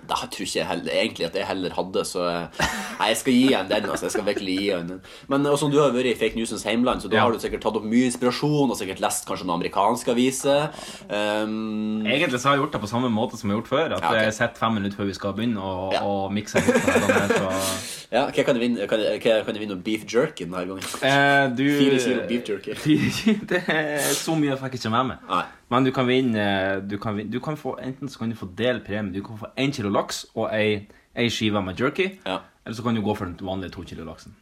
S3: Det tror ikke jeg heller, egentlig at jeg heller hadde, så eh, Nei, jeg skal gi han den. altså, jeg skal virkelig gi han den. Men eh, og som du har vært i fake newsens heimland, så da
S2: Ja.
S3: har du sikkert tatt opp mye inspirasjon og sikkert lest kanskje noen amerikanske aviser. Um,
S2: Egentlig så har jeg gjort det på samme måte som jeg har gjort før. At
S3: Ja, ok.
S2: jeg sitter fem minutter før vi skal begynne, og, og mikser litt. på denne her, så-
S3: ja, hva kan jeg vinne? Kan jeg, hva kan jeg vinne noe beef jerky denne gangen?
S2: Eh, du,
S3: Fire kilo beef jerky.
S2: Fire kilo, det er så mye jeg fikk ikke med meg. Men du kan vinne, eh, du kan vinne du kan få, Enten så kan du få del premie. Du kan få én kilo laks og ei, ei skive med jerky. Eller så kan du gå for den vanlige to kilo laksen.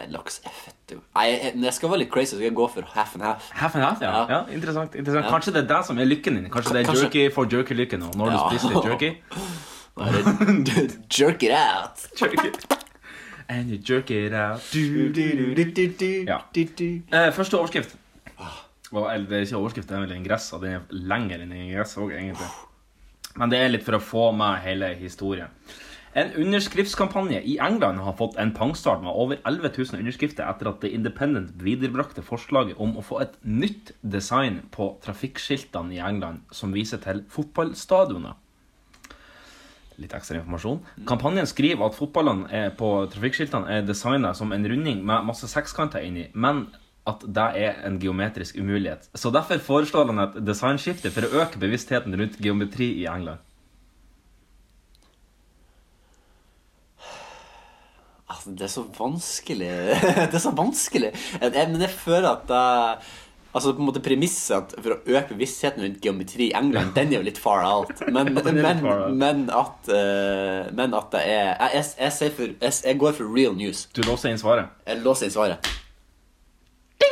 S3: Den laks er fett, jo. Nei, jeg- når jeg skal være litt crazy, så skal jeg gå for half and half.
S2: Half and half, ja. ja. interessant, interessant.
S3: Ja.
S2: Kanskje det er det som er lykken din. Kanskje det er
S3: Kanskje-
S2: jerky for jerky-lykken. Og når
S3: Ja.
S2: du spiser litt jerky
S3: Jerk it out.
S2: Jerk it. And you jerk it out. Du, du, du, du, du, du, Ah. ja. eh, første overskrift. Hva- Eller det er ikke overskrift, det er vel ingress, og den er lenger enn ingress òg, egentlig. Men det er litt for å få med hele historien. En underskriftskampanje i England har fått en pangstart med over 11 000 underskrifter etter at The Independent viderebrakte forslaget om å få et nytt design på trafikkskiltene i England som viser til fotballstadioner litt ekstra informasjon. Kampanjen skriver at fotballene er på trafikkskiltene er designet som en runding med masse sekskanter inni, men at det er en geometrisk umulighet. Så derfor foreslår han et designskifte for å øke bevisstheten rundt geometri i England.
S3: Altså, det er så vanskelig. det er så vanskelig. Jeg, jeg, men jeg føler at eh, Altså, på en måte Premisset at for å øke bevisstheten rundt geometri i England, den er jo litt far out. Men,
S2: Ja, den er litt
S3: men,
S2: far out.
S3: men, at, eh, men at det er Jeg, jeg, jeg, sier for, jeg, jeg går for real news.
S2: Du låser inn svaret?
S3: Jeg låser inn svaret.
S2: Det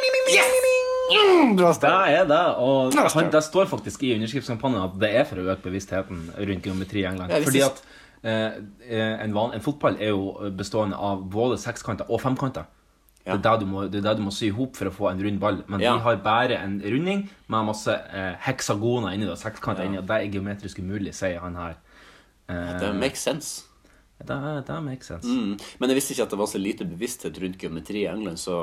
S2: er det, og han, det står faktisk i underskriftskampanjen at det er for å øke bevisstheten rundt geometri i England.
S3: Ja, hvis
S2: Fordi
S3: det-
S2: at eh, en, van, en fotball er jo bestående av både sekskanter og femkanter. Det, er det, du må, det er det du må sy i hop for å få en rund ball. Men
S3: Ja.
S2: vi har bare en runding med masse eh, heksagoner inni det, sekskanter inni, og det er geometrisk umulig, sier han her. Eh,
S3: Det makes sense.
S2: det, det makes sense.
S3: Mm. Men jeg visste ikke at det var så lite bevissthet rundt geometri i England, så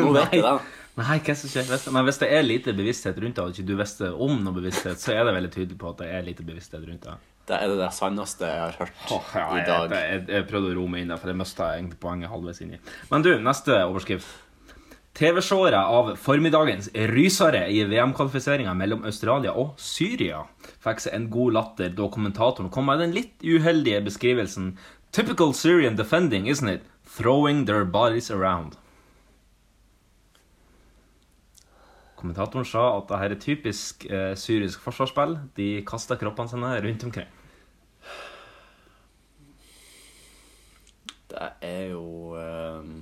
S3: nå vet jeg det.
S2: Nei, hva som skjer? Hvis- Men hvis det er lite bevissthet rundt det, og ikke du visste om noe bevissthet, så er det veldig tydelig på at det er lite bevissthet rundt det.
S3: Det er det sanneste jeg har hørt i
S2: jeg,
S3: dag.
S2: Jeg, jeg, jeg prøvde å roe meg inn, der, for jeg mista egentlig poenget halvveis inni. Men du, neste overskrift. TV-seere av formiddagens rysere i VM-kvalifiseringa mellom Australia og Syria fikk seg en god latter da kommentatoren kom med den litt uheldige beskrivelsen Typical Syrian defending, isn't it? Throwing their bodies around. Kommentatoren sa at det her er typisk eh, syrisk forsvarsspill. De kaster kroppene sine rundt omkring.
S3: Det er jo ehm,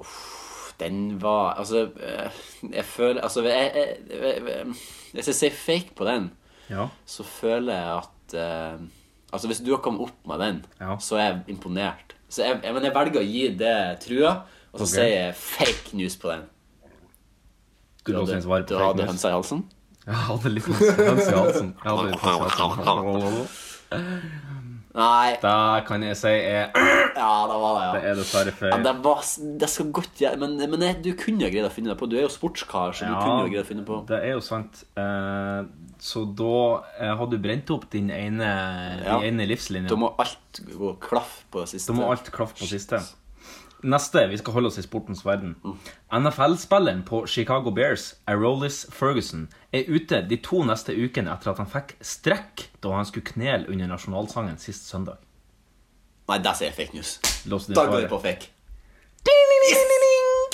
S3: uff, Den var Altså, eh, jeg føler Altså, jeg, jeg, jeg, jeg, hvis jeg sier fake på den,
S2: Ja.
S3: så føler jeg at ehm, Altså, hvis du har kommet opp med den, så er jeg imponert. Så jeg, jeg, men jeg velger å gi det trua, og så
S2: Ok.
S3: sier jeg fake news på den.
S2: Du
S3: hadde-
S2: låser inn svaret på
S3: du
S2: fake
S3: hadde
S2: news.
S3: hønsa i halsen?
S2: Jeg hadde litt høns i halsen. Jeg hadde litt høns i halsen.
S3: Nei.
S2: Det kan jeg si er
S3: Ja, det var det, ja.
S2: Det er dessverre
S3: Ja,
S2: feil.
S3: det, var, det skal godt gjøre, men, men jeg- du kunne jo greid å finne det på. Du er jo sportskar, så du
S2: Ja,
S3: kunne jo greid å finne på.
S2: Det er jo sant. Eh, Så da eh, har du brent opp din ene,
S3: Ja.
S2: din ene livslinje.
S3: Da må alt gå klaff på siste.
S2: Da må alt klaffe på siste. Neste, vi skal holde oss i sportens verden.
S3: Mm.
S2: NFL-spilleren på Chicago Bears, Arolis Ferguson, er ute de to neste ukene etter at han fikk strekk da han skulle knele under nasjonalsangen sist søndag.
S3: Nei, der sier jeg fake news.
S2: Lås ned
S3: Da går
S2: svaret.
S3: vi på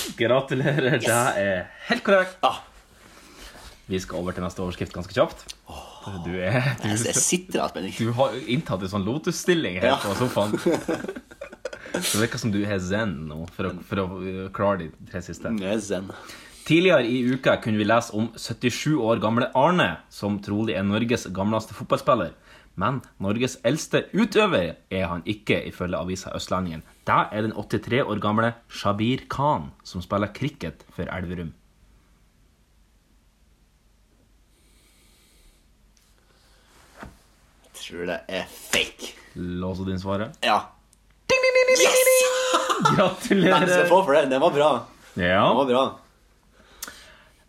S3: fake.
S2: Gratulerer,
S3: Yes.
S2: det er helt korrekt.
S3: Ah,
S2: Vi skal over til neste overskrift ganske kjapt. Du er du,
S3: Jeg sitter av spenning.
S2: Du har inntatt en sånn lotusstilling her
S3: Ja.
S2: på sofaen. Det virker som du er zen nå for å, for å eh, klare de tre siste.
S3: Jeg er zen.
S2: Tidligere i uka kunne vi lese om 77 år gamle Arne, som trolig er Norges gamleste fotballspiller. Men Norges eldste utøver er han ikke, ifølge avisa Østlendingen. Det er den 83 år gamle Shabir Khan, som spiller cricket for Elverum.
S3: Jeg tror det er fake.
S2: Låser din svaret?
S3: Ja.
S2: Gratulerer.
S3: Nei, du skal få for det. Den var bra.
S2: Ja.
S3: Den var bra.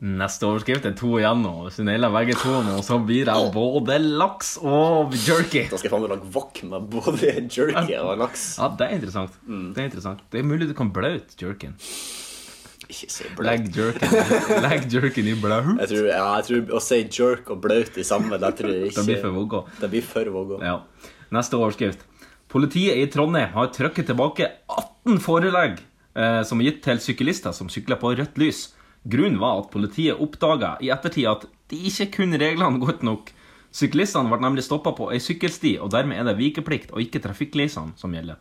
S2: Neste overskrift er to igjen nå. Hvis du nailer begge to nå, så blir det både laks og jerky.
S3: Da skal jeg faen meg lage wok med både jerky og laks.
S2: Ja, det er interessant. Det er interessant. Det er mulig du kan blaute jerkyen.
S3: Ikke si
S2: Legg jerkyen Legg jerkyen i blaut.
S3: Jeg tror, ja, jeg tror å si jerk og blaut i samme, det tror jeg ikke
S2: Det blir for vågå.
S3: Det blir for vågå.
S2: Ja. Neste overskrift. Politiet i Trondheim har trykket tilbake 18 forelegg eh, som er gitt til syklister som sykler på rødt lys. Grunnen var at politiet oppdaga i ettertid at de ikke kunne reglene godt nok. Syklistene ble nemlig stoppa på ei sykkelsti, og dermed er det vikeplikt og ikke trafikklysene som gjelder.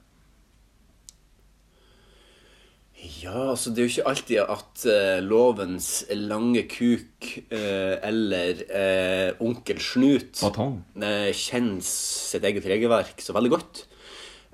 S3: Ja, så det er jo ikke alltid at eh, lovens lange kuk eh, eller eh, onkel Snut eh, kjenner sitt eget regelverk så veldig godt.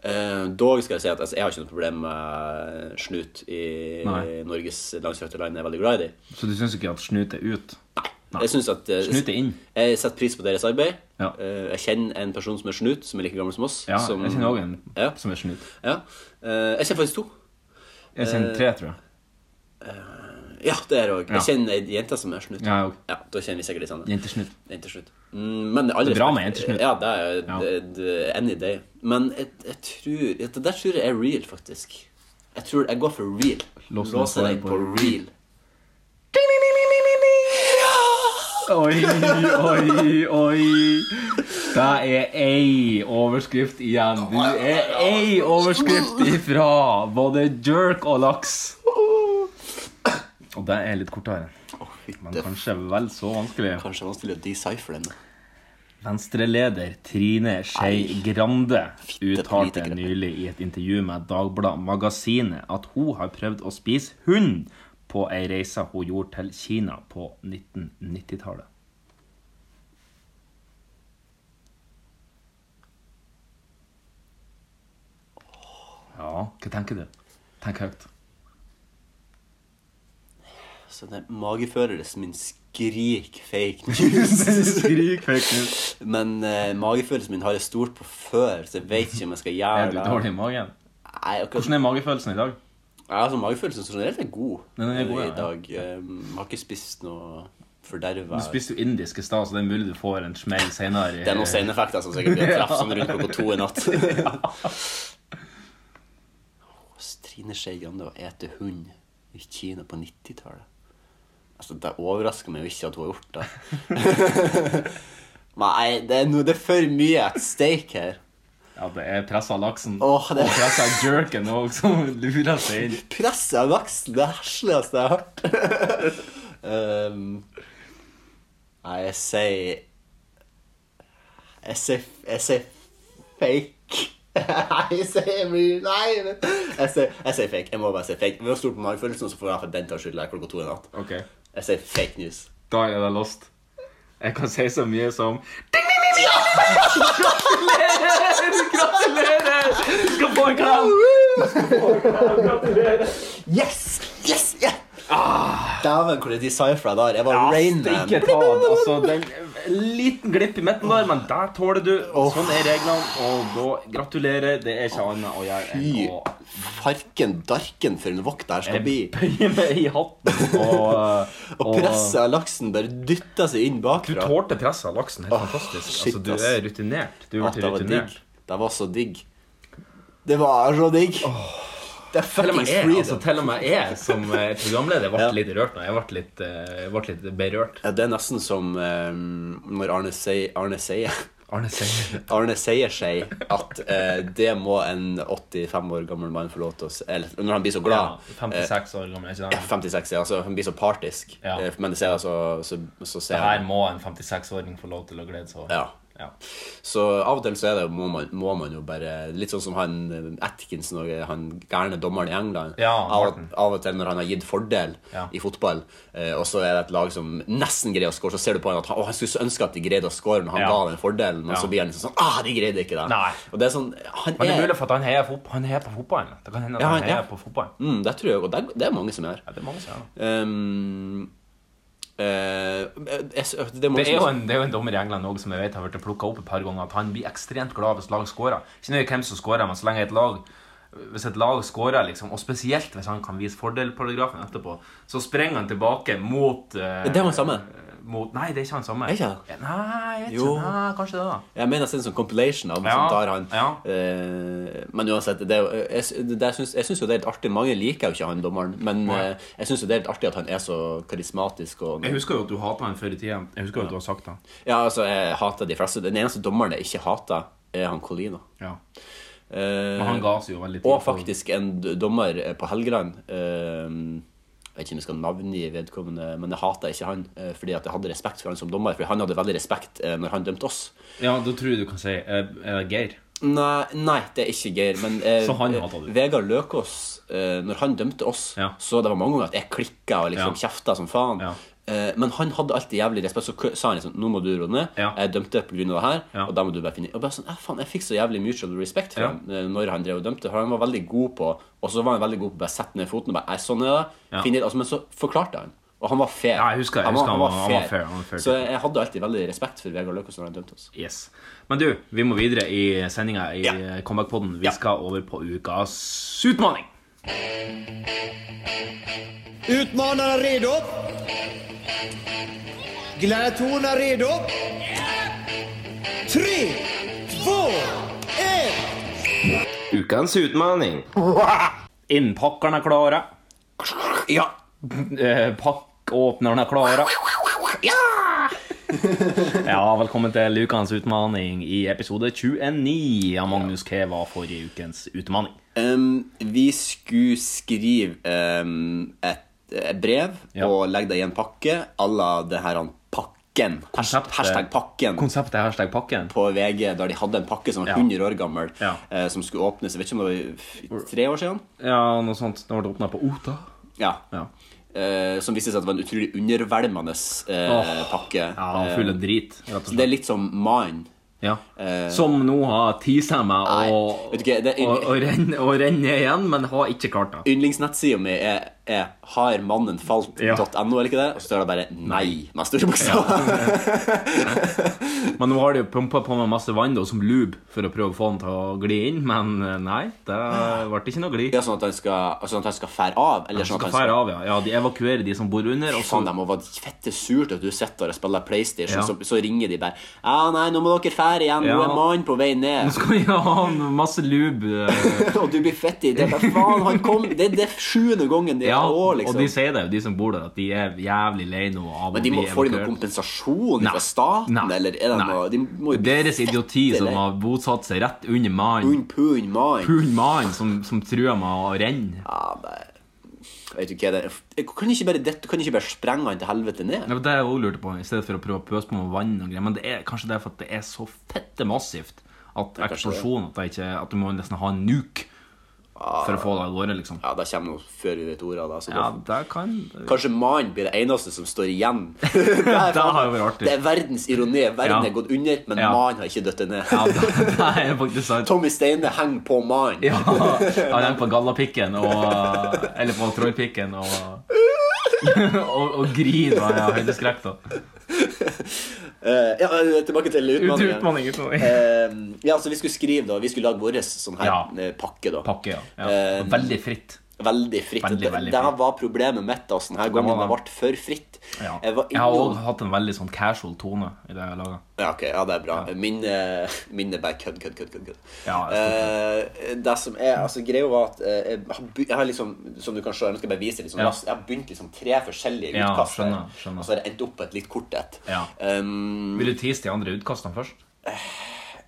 S3: Eh, dog skal jeg si at altså, jeg har ikke noe problem med eh, Snut i
S2: Nei.
S3: Norges langstrakte land. Jeg er veldig glad i dem.
S2: Så du syns ikke at snut er ut? Nei.
S3: Jeg synes at eh,
S2: Snut er inn.
S3: Jeg setter pris på deres arbeid.
S2: Ja.
S3: Eh, jeg kjenner en person som er snut, som er like gammel som oss.
S2: Ja,
S3: som,
S2: jeg kjenner også en
S3: Ja.
S2: som er snut.
S3: Ja. Eh, jeg kjenner faktisk to.
S2: Jeg kjenner tre, tror jeg.
S3: Ja, det er jeg òg.
S2: Ja.
S3: Jeg kjenner ei jente som er snut.
S2: Ja, jeg også.
S3: ja, da kjenner vi sikkert de samme.
S2: Jentesnut.
S3: Jentesnut. Mm, Men all
S2: Det er bra
S3: respekt-
S2: med jentesnut.
S3: Ja, det er
S2: Ja.
S3: det- det- any day. Men jeg, jeg tror Det der tror jeg er real, faktisk. Jeg tror jeg går for real.
S2: Lås
S3: Låser deg på real.
S2: Oi, oi, oi. Det er ei overskrift igjen. Du er ei overskrift ifra både jerk og laks. Og det er litt kortere. Men kanskje vel så vanskelig.
S3: Kanskje vanskelig å decipher den.
S2: Venstreleder Trine Skei Grande uttalte nylig i et intervju med Dagbladet Magasinet at hun har prøvd å spise hund på ei reise hun gjorde til Kina på 1990-tallet. Ja, hva tenker du? Tenk høyt.
S3: Så det er magefølelsen min skrik fake news.
S2: skrik fake news.
S3: Men eh, magefølelsen min har jeg stolt på før, så jeg vet ikke om jeg skal gjøre
S2: Er du dårlig i magen?
S3: Nei, akkurat-
S2: Hvordan er magefølelsen i dag?
S3: Ja, altså Magefølelsen som generelt er god,
S2: Den er god, ja,
S3: i dag. Eh, har ikke spist noe forderva
S2: Du spiste jo indisk i stad, så det er mulig du får en smell senere. i-
S3: Det er noen seneffekter som sikkert blir treff sånn rundt klokka to i natt. Hos Trine Skei Grande å ete hund i Kina på 90-tallet Altså, Det overrasker meg jo ikke at hun har gjort det. Nei, det er, noe, det er for mye at stake her.
S2: Ja, det er pressa laksen
S3: Åh, det-
S2: og pressa jerken òg som lurer seg inn.
S3: Presset av laksen, det hesligste jeg har hørt. um, nei, jeg sier Jeg sier Jeg sier fake. Nei, jeg sier real. Nei, men- jeg sier, jeg sier fake. Jeg må bare si fake. Vi har stort på magefølelsen, så får jeg for den tas skyld lære klokka to i natt.
S2: Ok.
S3: Jeg sier fake news.
S2: Da er det lost. Jeg kan si så mye som
S15: Gratulerer! Gratulerer! Du skal få en klem! Gratulerer!
S3: Yes! Yes! Yeah! Dæven, hvor det decifra der. Jeg var Rain Man.
S2: Ikke ta den. Altså, den en liten glipp i midten der, men der tåler du. Sånn er reglene, og da gratulerer. Det er ikke annet å gjøre enn
S3: Fy
S2: å
S3: farken darken for en wok det her skal
S2: Jeg
S3: bli.
S2: bøyer meg i hatten og, eh,
S3: og presset av laksen bare dytter seg inn bakfra. Du
S2: tålte presset av laksen. Helt fantastisk. Altså, du er rutinert. Du er blitt rutinert.
S3: Det var så digg. Det var så digg. Det er
S2: Til og med
S3: fuckings
S2: jeg,
S3: freedom.
S2: altså, til og med jeg som eh, programleder ble litt rørt nå. Jeg ble litt, eh, jeg ble litt berørt.
S3: Ja, det er nesten som eh, når Arne sier Arne sier
S2: Arne Seier.
S3: Arne Seier sier at eh, det må en 85 år gammel mann få lov til å se Eller når han blir så glad.
S2: Ja, 56 år gammel, er ikke
S3: Eh,
S2: det?
S3: 56, ja. Altså, han blir så partisk.
S2: Ja.
S3: Eh, Men det ser jeg, så, så, så ser
S2: Det
S3: jeg
S2: her må en 56-åring få lov til å glede seg over.
S3: Ja. Så av og til så er det, må, man, må man jo bare Litt sånn som han eh, Atkinson og han gærne dommeren i England.
S2: Ja,
S3: av,
S2: Martin.
S3: av og til når han har gitt fordel
S2: Ja.
S3: i fotball, eh, og så er det et lag som nesten greier å score, så ser du på han at han, å, han skulle så ønske at de greide å score når han
S2: Ja.
S3: ga den fordelen, og
S2: Ja.
S3: så blir han liksom sånn Ah, de greide ikke det.
S2: Nei.
S3: Og det er sånn Han
S2: Men det er
S3: er
S2: mulig for at han heier, fot- han heier på fotballen. Det kan hende at
S3: Ja,
S2: han
S3: han- ja.
S2: heier på fotballen.
S3: mm, Det tror jeg, og det, er- det er mange som er.
S2: Ja, det er mange som er.
S3: Um, eh, jeg, det,
S2: Det
S3: mange
S2: er, jo
S3: som-
S2: en, det er jo en dommer i England også, som jeg vet har blitt plukka opp et par ganger, at han blir ekstremt glad hvis lag scorer. Ikke nøye hvem som scorer, men så lenge et lag hvis et lag scorer, liksom, og spesielt hvis han kan vise fordelparagrafen etterpå, så sprenger han tilbake mot eh,
S3: Det er han samme.
S2: Mot, nei, det er ikke han samme.
S3: Er ikke
S2: Ja, Nei, jeg vet
S3: Jo.
S2: ikke. Nei, kanskje det, da.
S3: Jeg mener det er en sånn compilation av
S2: Ja,
S3: som tar han. Eh, men uansett, det, er jo- jeg, det, jeg syns- jeg syns jo det er litt artig. Mange liker jo ikke han dommeren, men
S2: Nei.
S3: eh, jeg syns jo det er litt artig at han er så karismatisk. Og,
S2: Jeg husker jo at du hata han før i tida. Jeg husker jo at du har sagt det.
S3: Ja, altså, jeg hater de fleste. Den eneste dommeren jeg ikke hater, er han Colina.
S2: Ja.
S3: Eh,
S2: Men han ga seg jo veldig tid
S3: Og
S2: for-
S3: faktisk en d- dommer eh, på Helgeland. Eh, jeg vet ikke om jeg skal navngi vedkommende, men jeg hater ikke han. Eh, fordi at jeg hadde respekt for han som dommer, for han hadde veldig respekt eh, når han dømte oss.
S2: Ja, da tror jeg du kan si eh, Er det Geir?
S3: Nei, nei, det er ikke Geir. Men eh,
S2: Så han hatet
S3: eh, Vegard Løkås, eh, når han dømte oss, så det var mange ganger at jeg klikka og liksom kjefta som faen. Eh, men han hadde alltid jævlig respekt. Så kø- sa han liksom Nå må du roe ned. Jeg dømte på grunn av det her, og da må du bare finne Og bare sånn, «Eh, faen, Jeg fikk så jævlig mutual respect for
S2: Ja.
S3: ham eh, når han drev og dømte. For han var veldig god på Og så var han veldig god på å bare sette ned foten og bare «Eh, Sånn er det.
S2: Ja.
S3: Finn ut», altså, men så forklarte han. Og han var fair.
S2: Ja, jeg husker- jeg husker han var- han var fair, han var fair.
S3: Så jeg, jeg hadde alltid veldig respekt for Vegard Løkås når han dømte oss.
S2: Yes. Men du, vi må videre i sendinga i Comeback-podden. Vi skal over på ukas utfordring.
S16: Utmanarna redo? Gladiatorerna redo? Tre, två, ett!
S2: Ukens utfordring. Innpakkeren er klare. Ja. Pakkåpneren er klare. Ja, velkommen til ukens utfordring i episode 29 av Magnus K. Hva forrige ukens utfordring?
S3: Um, vi skulle skrive um, et, et brev og legge det i en pakke à la det her han pakken.
S2: eh,
S3: Hashtag, hashtag pakken.
S2: Konseptet er hashtag pakken.
S3: På VG, der de hadde en pakke som var 100 år gammel, eh, som skulle åpnes jeg vet ikke om det var i f- tre år siden.
S2: Ja, noe sånt. Det ble åpna på Ota.
S3: Ja. Eh, som viste seg at det var en utrolig undervelmende eh,
S2: Åh.
S3: pakke. Eh,
S2: Ja, den var full av drit.
S3: Så det er litt som Mine.
S2: Ja.
S3: Eh,
S2: Som nå har tisa meg og,
S3: vet du hva, det er-
S2: og, og, renner, og renner igjen, men har ikke klart det.
S3: Yndlingsnettsida mi er, er harmannenfalt.no, eller ikke det? Og så står det bare 'nei' med store bokstaver.
S2: Men nå har de jo pumpa på med masse vann da, som lube for å prøve å få den til å gli inn, men eh, nei, det ble ikke noe gli.
S3: Ja, sånn at han skal, sånn at han skal fære av? Eller sånn at
S2: skal
S3: han
S2: fære av, ja. ja. De evakuerer de som bor under.
S3: Fy
S2: Og så,
S3: faen, det må være fette surt at du sitter og spiller PlayStation,
S2: Ja.
S3: så, så ringer de bare 'Ja, nei, nå må dere fære igjen. Nå
S2: Ja.
S3: er mannen på vei
S2: nå
S3: ned.'
S2: skal vi ha en masse lube. eh,
S3: og du blir fett i det. Hva faen, han kom Det det er sjuende gangen det er
S2: Ja,
S3: år,
S2: og
S3: liksom.
S2: de sier det jo, de som bor der, at de er jævlig lei nå av
S3: Men de må, får de noe
S2: evakuert.
S3: kompensasjon fra staten, eller er det
S2: Nei.
S3: noe De må jo bli
S2: Deres idioti
S3: fette
S2: som
S3: lei.
S2: har bosatt seg rett under mannen.
S3: Pund mann.
S2: Pund mann som, som truer med å renne.
S3: Vet du hva det er Kan de ikke bare, det, kan de ikke bare sprenge han til helvete ned?
S2: Ja, men det er jeg også lurte på, i stedet for å prøve å pøse på med vann og greier. Men det er kanskje derfor at det er så fette massivt at
S3: er kanskje
S2: eksplosjon At, det ikke, at du må nesten ha en nuke for å få det av gårde, liksom.
S3: Ja, det kommer noe før vi vet ordet av det. så
S2: Ja,
S3: da-
S2: det kan
S3: Kanskje mannen blir det eneste som står igjen. det, er,
S2: har jo vært artig.
S3: det er verdens ironi. Verden
S2: Ja.
S3: er gått under, men
S2: Ja.
S3: mannen har ikke dødd ned.
S2: Nei, faktisk sant.
S3: Tommy Steine henger på mannen.
S2: Ja, ja den på gallapikken og Eller på trollpikken og Og, og grin og ja, høydeskrekk, da.
S3: Eh, ja, eh, tilbake til utfordringen.
S2: Utfordring, utfordring.
S3: Eh, ja, så vi skulle skrive, da. Vi skulle lage vår sånn her eh, pakke, da.
S2: Pakke, ja.
S3: Eh,
S2: ja. Og veldig fritt.
S3: Veldig fritt.
S2: Veldig,
S3: Det-
S2: veldig
S3: det her
S2: fritt.
S3: var problemet mitt da, sånn her gangen.
S2: var
S3: Det
S2: det.
S3: ble for fritt.
S2: Ja.
S3: Jeg var
S2: Jeg har
S3: innom-
S2: også hatt en veldig sånn casual tone i det jeg laget.
S3: Ja, ok, ja, det er bra. Min, eh, min er bare kødd, kødd, kødd. kødd, kødd.
S2: Ja,
S3: Eh, det som er, altså Greia var at eh, jeg, har be- jeg har liksom Som du kan se, nå skal jeg bare vise det, liksom,
S2: Ja.
S3: jeg har begynt liksom tre forskjellige
S2: Ja,
S3: utkast. her,
S2: skjønner, skjønner.
S3: Og så har jeg endt opp på et litt kort et.
S2: Ja.
S3: Um,
S2: Vil du tease de andre utkastene først?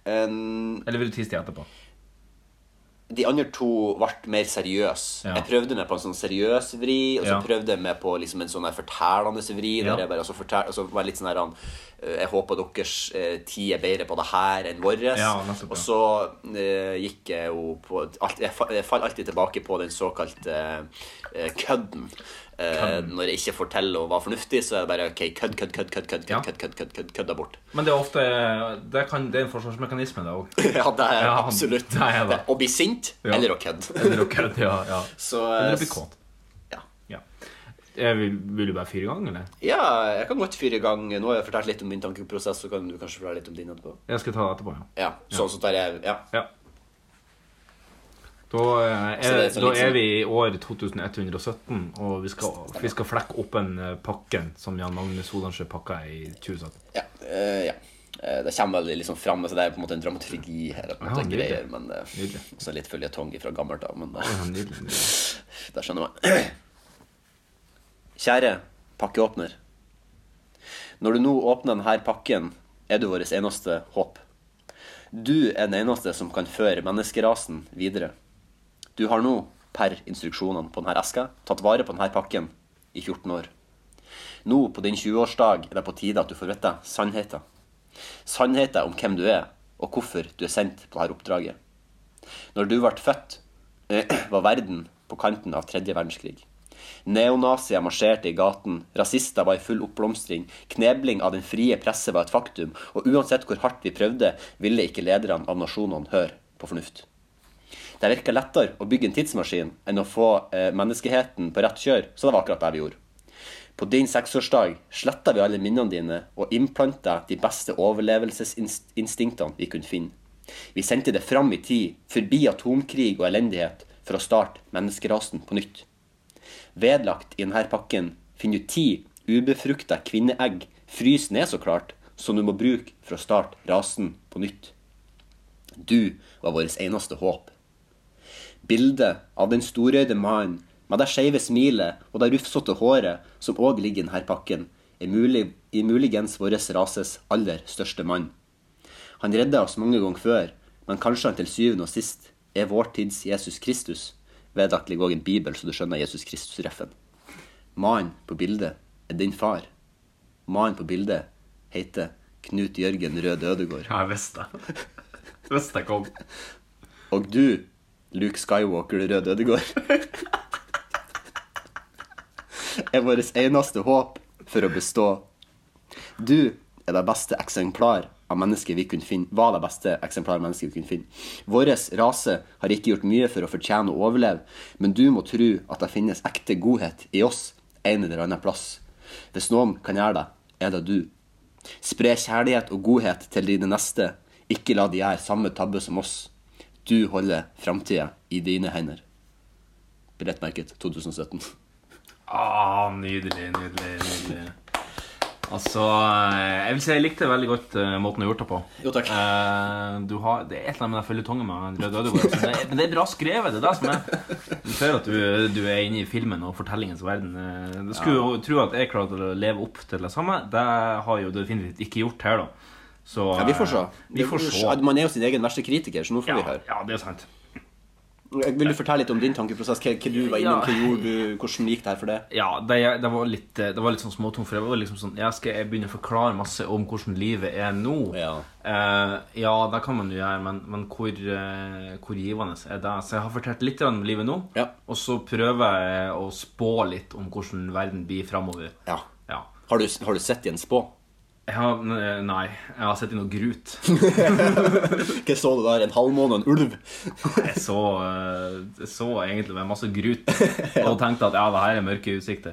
S2: Eller vil du tisse til etterpå?
S3: De andre to ble mer seriøse.
S2: Ja.
S3: Jeg prøvde meg på en sånn seriøs vri, og så
S2: Ja.
S3: prøvde jeg meg på liksom en sånn her fortellende vri.
S2: Ja.
S3: Der jeg bare altså, fortell, altså, var litt sånn her han, eh, Jeg håper deres eh, tid er bedre på det her enn vår.
S2: Ja, nettopp, ja.
S3: og så eh, gikk jeg jo på alt, jeg, fa- jeg faller alltid tilbake på den såkalte eh, kødden. Eh,
S2: Kødden.
S3: Når jeg ikke forteller og var fornuftig, så er det bare OK, kødd, kødd, kødd, kødd, kødd, kødd, kødd, kødd, kødd, kødd, kødda bort.
S2: Men det er ofte Det, kan, det er en forsvarsmekanisme, det òg.
S3: Ja, det er absolutt.
S2: Det er det.
S3: Å bli sint
S2: Ja.
S3: eller å kødde.
S2: Eller å kødde, ja, ja.
S3: Så,
S2: Eller å
S3: eh,
S2: bli kåt. Ja. Jeg vil, vil du bare fyre i gang, eller?
S3: Ja, jeg kan godt fyre i gang. Nå har jeg fortalt litt om min tankeprosess, så kan du kanskje fortelle litt om din etterpå.
S2: Jeg skal ta det etterpå, ja.
S3: Ja, sånn som der er Ja.
S2: Da eh,
S3: Så
S2: er,
S3: det er så
S2: da
S3: litt
S2: er
S3: sånn-
S2: vi i år 2117, og vi skal, vi skal flekke opp en eh, pakken som Jan Magnus Solandsjø pakka i 2017.
S3: ja, eh, ja. Eh, Det kommer veldig liksom fram. Så det er på en måte en dramaturgi her. På en måte,
S2: Ja, nydelig.
S3: greier, men eh, Også litt føljetong fra gammelt av, men eh, Der skjønner man. Kjære pakkeåpner. Når du nå åpner denne pakken, er du vårt eneste håp. Du er den eneste som kan føre menneskerasen videre. Du har nå, per instruksjonene på denne eska, tatt vare på denne pakken i 14 år. Nå, på din 20-årsdag, er det på tide at du får vite sannheten. Sannheten om hvem du er, og hvorfor du er sendt på dette oppdraget. Når du ble født, eh, var verden på kanten av tredje verdenskrig. Neonazier marsjerte i gaten, rasister var i full oppblomstring, knebling av den frie presse var et faktum, og uansett hvor hardt vi prøvde, ville ikke lederne av nasjonene høre på fornuft. Det virka lettere å bygge en tidsmaskin enn å få eh, menneskeheten på rett kjør, så det var akkurat det vi gjorde. På din seksårsdag sletta vi alle minnene dine og implanta de beste overlevelsesinstinktene vi kunne finne. Vi sendte det fram i tid, forbi atomkrig og elendighet, for å starte menneskerasen på nytt. Vedlagt i denne pakken finner du ti ubefrukta kvinneegg, frys ned så klart, som du må bruke for å starte rasen på nytt. Du var vårt eneste håp. Bildet av den storøyde mannen med det skeive smilet og det rufsete håret som òg ligger i denne pakken, er, mulig, er muligens vår rases aller største mann. Han redda oss mange ganger før, men kanskje han til syvende og sist er vår tids Jesus Kristus, vedlagt ligger òg en bibel, så du skjønner Jesus Kristus-reffen. Mannen på bildet er din far. Mannen på bildet heter Knut Jørgen Rød Ødegård.
S2: Ja, jeg visste det. Visste jeg kom.
S3: Og du, Luke Skywalker Rød Ødegård, er vårt eneste håp for å bestå. Du er det beste eksemplar av mennesket vi kunne finne. Var det beste eksemplar av mennesket vi kunne finne. Vår rase har ikke gjort mye for å fortjene å overleve, men du må tro at det finnes ekte godhet i oss en eller annen plass. Hvis noen kan gjøre det, er det du. Spre kjærlighet og godhet til dine neste. Ikke la de gjøre samme tabbe som oss. Du holder framtida i dine hender. Billettmerket 2017.
S2: Ah, nydelig, nydelig, nydelig. Altså, eh, jeg vil si jeg likte veldig godt eh, måten du har gjort det på. Eh,
S3: Jo, takk.
S2: du har, det er et eller annet med den føljetongen med den røde ødegård. altså. Det er- Men det er bra skrevet, det er det som er. Du ser at du, du er inne i filmen og fortellingens verden. Eh, Du skulle jo tro at jeg klarte å leve opp til det samme. Det har jo definitivt ikke gjort her, da. Så,
S3: Ja, vi får
S2: eh,
S3: se.
S2: Vi får se.
S3: Man er jo sin egen verste kritiker, så nå får vi høre.
S2: Ja, det er sant.
S3: Vil du fortelle litt om din tankeprosess? Hva, hva du var
S2: Ja.
S3: innom, hva gjorde du, hvordan gikk det her for deg?
S2: Ja, det, det, var litt, det var litt sånn småtung, for jeg var liksom sånn Jeg skal jeg begynne å forklare masse om hvordan livet er nå. Ja, ja det kan man jo gjøre, men, men hvor, eh, hvor givende er det? Så jeg har fortalt litt grann om livet nå, og så prøver jeg å spå litt om hvordan verden blir framover.
S3: Ja.
S2: Ja.
S3: Har, du, har du sett i en spå?
S2: Jeg har, eh, nei, jeg har sett i noe grut.
S3: Hva så du der? En halvmåne og en ulv?
S2: Jeg så, eh, jeg så egentlig med masse grut og tenkte at ja, det her er mørke utsikter.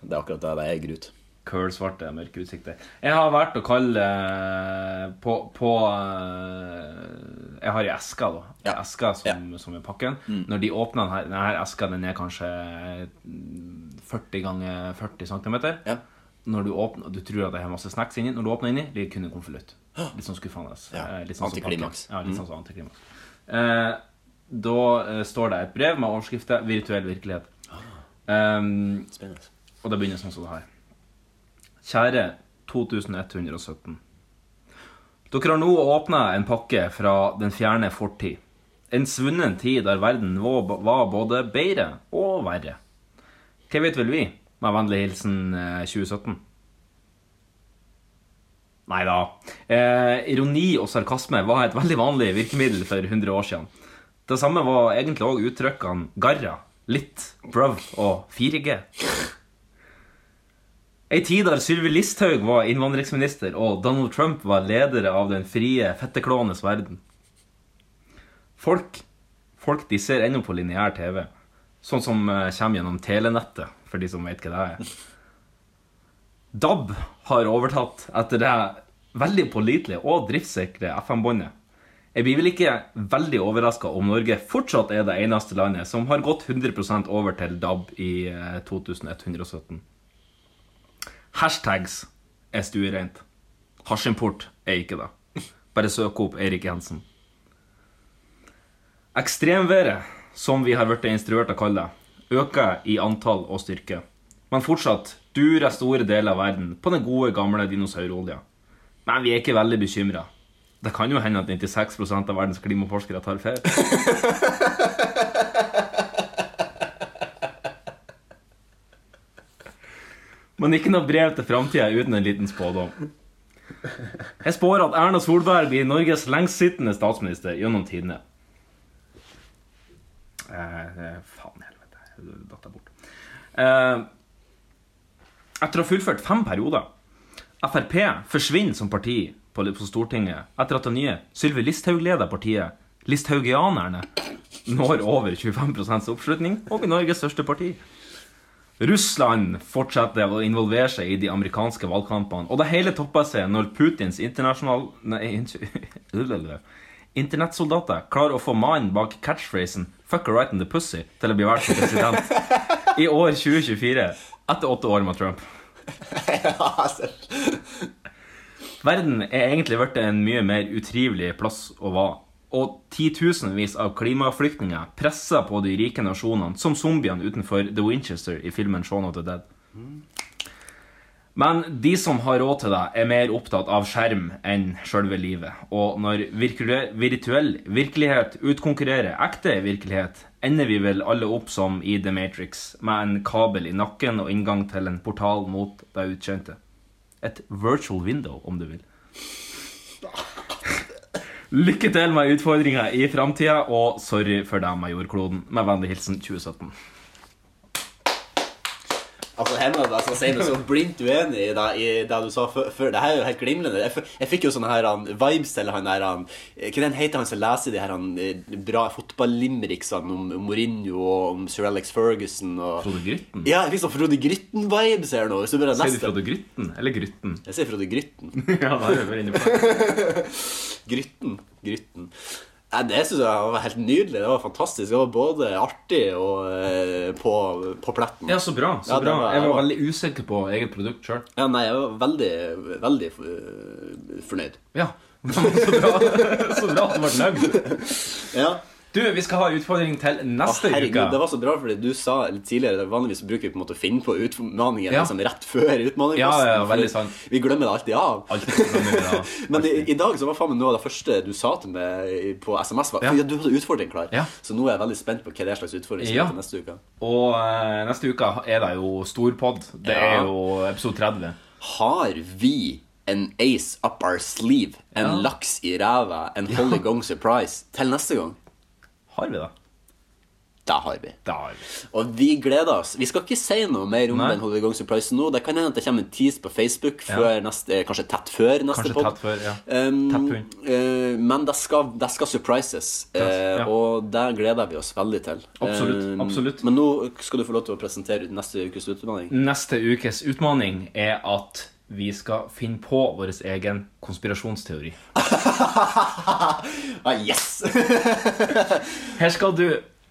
S3: Det er akkurat det. Det er grut.
S2: Kølsvarte, mørke utsikter. Jeg har valgt å kalle eh, på, på eh, Jeg har i eska, da. Eska som, som er pakken. Når de åpner den her, den her eska, den er kanskje mm, 40 ganger 40 cm. Når du åpner, og du tror at det er masse snacks inni, når du åpner inni, ligger kun en konvolutt. Litt sånn skuffende. eh, litt sånn som
S3: Antiklimaks.
S2: pakken. Ja, litt
S3: Mm.
S2: sånn som antiklimaks. Eh, da eh, står det et brev med overskriften 'Virtuell virkelighet'.
S3: Ah.
S2: Um, og det begynner sånn som det her. Kjære 2117. Dere har nå åpna en pakke fra den fjerne fortid. En svunnen tid der verden var var både bedre og verre. Hva vet vel vi? Med vennlig hilsen eh, 2017. Nei da. Eh, ironi og sarkasme var et veldig vanlig virkemiddel for 100 år siden. Det samme var egentlig òg uttrykkene garra, litt, bruv og 4G. Ei tid der Sylvi Listhaug var innvandringsminister og Donald Trump var leder av den frie, fetteklånes verden. Folk, folk de ser ennå på lineær TV, sånn som eh, kommer gjennom telenettet, for de som vet hva det er. DAB har overtatt etter det veldig pålitelige og driftssikre FM-båndet. Jeg blir vel ikke veldig overraska om Norge fortsatt er det eneste landet som har gått 100 over til DAB i eh, 2117. Hashtags er stuereint. Hasjimport er ikke det. Bare søk opp Eirik Jensen. Ekstremværet, som vi har blitt instruert å kalle det, øker i antall og styrke. Men fortsatt durer store deler av verden på den gode, gamle dinosaurolja. Men vi er ikke veldig bekymra. Det kan jo hende at 96 av verdens klimaforskere tar feil. Men ikke noe brev til framtida uten en liten spådom. Jeg spår at Erna Solberg blir Norges lengstsittende statsminister gjennom tidene. Eh, eh, faen helvete, jeg datt jeg bort. Eh, etter å ha fullført fem perioder Frp forsvinner som parti på, på Stortinget etter at det nye Sylvi Listhaug leder partiet Listhaugianerne når over 25 oppslutning og blir Norges største parti. Russland fortsetter å involvere seg i de amerikanske valgkampene, og det hele topper seg når Putins internasjonal... Nei, unnskyld Internettsoldater klarer å få mannen bak catchphrasen 'fuck her right in the pussy' til å bli valgt som president i år 2024, etter åtte år med Trump. Verden er egentlig blitt en mye mer utrivelig plass å være. Og titusenvis av klimaflyktninger presser på de rike nasjonene som zombiene utenfor The Winchester i filmen Shaun of the Dead. Men de som har råd til det, er mer opptatt av skjerm enn sjølve livet. Og når virkelig- virtuell virkelighet utkonkurrerer ekte virkelighet, ender vi vel alle opp som i The Matrix, med en kabel i nakken og inngang til en portal mot det utkjente. Et virtual window, om du vil. Lykke til med utfordringa i framtida, og sorry for deg med jordkloden. Med vennlig hilsen 2017.
S3: Altså, Henrik, jeg skal si meg så blindt uenig i det, i det du sa før. før. Det her er jo helt glimrende. Jeg, f- jeg fikk jo sånne her han, vibes til han der han, eh, Hva den heter han som leser de her han, eh, bra fotballimeriksene om Mourinho og om Sir Alex Ferguson og
S2: Frode Grytten?
S3: Ja, jeg fikk sånn Frode Grytten-vibes her nå. Hvis du bare
S2: Sier du
S3: leser
S2: Frode Grytten eller Grytten?
S3: Jeg sier Frode Grytten.
S2: ja, da er vi inne på
S3: Grytten. Grytten. Nei, det syns jeg var helt nydelig. Det var fantastisk. Det var både artig og eh, på, på pletten.
S2: Ja, så bra. så
S3: Ja, det
S2: bra.
S3: var-
S2: Jeg var veldig usikker på eget produkt sjøl.
S3: Ja, nei, jeg var veldig, veldig eh, fornøyd.
S2: Ja. Så bra at du ble nøyd.
S3: Ja.
S2: Du, vi skal ha utfordring til neste
S3: Å, herregud,
S2: uke.
S3: Det var så bra, fordi du sa litt tidligere Vanligvis så bruker vi på en måte å finne på utfordringer
S2: Ja.
S3: liksom, rett før utfordringen.
S2: Ja, ja, veldig sant.
S3: Vi glemmer det alltid av. Men i, i dag så var faen meg noe av det første du sa til meg i- på SMS, var
S2: Ja.
S3: ja. du hadde utfordring klar. Så nå er jeg veldig spent på hva det er slags utfordring som
S2: Ja.
S3: er til neste uke.
S2: Og eh, neste uke er det jo storpod. Det
S3: Ja.
S2: er jo episode 30.
S3: Har vi en ace up our sleeve, en
S2: Ja.
S3: laks i ræva, en holy gong surprise til neste gang?
S2: Har vi det?
S3: Det har vi.
S2: Det har vi.
S3: Og vi gleder oss. Vi skal ikke si noe mer om
S2: Nei.
S3: den Holy Gong Surprise nå. Det kan hende at det kommer en tease på Facebook
S2: Ja.
S3: før neste, eh, kanskje tett før neste
S2: Kanskje
S3: podd.
S2: tett før. ja
S3: Um,
S2: Tett
S3: eh, men det skal, det skal surprises, eh,
S2: Ja.
S3: og det gleder vi oss veldig til.
S2: Absolutt,
S3: Um,
S2: absolutt.
S3: Men nå skal du få lov til å presentere neste ukes utfordring.
S2: Neste ukes utfordring er at vi skal finne på vår egen konspirasjonsteori.
S3: ah, yes!
S2: Her skal du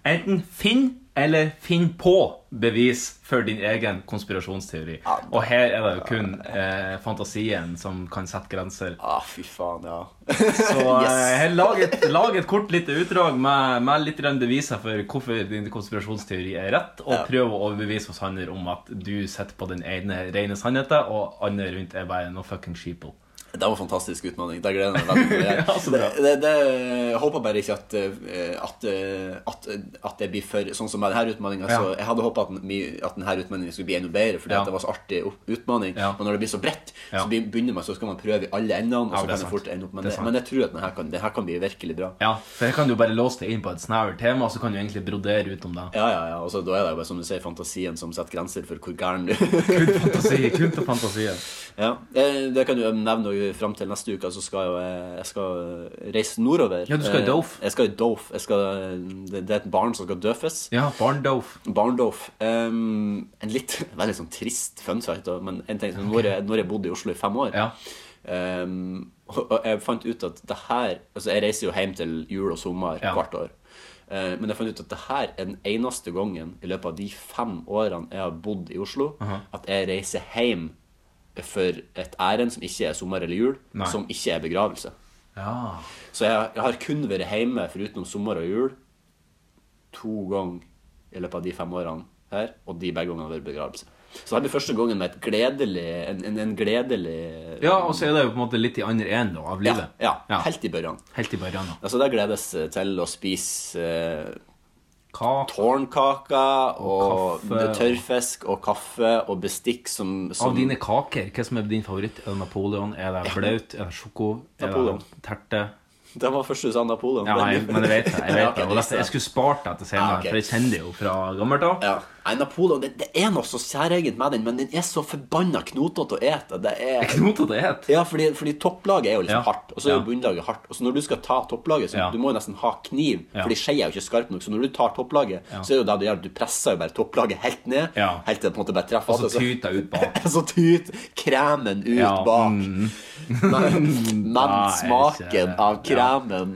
S2: enten finne eller finne på bevis for din egen konspirasjonsteori. Og her er det jo kun eh, fantasien som kan sette grenser.
S3: Ah, fy faen, ja.
S2: Så eh,
S3: Yes.
S2: her, lag, et, lag et kort lite utdrag med, med litt grann beviser for hvorfor din konspirasjonsteori er rett, og prøv å overbevise hos Hanner om at du sitter på den ene rene sannheten, og andre rundt er bare noe fucking sheeple.
S3: Det var en fantastisk utfordring. Det gleder jeg meg veldig til. det, det, det, jeg håper bare ikke at, eh, at, eh, at, at det blir for Sånn som med denne utfordringa.
S2: Ja.
S3: Jeg hadde håpa at, den- mi- at denne utfordringen skulle bli enda bedre, fordi
S2: Ja.
S3: at det var så artig opp- utfordring. Men når det blir så bredt,
S2: Ja.
S3: så blir- begynner man så skal man prøve i alle endene, og
S2: Ja,
S3: så
S2: det er
S3: kan det
S2: sant.
S3: fort ende opp
S2: Det
S3: med
S2: er
S3: det.
S2: sant.
S3: Men jeg tror at denne kan, det her kan bli virkelig bra.
S2: Ja, for her kan du jo bare låse deg inn på et snevert tema, og så kan du egentlig brodere ut om det.
S3: Ja, ja, ja. Og så da er det jo bare som du sier, fantasien som setter grenser for hvor gæren du
S2: Fantasi, kun til fantasien.
S3: Ja, eh, Det kan du nevne også fram til neste uke. Så skal jeg, jo, eh, jeg skal reise nordover.
S2: Ja, du skal i
S3: Eh,
S2: Dof.
S3: Jeg skal i Dof. Jeg skal, eh, det, det er et barn som skal døfes.
S2: Ja, barndof.
S3: Barndof. Um, en litt veldig sånn trist fun fact, da, men en ting, som når, jeg, når jeg bodde i Oslo i fem år um, og, og jeg fant ut at det her Altså, jeg reiser jo hjem til jul og sommer hvert år. Eh, men jeg fant ut at det her er den eneste gangen i løpet av de fem årene jeg har bodd i Oslo,
S2: Aha.
S3: at jeg reiser hjem for et ærend som ikke er sommer eller jul,
S2: Nei.
S3: som ikke er begravelse.
S2: Ja.
S3: Så jeg, jeg har kun vært hjemme foruten om sommer og jul to ganger i løpet av de fem årene her, og de begge gangene har vært begravelse. Så det blir første gangen med et gledelig, en, en, en gledelig
S2: ja, og så er det jo på en måte litt i andre enden da, av livet.
S3: Ja, ja, helt i børjan.
S2: Helt i børjan, da.
S3: Altså, det gledes til å spise eh,
S2: tårnkaker
S3: og,
S2: kaffe,
S3: tørrfisk og kaffe og bestikk som, som
S2: Av dine kaker, hva som er din favoritt? Er det Napoleon? Er det
S3: Ja.
S2: blaut? Er det sjoko? Er
S3: Napoleon.
S2: det terte?
S3: Det var første du sa Napoleon.
S2: Ja, jeg, men jeg vet det. Jeg,
S3: Ja,
S2: vet
S3: ok,
S2: det. Og dette, jeg skulle spart deg til senere,
S3: Ja, ok.
S2: for jeg kjenner det jo fra gammelt av.
S3: Ja. Nei, Napoleon, det, det er noe så særegent med den, men den er så forbanna knotete å ete. Det er
S2: knotete å ete?
S3: Ja, fordi, fordi topplaget er jo liksom
S2: Ja.
S3: hardt, og så er jo
S2: Ja.
S3: bunnlaget hardt. Og så når du skal ta topplaget, så
S2: Ja.
S3: du må jo nesten ha kniv,
S2: Ja.
S3: fordi skjea er jo ikke skarp nok. Så når du tar topplaget,
S2: Ja.
S3: så er jo det du gjør, at du presser jo bare topplaget helt ned, helt til det på en måte bare treffer. altså.
S2: Og så tyter jeg ut bak.
S3: så tyter kremen ut
S2: Ja, mm.
S3: bak. Men, men
S2: Nei,
S3: smaken
S2: ikke-
S3: av kremen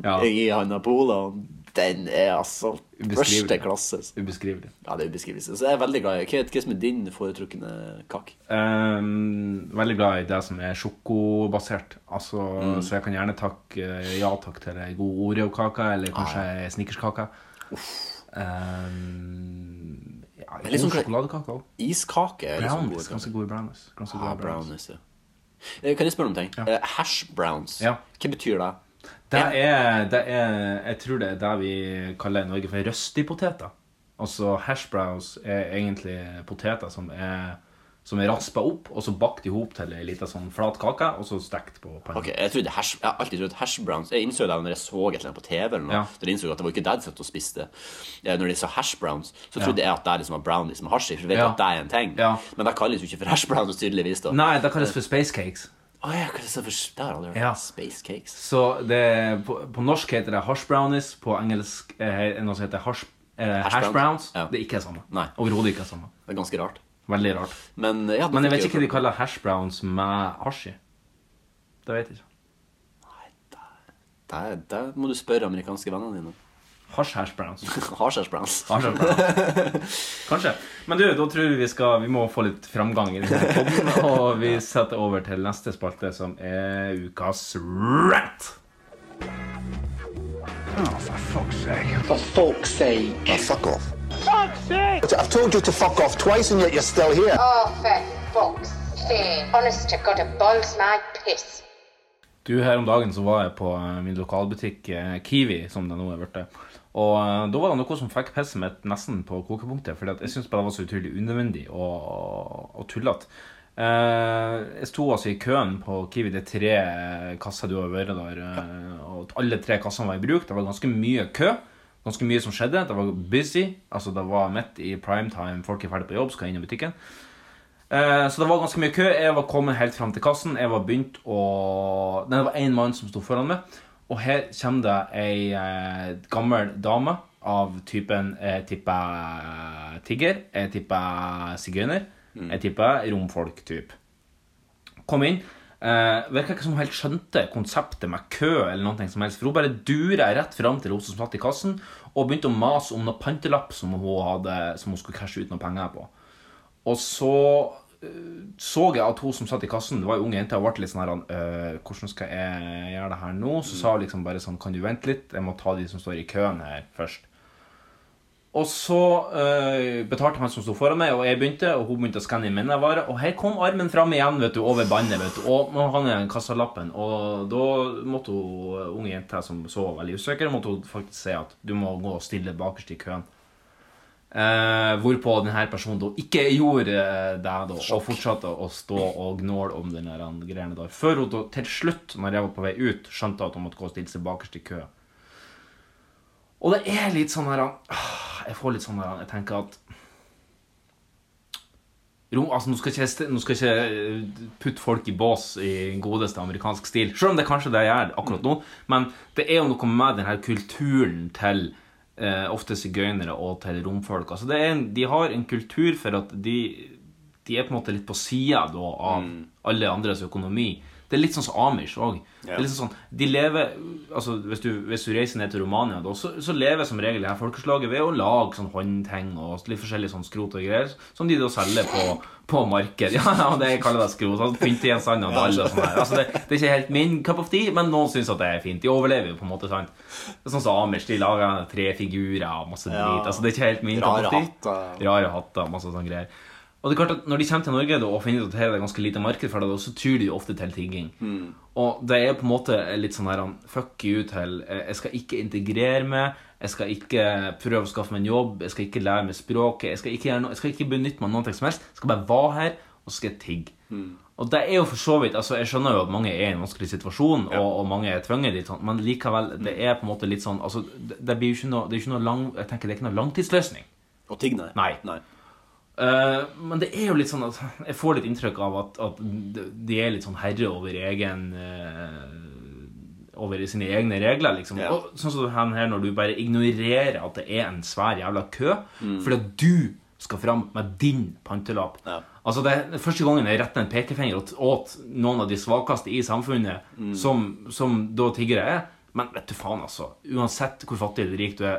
S2: Ja. Ja.
S3: i han Napoleon, den er altså
S2: Ubeskrivelig.
S3: første klasse.
S2: Ubeskrivelig.
S3: Ja, det er ubeskrivelig. Så jeg er veldig glad i Hva hva som er din foretrukne kake?
S2: Ehm, veldig glad i det som er sjokobasert. Altså,
S3: Mm.
S2: Så jeg kan gjerne takke eh, ja takk til ei god Oreo-kake, eller kanskje ei snickerskake. Ehm, ja,
S3: Men litt
S2: god
S3: sånn-
S2: sjokoladekake òg.
S3: Iskake er liksom
S2: Brownies.
S3: god.
S2: Ganske god brownies. Ganske
S3: Ah,
S2: god
S3: brownies, ja. Eh, Kan jeg spørre om en ting? Eh, Hash browns, hva betyr det?
S2: Det er, det er Jeg tror det er det vi kaller i Norge for røstipoteter. Altså hashbrows er egentlig poteter som er som er raspa opp og så bakt i hop til ei lita sånn flat kake, og så stekt på panna.
S3: Ok, Jeg trodde hash, jeg har alltid trodd hash browns Jeg innså det når jeg så et eller annet på TV, eller noe,
S2: Ja.
S3: så jeg innså at det var ikke det de satt og spiste. Eh, Når de sa hash browns, så trodde jeg at det er liksom var brownies med hasj i, for jeg vet
S2: Ja.
S3: at det er en ting. Men det kalles jo ikke for hash browns, tydeligvis. da
S2: Nei, det kalles for space cakes.
S3: Å ja, hva er det som er for Det har jeg aldri hørt.
S2: Ja.
S3: Space cakes.
S2: Så det, på, på norsk heter det hash brownies, på engelsk eh, er det noe som heter hash, eh,
S3: Hash
S2: hash browns.
S3: browns. Ja.
S2: Det er ikke det samme.
S3: Nei.
S2: Overhodet ikke det samme.
S3: Det er ganske rart.
S2: Veldig rart.
S3: Men, eh, ja, da
S2: Men jeg vet
S3: fikk jeg
S2: ikke hva
S3: jo-
S2: de kaller hash browns med hasj i. Det vet jeg ikke.
S3: Det, det må du spørre amerikanske vennene dine.
S2: Hasj hash browns.
S3: Hasj hash browns.
S2: Hasj hash browns. Kanskje. Men du, da tror vi vi skal Vi må få litt framgang i denne podden, og vi setter over til neste spalte, som er ukas rant.
S16: Oh, for fuck's sake.
S5: For folk's sake. fuck off.
S13: Fuck's sake!
S5: I've told you to fuck off twice and yet you're still here.
S13: Oh, for fuck's sake. Honest to God, it boils my piss.
S2: Du, her om dagen så var jeg på eh, min lokalbutikk eh, Kiwi, som det nå er blitt. Og eh, da var det noe som fikk pisset mitt nesten på kokepunktet, fordi at jeg syntes bare det var så utrolig unødvendig og, og tullete. Eh, jeg sto altså i køen på Kiwi, det er tre eh, kasser du har vært der, eh, og alle tre kassene var i bruk. Det var ganske mye kø. Ganske mye som skjedde. Det var busy. Altså, det var midt i prime time, folk er ferdig på jobb, skal inn i butikken. Eh, Så det var ganske mye kø. Jeg var kommet helt fram til kassen. Jeg var begynt å Nei, det var én mann som sto foran meg. Og her kommer det ei eh, gammel dame av typen Jeg tipper tigger. Jeg tipper sigøyner. Jeg tipper romfolk-type. Kom inn. Eh, Virka ikke som hun helt skjønte konseptet med kø eller noe som helst. For hun bare dura rett fram til hun som satt i kassen, og begynte å mase om noe pantelapp som hun, hadde, som hun skulle cashe ut noen penger på. Og så eh, så jeg at hun som satt i kassen, det var ei ung jente, hun ble litt sånn her «Øh, Hvordan skal jeg gjøre det her nå? Så sa hun liksom bare sånn Kan du vente litt? Jeg må ta de som står i køen her, først. Og så eh, betalte han som sto foran meg, og jeg begynte, og hun begynte å skanne inn mine varer. Og her kom armen fram igjen, vet du, over bandet, vet du. Og nå han igjen kassalappen. Og da måtte hun eh, unge jenta som så veldig usikker, måtte hun faktisk si at du må gå og stille bakerst i køen. Eh, hvorpå denne personen da ikke gjorde eh, det, da, og fortsatte å stå og gnåle om den der greiene der. Før hun da til slutt, når jeg var på vei ut, skjønte at hun måtte gå og stille seg bakerst i køen. Og det er litt sånn her ah, Jeg får litt sånn her Jeg tenker at Rom, altså, nå, skal ikke, jeg st- nå skal jeg ikke eh, putte folk i bås i godeste amerikansk stil, selv om det er kanskje det jeg gjør akkurat nå. Men det er jo noe med denne kulturen til eh, ofte sigøynere og til romfolk. Altså, det er en, de har en kultur for at de, de er på en måte litt på sida av alle andres økonomi. Det er litt sånn som Amish òg. Det
S3: Ja.
S2: er litt sånn, de lever, altså hvis du, hvis du reiser ned til Romania, da, så, så lever som regel det her folkeslaget ved å lage sånn håndting og litt forskjellig sånn skrot og greier, som de da selger på, på marked. Ja, ja, det jeg kaller det skrot. Altså, Pynt i en sand og en dall og sånn her. Altså, det, det er ikke helt min cup of tea, men noen syns at det er fint. De overlever jo på en måte, sant. Det er sånn som Amish, de lager tre figurer og masse drit.
S3: Ja.
S2: Altså, det er ikke helt min cup
S3: Rare
S2: of tea.
S3: hatter.
S2: Rare hatter, masse sånne greier. Og det er klart at Når de kommer til Norge da, og finner ut at her er det ganske lite marked for det, da, så tyr de ofte til tigging.
S3: Mm.
S2: Og det er på en måte litt sånn her han, Fuck you til eh, Jeg skal ikke integrere meg. Jeg skal ikke prøve å skaffe meg en jobb. Jeg skal ikke lære meg språket. Jeg skal ikke, gjøre noe- jeg skal ikke benytte meg av noe som helst. Jeg skal bare være her, og så skal jeg tigge. Og det er jo for så vidt altså Jeg skjønner jo at mange er i en vanskelig situasjon, og, og mange er tvunget dit, sånn, men likevel, det er på en måte litt sånn altså, det, det blir jo ikke noe, det er ikke noe lang, Jeg tenker det er ikke noe langtidsløsning.
S3: Å tigge, nei.
S2: Nei. Eh, men det er jo litt sånn at jeg får litt inntrykk av at, at de er litt sånn herre over egen eh, Over sine egne regler, liksom.
S3: Ja.
S2: Og sånn som han her, når du bare ignorerer at det er en svær jævla kø
S3: Mm.
S2: fordi at du skal fram med din pantelapp. Altså det er Første gangen jeg retter en pekefinger åt, åt noen av de svakeste i samfunnet,
S3: Mm.
S2: som, som da tiggere er Men vet du faen, altså. Uansett hvor fattig eller rik du er,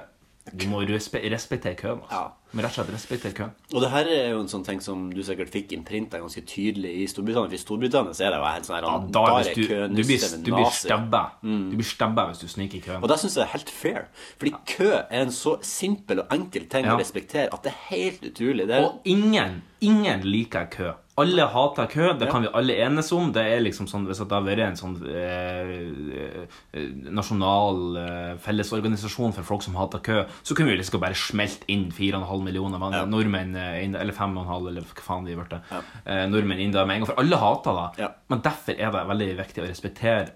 S2: du må respe respektere køen. Altså. Du må rett og slett respektere køen.
S3: Og det her er jo en sånn ting som du sikkert fikk innprinta ganske tydelig i Storbritannia. For i Storbritannia så er det jo helt sånn her
S2: Ja, da er hvis du,
S3: kø,
S2: du blir,
S3: nusse,
S2: du blir
S3: nazi. Mm.
S2: stabba. Du blir stabba hvis du sniker i køen.
S3: Og det syns jeg er helt fair. Fordi kø er en så simpel og enkel ting
S2: Ja.
S3: å respektere at det er helt utrolig. Det er,
S2: Og ingen, ingen liker kø. Alle hater kø, det kan vi alle enes om. Det er liksom sånn, Hvis at det har vært en sånn eh, eh, nasjonal eh, fellesorganisasjon for folk som hater kø, så kunne vi liksom bare smelte inn 4,5 millioner mann, nordmenn eh, inn, Eller 5,5, eller hva faen de har blitt. Eh, nordmenn inn der med en gang. For alle hater det. Men derfor er det veldig viktig å respektere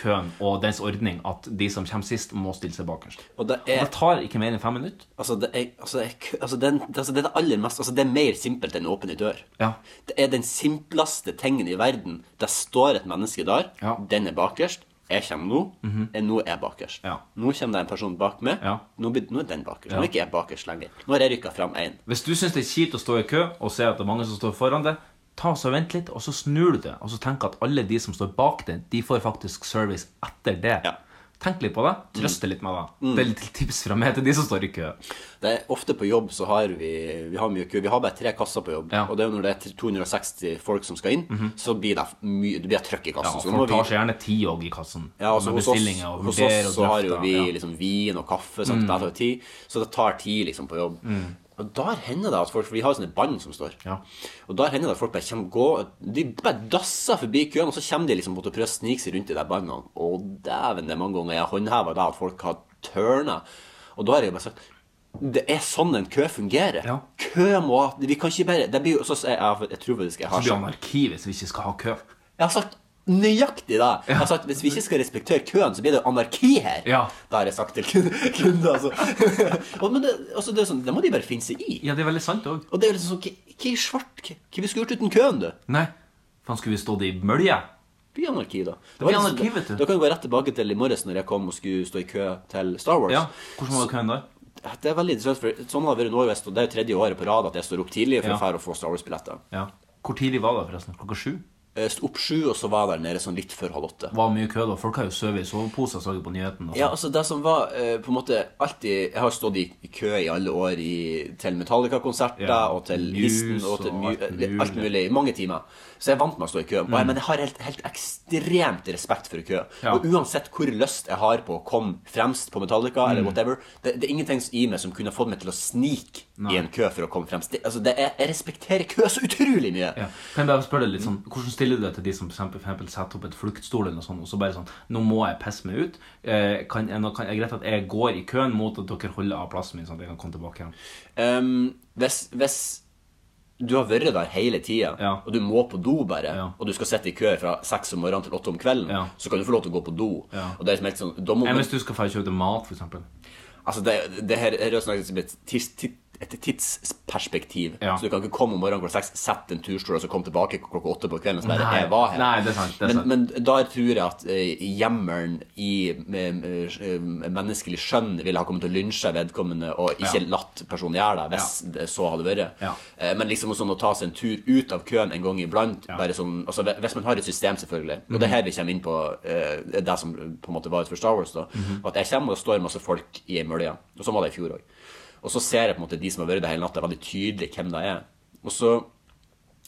S2: køen og dens ordning at de som kommer sist, må stille seg bakerst.
S3: og det er
S2: Det tar ikke mer enn fem minutter.
S3: Altså, det er, altså, det er, kø- altså, det, er- altså, det er det aller mest Altså, det er mer simpelt enn å åpne ei dør.
S2: Ja.
S3: Det er den simpleste tingen i verden. Der står et menneske der. Den er bakerst. Jeg kommer nå.
S2: Mhm.
S3: eh, Nå er jeg bakerst. Nå kommer det en person bak meg. Nå, blir- nå er den bakerst. Nå
S2: Ja.
S3: er ikke jeg bakerst lenger. Nå har jeg rykka fram én.
S2: Hvis du syns det er kjipt å stå i kø og se at det er mange som står foran deg, ta så vent litt, og så snur du det. Og så tenk at alle de som står bak deg, de får faktisk service etter det. Tenk litt på det. Trøst deg litt med det.
S3: Mm.
S2: Det er litt tips fra meg til de som står i kø.
S3: Det er ofte på jobb så har vi Vi har mye kø. Vi har bare tre kasser på jobb. Og det er jo når det er 260 folk som skal inn,
S2: Mhm.
S3: så blir det mye Det blir trøkk i
S2: Ja,
S3: kassen. så nå må
S2: folk
S3: vi-
S2: tar seg gjerne ti òg i kassen.
S3: Ja, altså,
S2: med
S3: hos oss,
S2: bestillinger og
S3: hos
S2: vurderer
S3: oss
S2: og
S3: så har jo
S2: drøfter.
S3: vi
S2: Ja.
S3: liksom vin og kaffe, sant?
S2: Mm.
S3: det tar tid, så det tar tid liksom på jobb.
S2: Mm.
S3: Og der hender det at folk, for vi har jo sånne band som står, og der hender det at folk bare kommer gå, de bare dasser forbi køen, og så kommer de liksom måtte prøve å snike seg rundt i de bandene. Og dæven, det er mange ganger jeg håndhever det at folk har tørnet. Og da har jeg bare sagt, det er sånn en kø fungerer. Kø må, vi kan ikke bare, det blir jo, så, jeg, jeg, jeg tror faktisk jeg
S2: Så
S3: har
S2: blir det anarki hvis vi ikke skal ha kø.
S3: jeg har sagt nøyaktig det. Jeg har sagt, Hvis vi ikke skal respektere køen, så blir det anarki her. Det har jeg sagt til kun- kunder. Altså. Og- Men det, altså, det, er sånn, det må de bare finne seg i.
S2: Ja, det er veldig sant òg.
S3: Og det er liksom sånn, hva- hva i svart Hva hva vi skulle gjort uten køen, du?
S2: Nei, faen skulle vi stått i mølje?
S3: Det blir anarki, da.
S2: Det blir
S3: var
S2: anarki,
S3: liksom-
S2: vet du.
S3: Da kan vi gå rett tilbake til i morges når jeg kom og skulle stå i kø til Star Wars.
S2: Ja, hvordan var køen der?
S3: Det er veldig interessant, for sånn har det vært i Norge, og det er jo tredje året på rad at jeg står opp tidlig for
S2: Ja.
S3: å fære og få Star Wars-billetter.
S2: Ja. Hvor tidlig var det, forresten? Klokka sju?
S3: Eh, eh, sto opp sju, og så var jeg der nede sånn litt før halv åtte.
S2: var mye kø, da. Folk har jo sovet i soveposer, så jeg på nyheten. og
S3: Ja,
S2: sånn.
S3: altså det som var eh, på en måte alltid Jeg har stått i, i kø i alle år i, til Metallica-konserter
S2: Ja.
S3: og til
S2: Muse
S3: Listen og til
S2: og
S3: mu, eh,
S2: alt
S3: alt, mulig i mange timer. Så jeg er vant med å stå i kø. Og jeg, men jeg har helt, helt ekstremt respekt for kø.
S2: Mm. Ja.
S3: Og uansett hvor lyst jeg har på å komme fremst på Metallica eller
S2: Mm.
S3: whatever, det, det er ingenting i meg som kunne fått meg til å snike
S2: Nei.
S3: i en kø for å komme fremst. Det, altså, det er, jeg respekterer kø så utrolig mye.
S2: Ja. Kan jeg bare spørre deg litt sånn Hvordan stiller du deg til de som for eksempel, for eksempel setter opp et fluktstol eller noe sånt, og så bare sånn Nå må jeg pisse meg ut. Eh, kan, jeg, nå kan, er det greit at jeg går i køen mot at dere holder av plassen min, sånn at jeg kan komme tilbake igjen?
S3: Ehm, hvis, hvis du har vært der hele tida, og du må på do bare, og du skal sitte i kø fra seks om morgenen til åtte om kvelden, så kan du få lov til å gå på do.
S2: Ja.
S3: Og det er liksom helt sånn da må
S2: Enn
S3: man-
S2: Eh, hvis du skal få kjøpe mat, for eksempel.
S3: Altså, det, det her, her er jo snakket om et, tids, tid- et tidsperspektiv.
S2: Ja.
S3: Så du kan ikke komme om morgenen klokka seks, sette en turstol og så komme tilbake klokka åtte på kvelden. Så bare,
S2: Nei.
S3: jeg var her.
S2: Nei, det er sant, det er
S3: men,
S2: sant.
S3: men da tror jeg at eh, jammeren i eh, eh, menneskelig skjønn ville ha kommet til å lynsje vedkommende og ikke
S2: Ja.
S3: latt personen gjøre det, hvis det så hadde vært.
S2: Ja.
S3: Eh, Men liksom sånn å ta seg en tur ut av køen en gang iblant bare sånn, altså Hvis man har et system, selvfølgelig Og
S2: Mhm.
S3: det er her vi kommer inn på eh, det som på en måte var ut for Star Wars. da
S2: Mhm.
S3: At jeg kommer og står masse folk i ei mølje. Og sånn var det i fjor òg. Og så ser jeg på en måte de som har vært der hele natta, veldig tydelig hvem det er. Og så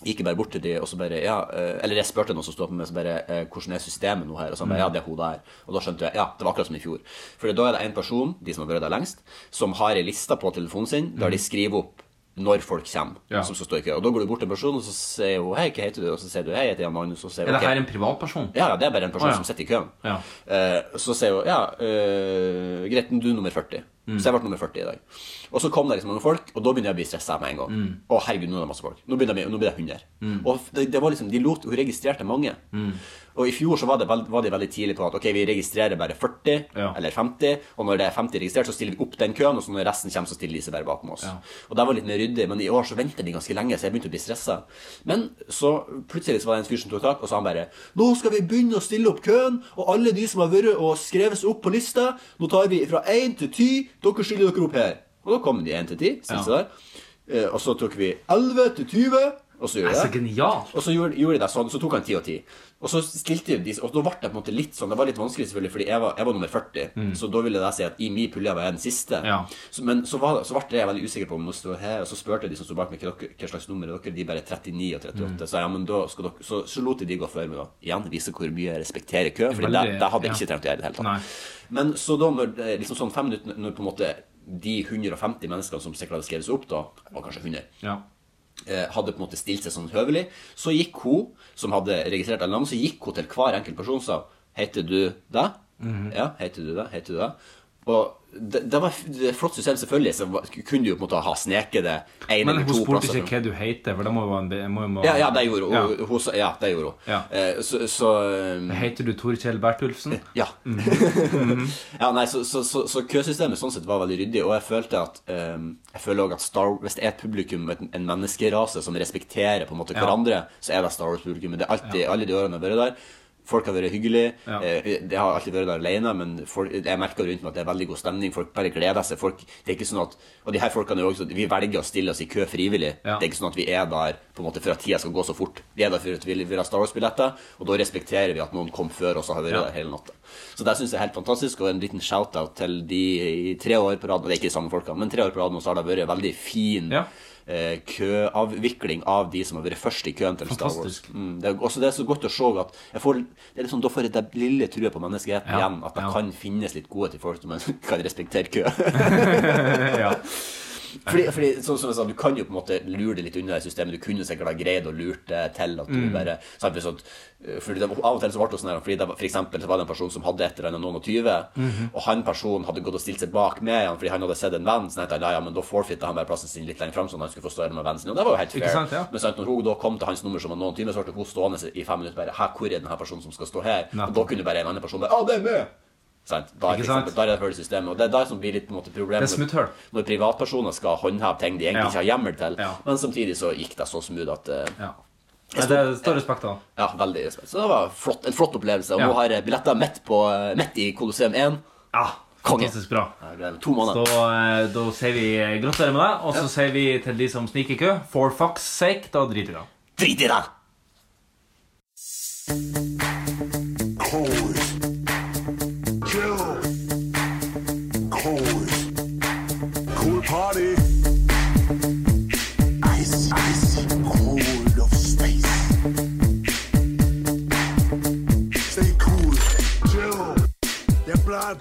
S3: gikk jeg bare bort til de og så bare ja, eh, Eller jeg spurte noen som sto på meg, så bare eh, hvordan er systemet nå her? Og så han bare
S2: Mhm.
S3: ja, det er hun der. Og da skjønte jeg ja, det var akkurat som i fjor. For da er det en person, de som har vært der lengst, som har ei liste på telefonen sin der de skriver opp når folk kommer
S2: Mm. Ja.
S3: som skal stå i kø. Og da går du bort til en person, og så sier hun 'Hei, hva heter du?' Og så sier du 'Hei, jeg heter Jan Magnus', og så sier
S2: Er
S3: hun
S2: det her
S3: «Ok.»
S2: en privatperson?
S3: Ja, ja, det er bare en person
S2: Å, ja.
S3: som sitter i køen.
S2: Ja.
S3: Eh, så sier hun 'Ja, uh, greit, men du er nummer 40'.
S2: Mm.
S3: Så jeg ble nummer 40 i dag. Og så kom det liksom mange folk, og da begynner jeg å bli stressa med en gang.
S2: Mm.
S3: Å, herregud, nå er det masse folk. Nå blir det, nå blir det 100.
S2: Mm.
S3: Og det, det var liksom, de lot, hun registrerte mange.
S2: Mm.
S3: Og i fjor så var, det veld, var de veldig tidlig på at ok, vi registrerer bare 40 eller 50, og når det er 50 registrert, så stiller vi opp den køen, og så når resten kommer, så stiller de seg bare bakom oss.
S2: Ja.
S3: Og det var litt mer ryddig, men i år så venter de ganske lenge, så jeg begynte å bli stressa. Men så plutselig så var det en fyr som tok tak, og så han bare Nå skal vi begynne å stille opp køen, og alle de som har vært og skrevet seg opp på lista, nå tar vi fra 1 til 10, dere stiller dere opp her. Og da kom de 1 til 10, stilte seg der. Eh, Og så tok vi 11 til 20, og så gjorde
S2: Det er
S3: jeg
S2: så genialt!
S3: Og så gjorde, gjorde jeg det sånn, så tok han 10 og 10. Og så stilte de, og da ble det på en måte litt sånn, det var litt vanskelig selvfølgelig, fordi jeg var, jeg var nummer 40,
S2: Mm.
S3: så da ville jeg si at i min pulje var jeg den siste. Så, men så, var, så ble jeg veldig usikker på om noe stod her, og så spørte de som stod bak meg, hva, dere- hva slags nummer er dere? De bare 39 og 38.
S2: Mm.
S3: Så, ja, men da skal dere, så, så lot de de gå før meg da. Igjen, vise hvor mye jeg respekterer kø, fordi det,
S2: Veldig,
S3: det hadde jeg
S2: ja.
S3: ikke trengt å gjøre i det hele tatt. Men så da, når, det- liksom sånn fem minutter, når på en måte de 150 menneskene som sikkert hadde skrevet seg opp da, og kanskje 100,
S2: Ja.
S3: eh, hadde på en måte stilt seg sånn høvelig. Så gikk hun, som hadde registrert alle navn, så gikk hun til hver enkelt person og sa Heter du det?
S2: Mhm.
S3: Ja, heter du det? Heter du det? Og det, det var f- det er et flott system, selvfølgelig, så var- kunne du jo på en måte ha sneket det en
S2: Men
S3: eller
S2: hun
S3: to
S2: spurte
S3: plasser
S2: ikke
S3: fra-
S2: hva du heter, for det må jo være en be- må, må,
S3: Ja, ja, det gjorde hun.
S2: Ja.
S3: Hun- hun sa- ja, det gjorde hun.
S2: Ja.
S3: Eh, Så, så um,
S2: Heter du Tor Kjell Bertulfsen?
S3: Ja. Mhm. ja, nei, så, så, så, så køsystemet sånn sett var veldig ryddig, og jeg følte at ehm, Jeg føler også at Star Hvis det er et publikum, et, en menneskerase, som respekterer på en måte
S2: Ja.
S3: hverandre, så er det Star Wars-publikum. Det er alltid, alle de årene jeg har vært der. Folk har vært hyggelige.
S2: Ja.
S3: eh, Jeg har alltid vært der alene, men folk, jeg merker rundt meg at det er veldig god stemning. Folk bare gleder seg. Folk, det er ikke sånn at, og de her folkene er jo også, Vi velger å stille oss i kø frivillig.
S2: Ja.
S3: Det er ikke sånn at vi er der på en måte for at tida skal gå så fort. Vi er der for at vi vil ha Star Wars-billetter, og da respekterer vi at noen kom før oss og har vært
S2: Ja.
S3: der hele natta. Så det syns jeg er helt fantastisk, og en liten shout-out til de i tre år på rad. og Det er ikke de samme folka, men tre år på rad nå så har det vært veldig fin eh, køavvikling av de som har vært først i køen til
S2: Fantastisk.
S3: Star Wars. Mm, det er også det er så godt å se at jeg får, det er liksom, Da får jeg det lille trua på menneskeheten
S2: Ja,
S3: igjen, at det
S2: ja.
S3: kan finnes litt gode til folk som kan respektere kø.
S2: ja.
S3: Fordi, fordi sånn som jeg sa, Du kan jo på en måte lure det litt unna i systemet. Du kunne sikkert ha greid å lure det til at du
S2: Mm.
S3: bare sant, hvis at, eh, fordi det, var- Av og til så ble det sånn her fordi det, var- For eksempel så var det en person som hadde et eller annet noen og tyve,
S2: Mhm.
S3: og han personen hadde gått og stilt seg bak med han fordi han hadde sett en venn. Så tenkte jeg, ja, ja, men da forfitta han bare plassen sin litt lenger fram, sånn at han skulle få stå der med vennen sin. Og det var jo helt
S2: Ikke
S3: fair.
S2: sant, ja.
S3: Men sant, når hun da kom til hans nummer som var noen timer, så ble hun stående i fem minutter bare Hæ, hvor er den her personen som skal stå her? Og da kunne bare en annen person bare Å, det er meg! Sant? Da, er
S2: Ikke
S3: for
S2: sant?
S3: eksempel, da er det hull i systemet. Og det er det som blir litt på en måte problemet.
S2: Det er smutthull.
S3: Når privatpersoner skal håndheve ting de egentlig
S2: Ja.
S3: ikke har hjemmel til. Men samtidig så gikk det så smooth at eh,
S2: Ja, det er stor respekt av.
S3: Ja, veldig respekt. Så det var flott, en flott opplevelse. Og
S2: Ja.
S3: nå har jeg billetter midt, på, eh, midt i Colosseum 1.
S2: Ja,
S3: Konge.
S2: Fantastisk bra.
S3: Jeg gleder meg. To måneder.
S2: Så eh, da sier vi eh, gratulerer med deg, og så sier vi til de som sniker i kø, for fucks sake, da driter vi i det.
S3: Drit i det!
S13: Cold. Chill. Cold. Cool party. Ice, ice, cold of space. Stay cool, chill. The blood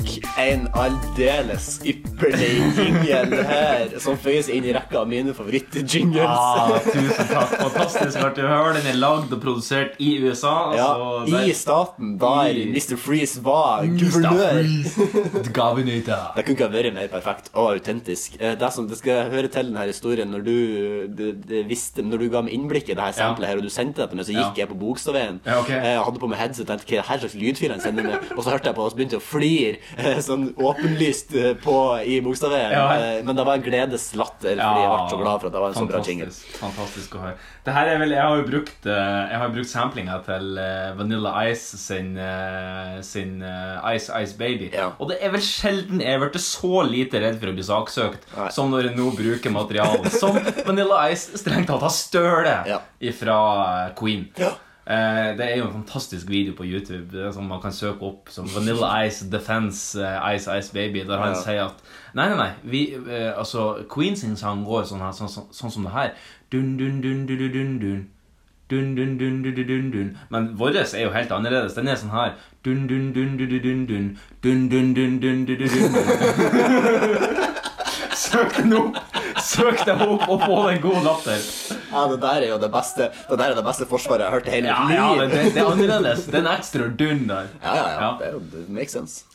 S3: en aldeles ypperlig jingle her, som føyer seg inn i rekka av mine favorittjingles.
S2: Ah, tusen takk. Fantastisk artig å høre. Den er lagd og produsert i USA.
S3: Ja,
S2: så
S3: I
S2: der-
S3: staten der
S2: I-
S3: Mr. Freeze var
S2: Mr.
S3: guvernør.
S2: Gavinator.
S3: Det kunne ikke ha vært mer perfekt og autentisk. Eh, Det som det skal høre til denne historien Når du, eh, det, det visste, når du ga meg innblikk i det her samplet her, og du sendte det til meg, så gikk jeg på Bogstadveien.
S2: Ja, ok.
S3: Eh, Jeg hadde på meg headset og tenkte hva er det her slags lydfil han sender meg? Og så hørte jeg på og så begynte jeg å flire eh, sånn åpenlyst eh, på i Bogstadveien.
S2: Ja.
S3: Eh, Men det var en gledeslatter, fordi jeg ble så glad for at det var en så bra
S2: fantastisk,
S3: jingle.
S2: Fantastisk å høre. Det her er vel, jeg har jo brukt, eh, jeg har brukt samplinga til eh, Vanilla Ice sin, eh, sin eh, Ice Ice Baby. Og det er vel sjelden jeg har vært så lite redd for å bli saksøkt som når jeg nå bruker materiale som Vanilla Ice strengt tatt har stølet ifra eh, Queen. Eh, det er jo en fantastisk video på YouTube eh, som man kan søke opp som Vanilla Ice Defense eh, Ice Ice Baby, der han
S3: Ja.
S2: sier at Nei, nei, nei. Vi, eh, altså, Queen sin sang går sånn, her, sånn, sånn, sånn som det her. Dun, dun, dun, dun, dun, dun, dun. Dun, dun, dun, dun, dun, dun, dun. Men vår er jo helt annerledes. Den er sånn her. Dun, dun, dun, dun, dun, dun, dun. Dun, dun, dun, dun, dun, dun, dun, dun. Søk den opp! Søk deg opp og få deg en god latter.
S3: Ja, det der er jo det beste, det der er det beste forsvaret jeg har hørt i hele
S2: Ja,
S3: mitt liv.
S2: ja men det, det er annerledes. Det er en ekstra dun der.
S3: Ja, ja, ja. Det er jo det makes sense.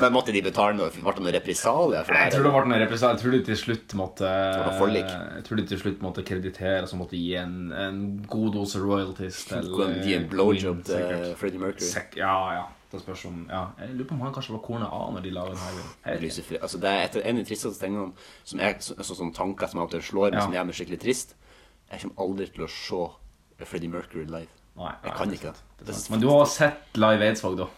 S3: Men måtte de betale noe? Ble det noen represalier? for
S2: Nei, Jeg
S3: det
S2: tror
S3: her?
S2: det ble noe represal- Jeg tror de til slutt måtte
S3: var forlik.
S2: Jeg tror de til slutt måtte kreditere Altså måtte gi en, en god dose royalties til
S3: Kunne gi en
S2: eh,
S3: blowjob
S2: Queen,
S3: til eh,
S2: sikkert.
S3: Freddie Mercury.
S2: Sek ja, ja. Det spørs om ja. Jeg lurer på om han kanskje var kornet av når de laget den her.
S3: Lucifer, altså det er et, en av de tristeste tingene som er så, så, sånn tanker som av og til slår meg,
S2: Ja.
S3: som gjør meg skikkelig trist. Jeg kommer aldri til å se Freddie Mercury live.
S2: Nei,
S3: jeg kan ikke det. det. er-
S2: Men du har sett Live Eidsvåg, da.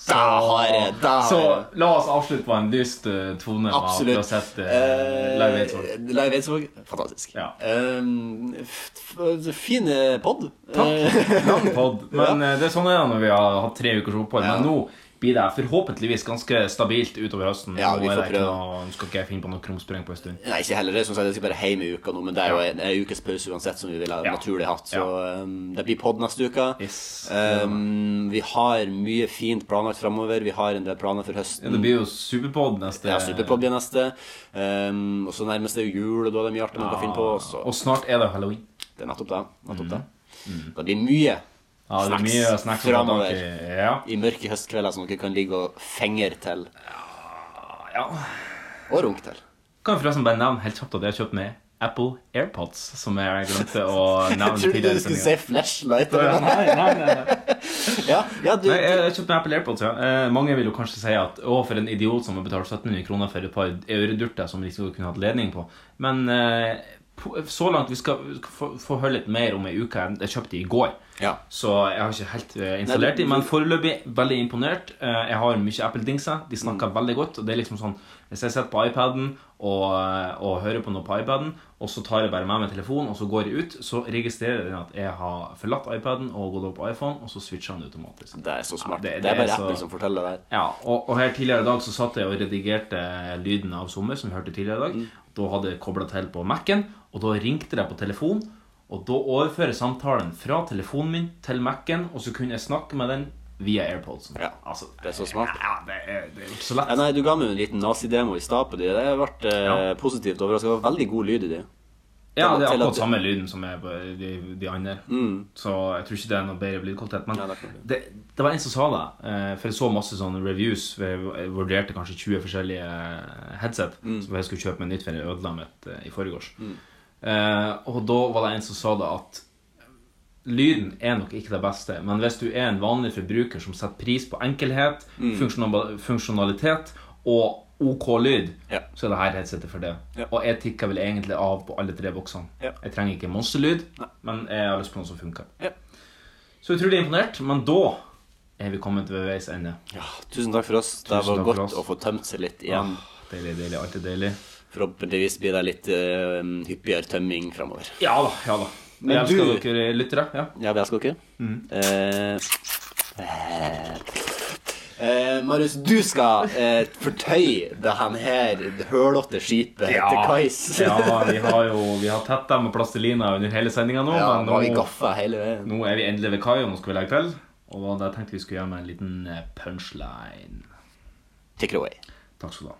S2: Så,
S3: har jeg- da har
S2: så
S3: jeg.
S2: la oss avslutte på en dyst eh, tone. med at Du har
S3: Absolutt.
S2: sett eh,
S3: Eh,
S2: Live Eidsvåg.
S3: Live Eidsvåg, fantastisk. Um, f- f- fin eh, podd. Eh,
S2: Takk. Eh, Lang podd. Men eh, det er sånn det er når vi har hatt tre ukers opphold. Men nå blir det forhåpentligvis ganske stabilt utover høsten.
S3: Ja, vi
S2: Nå er
S3: får
S2: det ikke
S3: prøve.
S2: noe- Nå skal ikke jeg finne på noe krumspring på en stund.
S3: Nei, ikke heller. det er som sagt, Jeg skal bare hjem i uka nå, men det er jo en, en ukes pause uansett som vi ville ha naturlig hatt. Så um, det blir pod neste uke. Um, vi har mye fint planlagt framover. Vi har en del planer for høsten.
S2: Ja, det blir jo Superpod neste.
S3: Ja, Superpod blir neste. Um, og så nærmest er jo jul, og da er det mye artig man kan finne på. Så.
S2: Ah. Og snart er det halloween.
S3: Det er nettopp det. Nettopp det. Det blir mye
S2: Ja, det blir mye
S3: snacks,
S2: snacks å ta tak
S3: framover
S2: i,
S3: i mørke høstkvelder som dere kan ligge og fengre til.
S2: Ja.
S3: Og runke til.
S2: Kan jeg forresten bare nevne helt kjapt at jeg har kjøpt med Apple AirPods, som jeg glemte å nevne
S3: Jeg trodde
S2: tidligere. i
S3: du skulle
S2: sendingen.
S3: si flashlight.
S2: Ja,
S3: eller noe.
S2: nei, nei, nei, nei. Nei, jeg, jeg kjøpte meg Apple AirPods. Ja. Eh, mange vil jo kanskje si at å, for en idiot som har betalt 1700 kroner for et par øredurter som de skulle kunne hatt ledning på. Men eh, på, så langt Vi skal, vi skal få, få høre litt mer om ei uke. Jeg- Jeg kjøpte de i går, så jeg har ikke helt eh, installert de.
S3: Nei, du-
S2: Men foreløpig veldig imponert. Eh, jeg har mye Apple-dingser. De
S3: Mm.
S2: snakker veldig godt. Og det er liksom sånn Hvis jeg sitter på iPaden og, eh, og hører på noe på iPaden, og så tar jeg bare med meg telefonen, og så går jeg ut, så registrerer den at jeg har forlatt iPaden og gått over på iPhone, og så switcher den automatisk.
S3: Det er så smart.
S2: det-
S3: det,
S2: det
S3: er bare
S2: er så-
S3: Apple som forteller det der.
S2: Ja, og, og her tidligere i dag så satt jeg og redigerte lyden av sommer, som vi hørte tidligere i dag. Da hadde jeg kobla til på Mac-en, og da ringte jeg på telefon. Og da overfører samtalen fra telefonen min til Mac-en, og så kunne jeg snakke med den via AirPodsen.
S3: Ja, Altså, det er så smart.
S2: Ja, det er, det er jo ikke så lett.
S3: Ja, nei, du ga meg jo en liten nazidemo i stad på de. Det ble eh,
S2: Ja.
S3: positivt overraska. Veldig god lyd i de.
S2: Ja, det er
S3: Til at- Mm.
S2: akkurat samme lyden som er på de, de andre. Så jeg tror ikke det er noe bedre lydkvalitet. Men det, det var en som sa det, eh, for jeg så masse sånne reviews. for Jeg vurderte
S3: Mm.
S2: kanskje 20 forskjellige headset som jeg skulle kjøpe meg nytt for jeg ødela mitt eh, i forgårs. Eh, og da var det en som sa det at lyden er nok ikke det beste, men hvis du er en vanlig forbruker som setter pris på enkelhet,
S11: Mm.
S2: funksjonal- funksjonalitet og OK lyd, så er det her headsetet for det. Og jeg tikker vel egentlig av på alle tre boksene. Jeg trenger ikke monsterlyd, men jeg har lyst på noe som funker. Så utrolig imponert, men da er vi kommet ved veis ende.
S3: Tusen takk for oss. Det
S2: Tusen
S3: var
S2: takk for
S3: godt
S2: oss. Ah.
S3: å få tømt seg litt igjen.
S2: deilig, deilig, alltid deilig.
S3: Forhåpentligvis blir det litt eh, hyppigere tømming framover.
S2: Ja da, ja da.
S3: Men
S2: jeg elsker
S3: du-
S2: dere lyttere. Ja.
S3: Ja, vi elsker dere.
S2: Mhm.
S3: Eh, eh, Marius, du skal eh, fortøye det her, her hølete skipet til kais.
S2: ja, vi har jo vi har tett dem med plastelina under hele sendinga nå.
S3: Ja,
S2: men
S3: nå har vi gaffa hele veien.
S2: nå er vi endelig ved kai, og nå skal vi legge til. Og da tenkte vi skulle gjøre med en liten eh, punchline.
S3: Take it away.
S2: Takk skal du ha.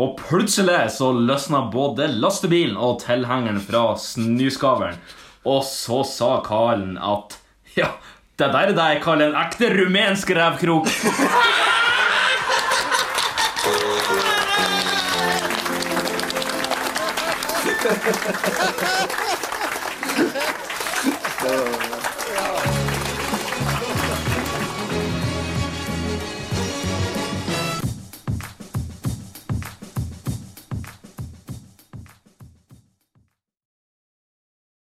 S2: Og plutselig så løsna både lastebilen og tilhengeren fra snyskaveren. Og så sa Karlen at Ja, det der er det jeg kaller en ekte rumensk revkrok.
S11: Ja.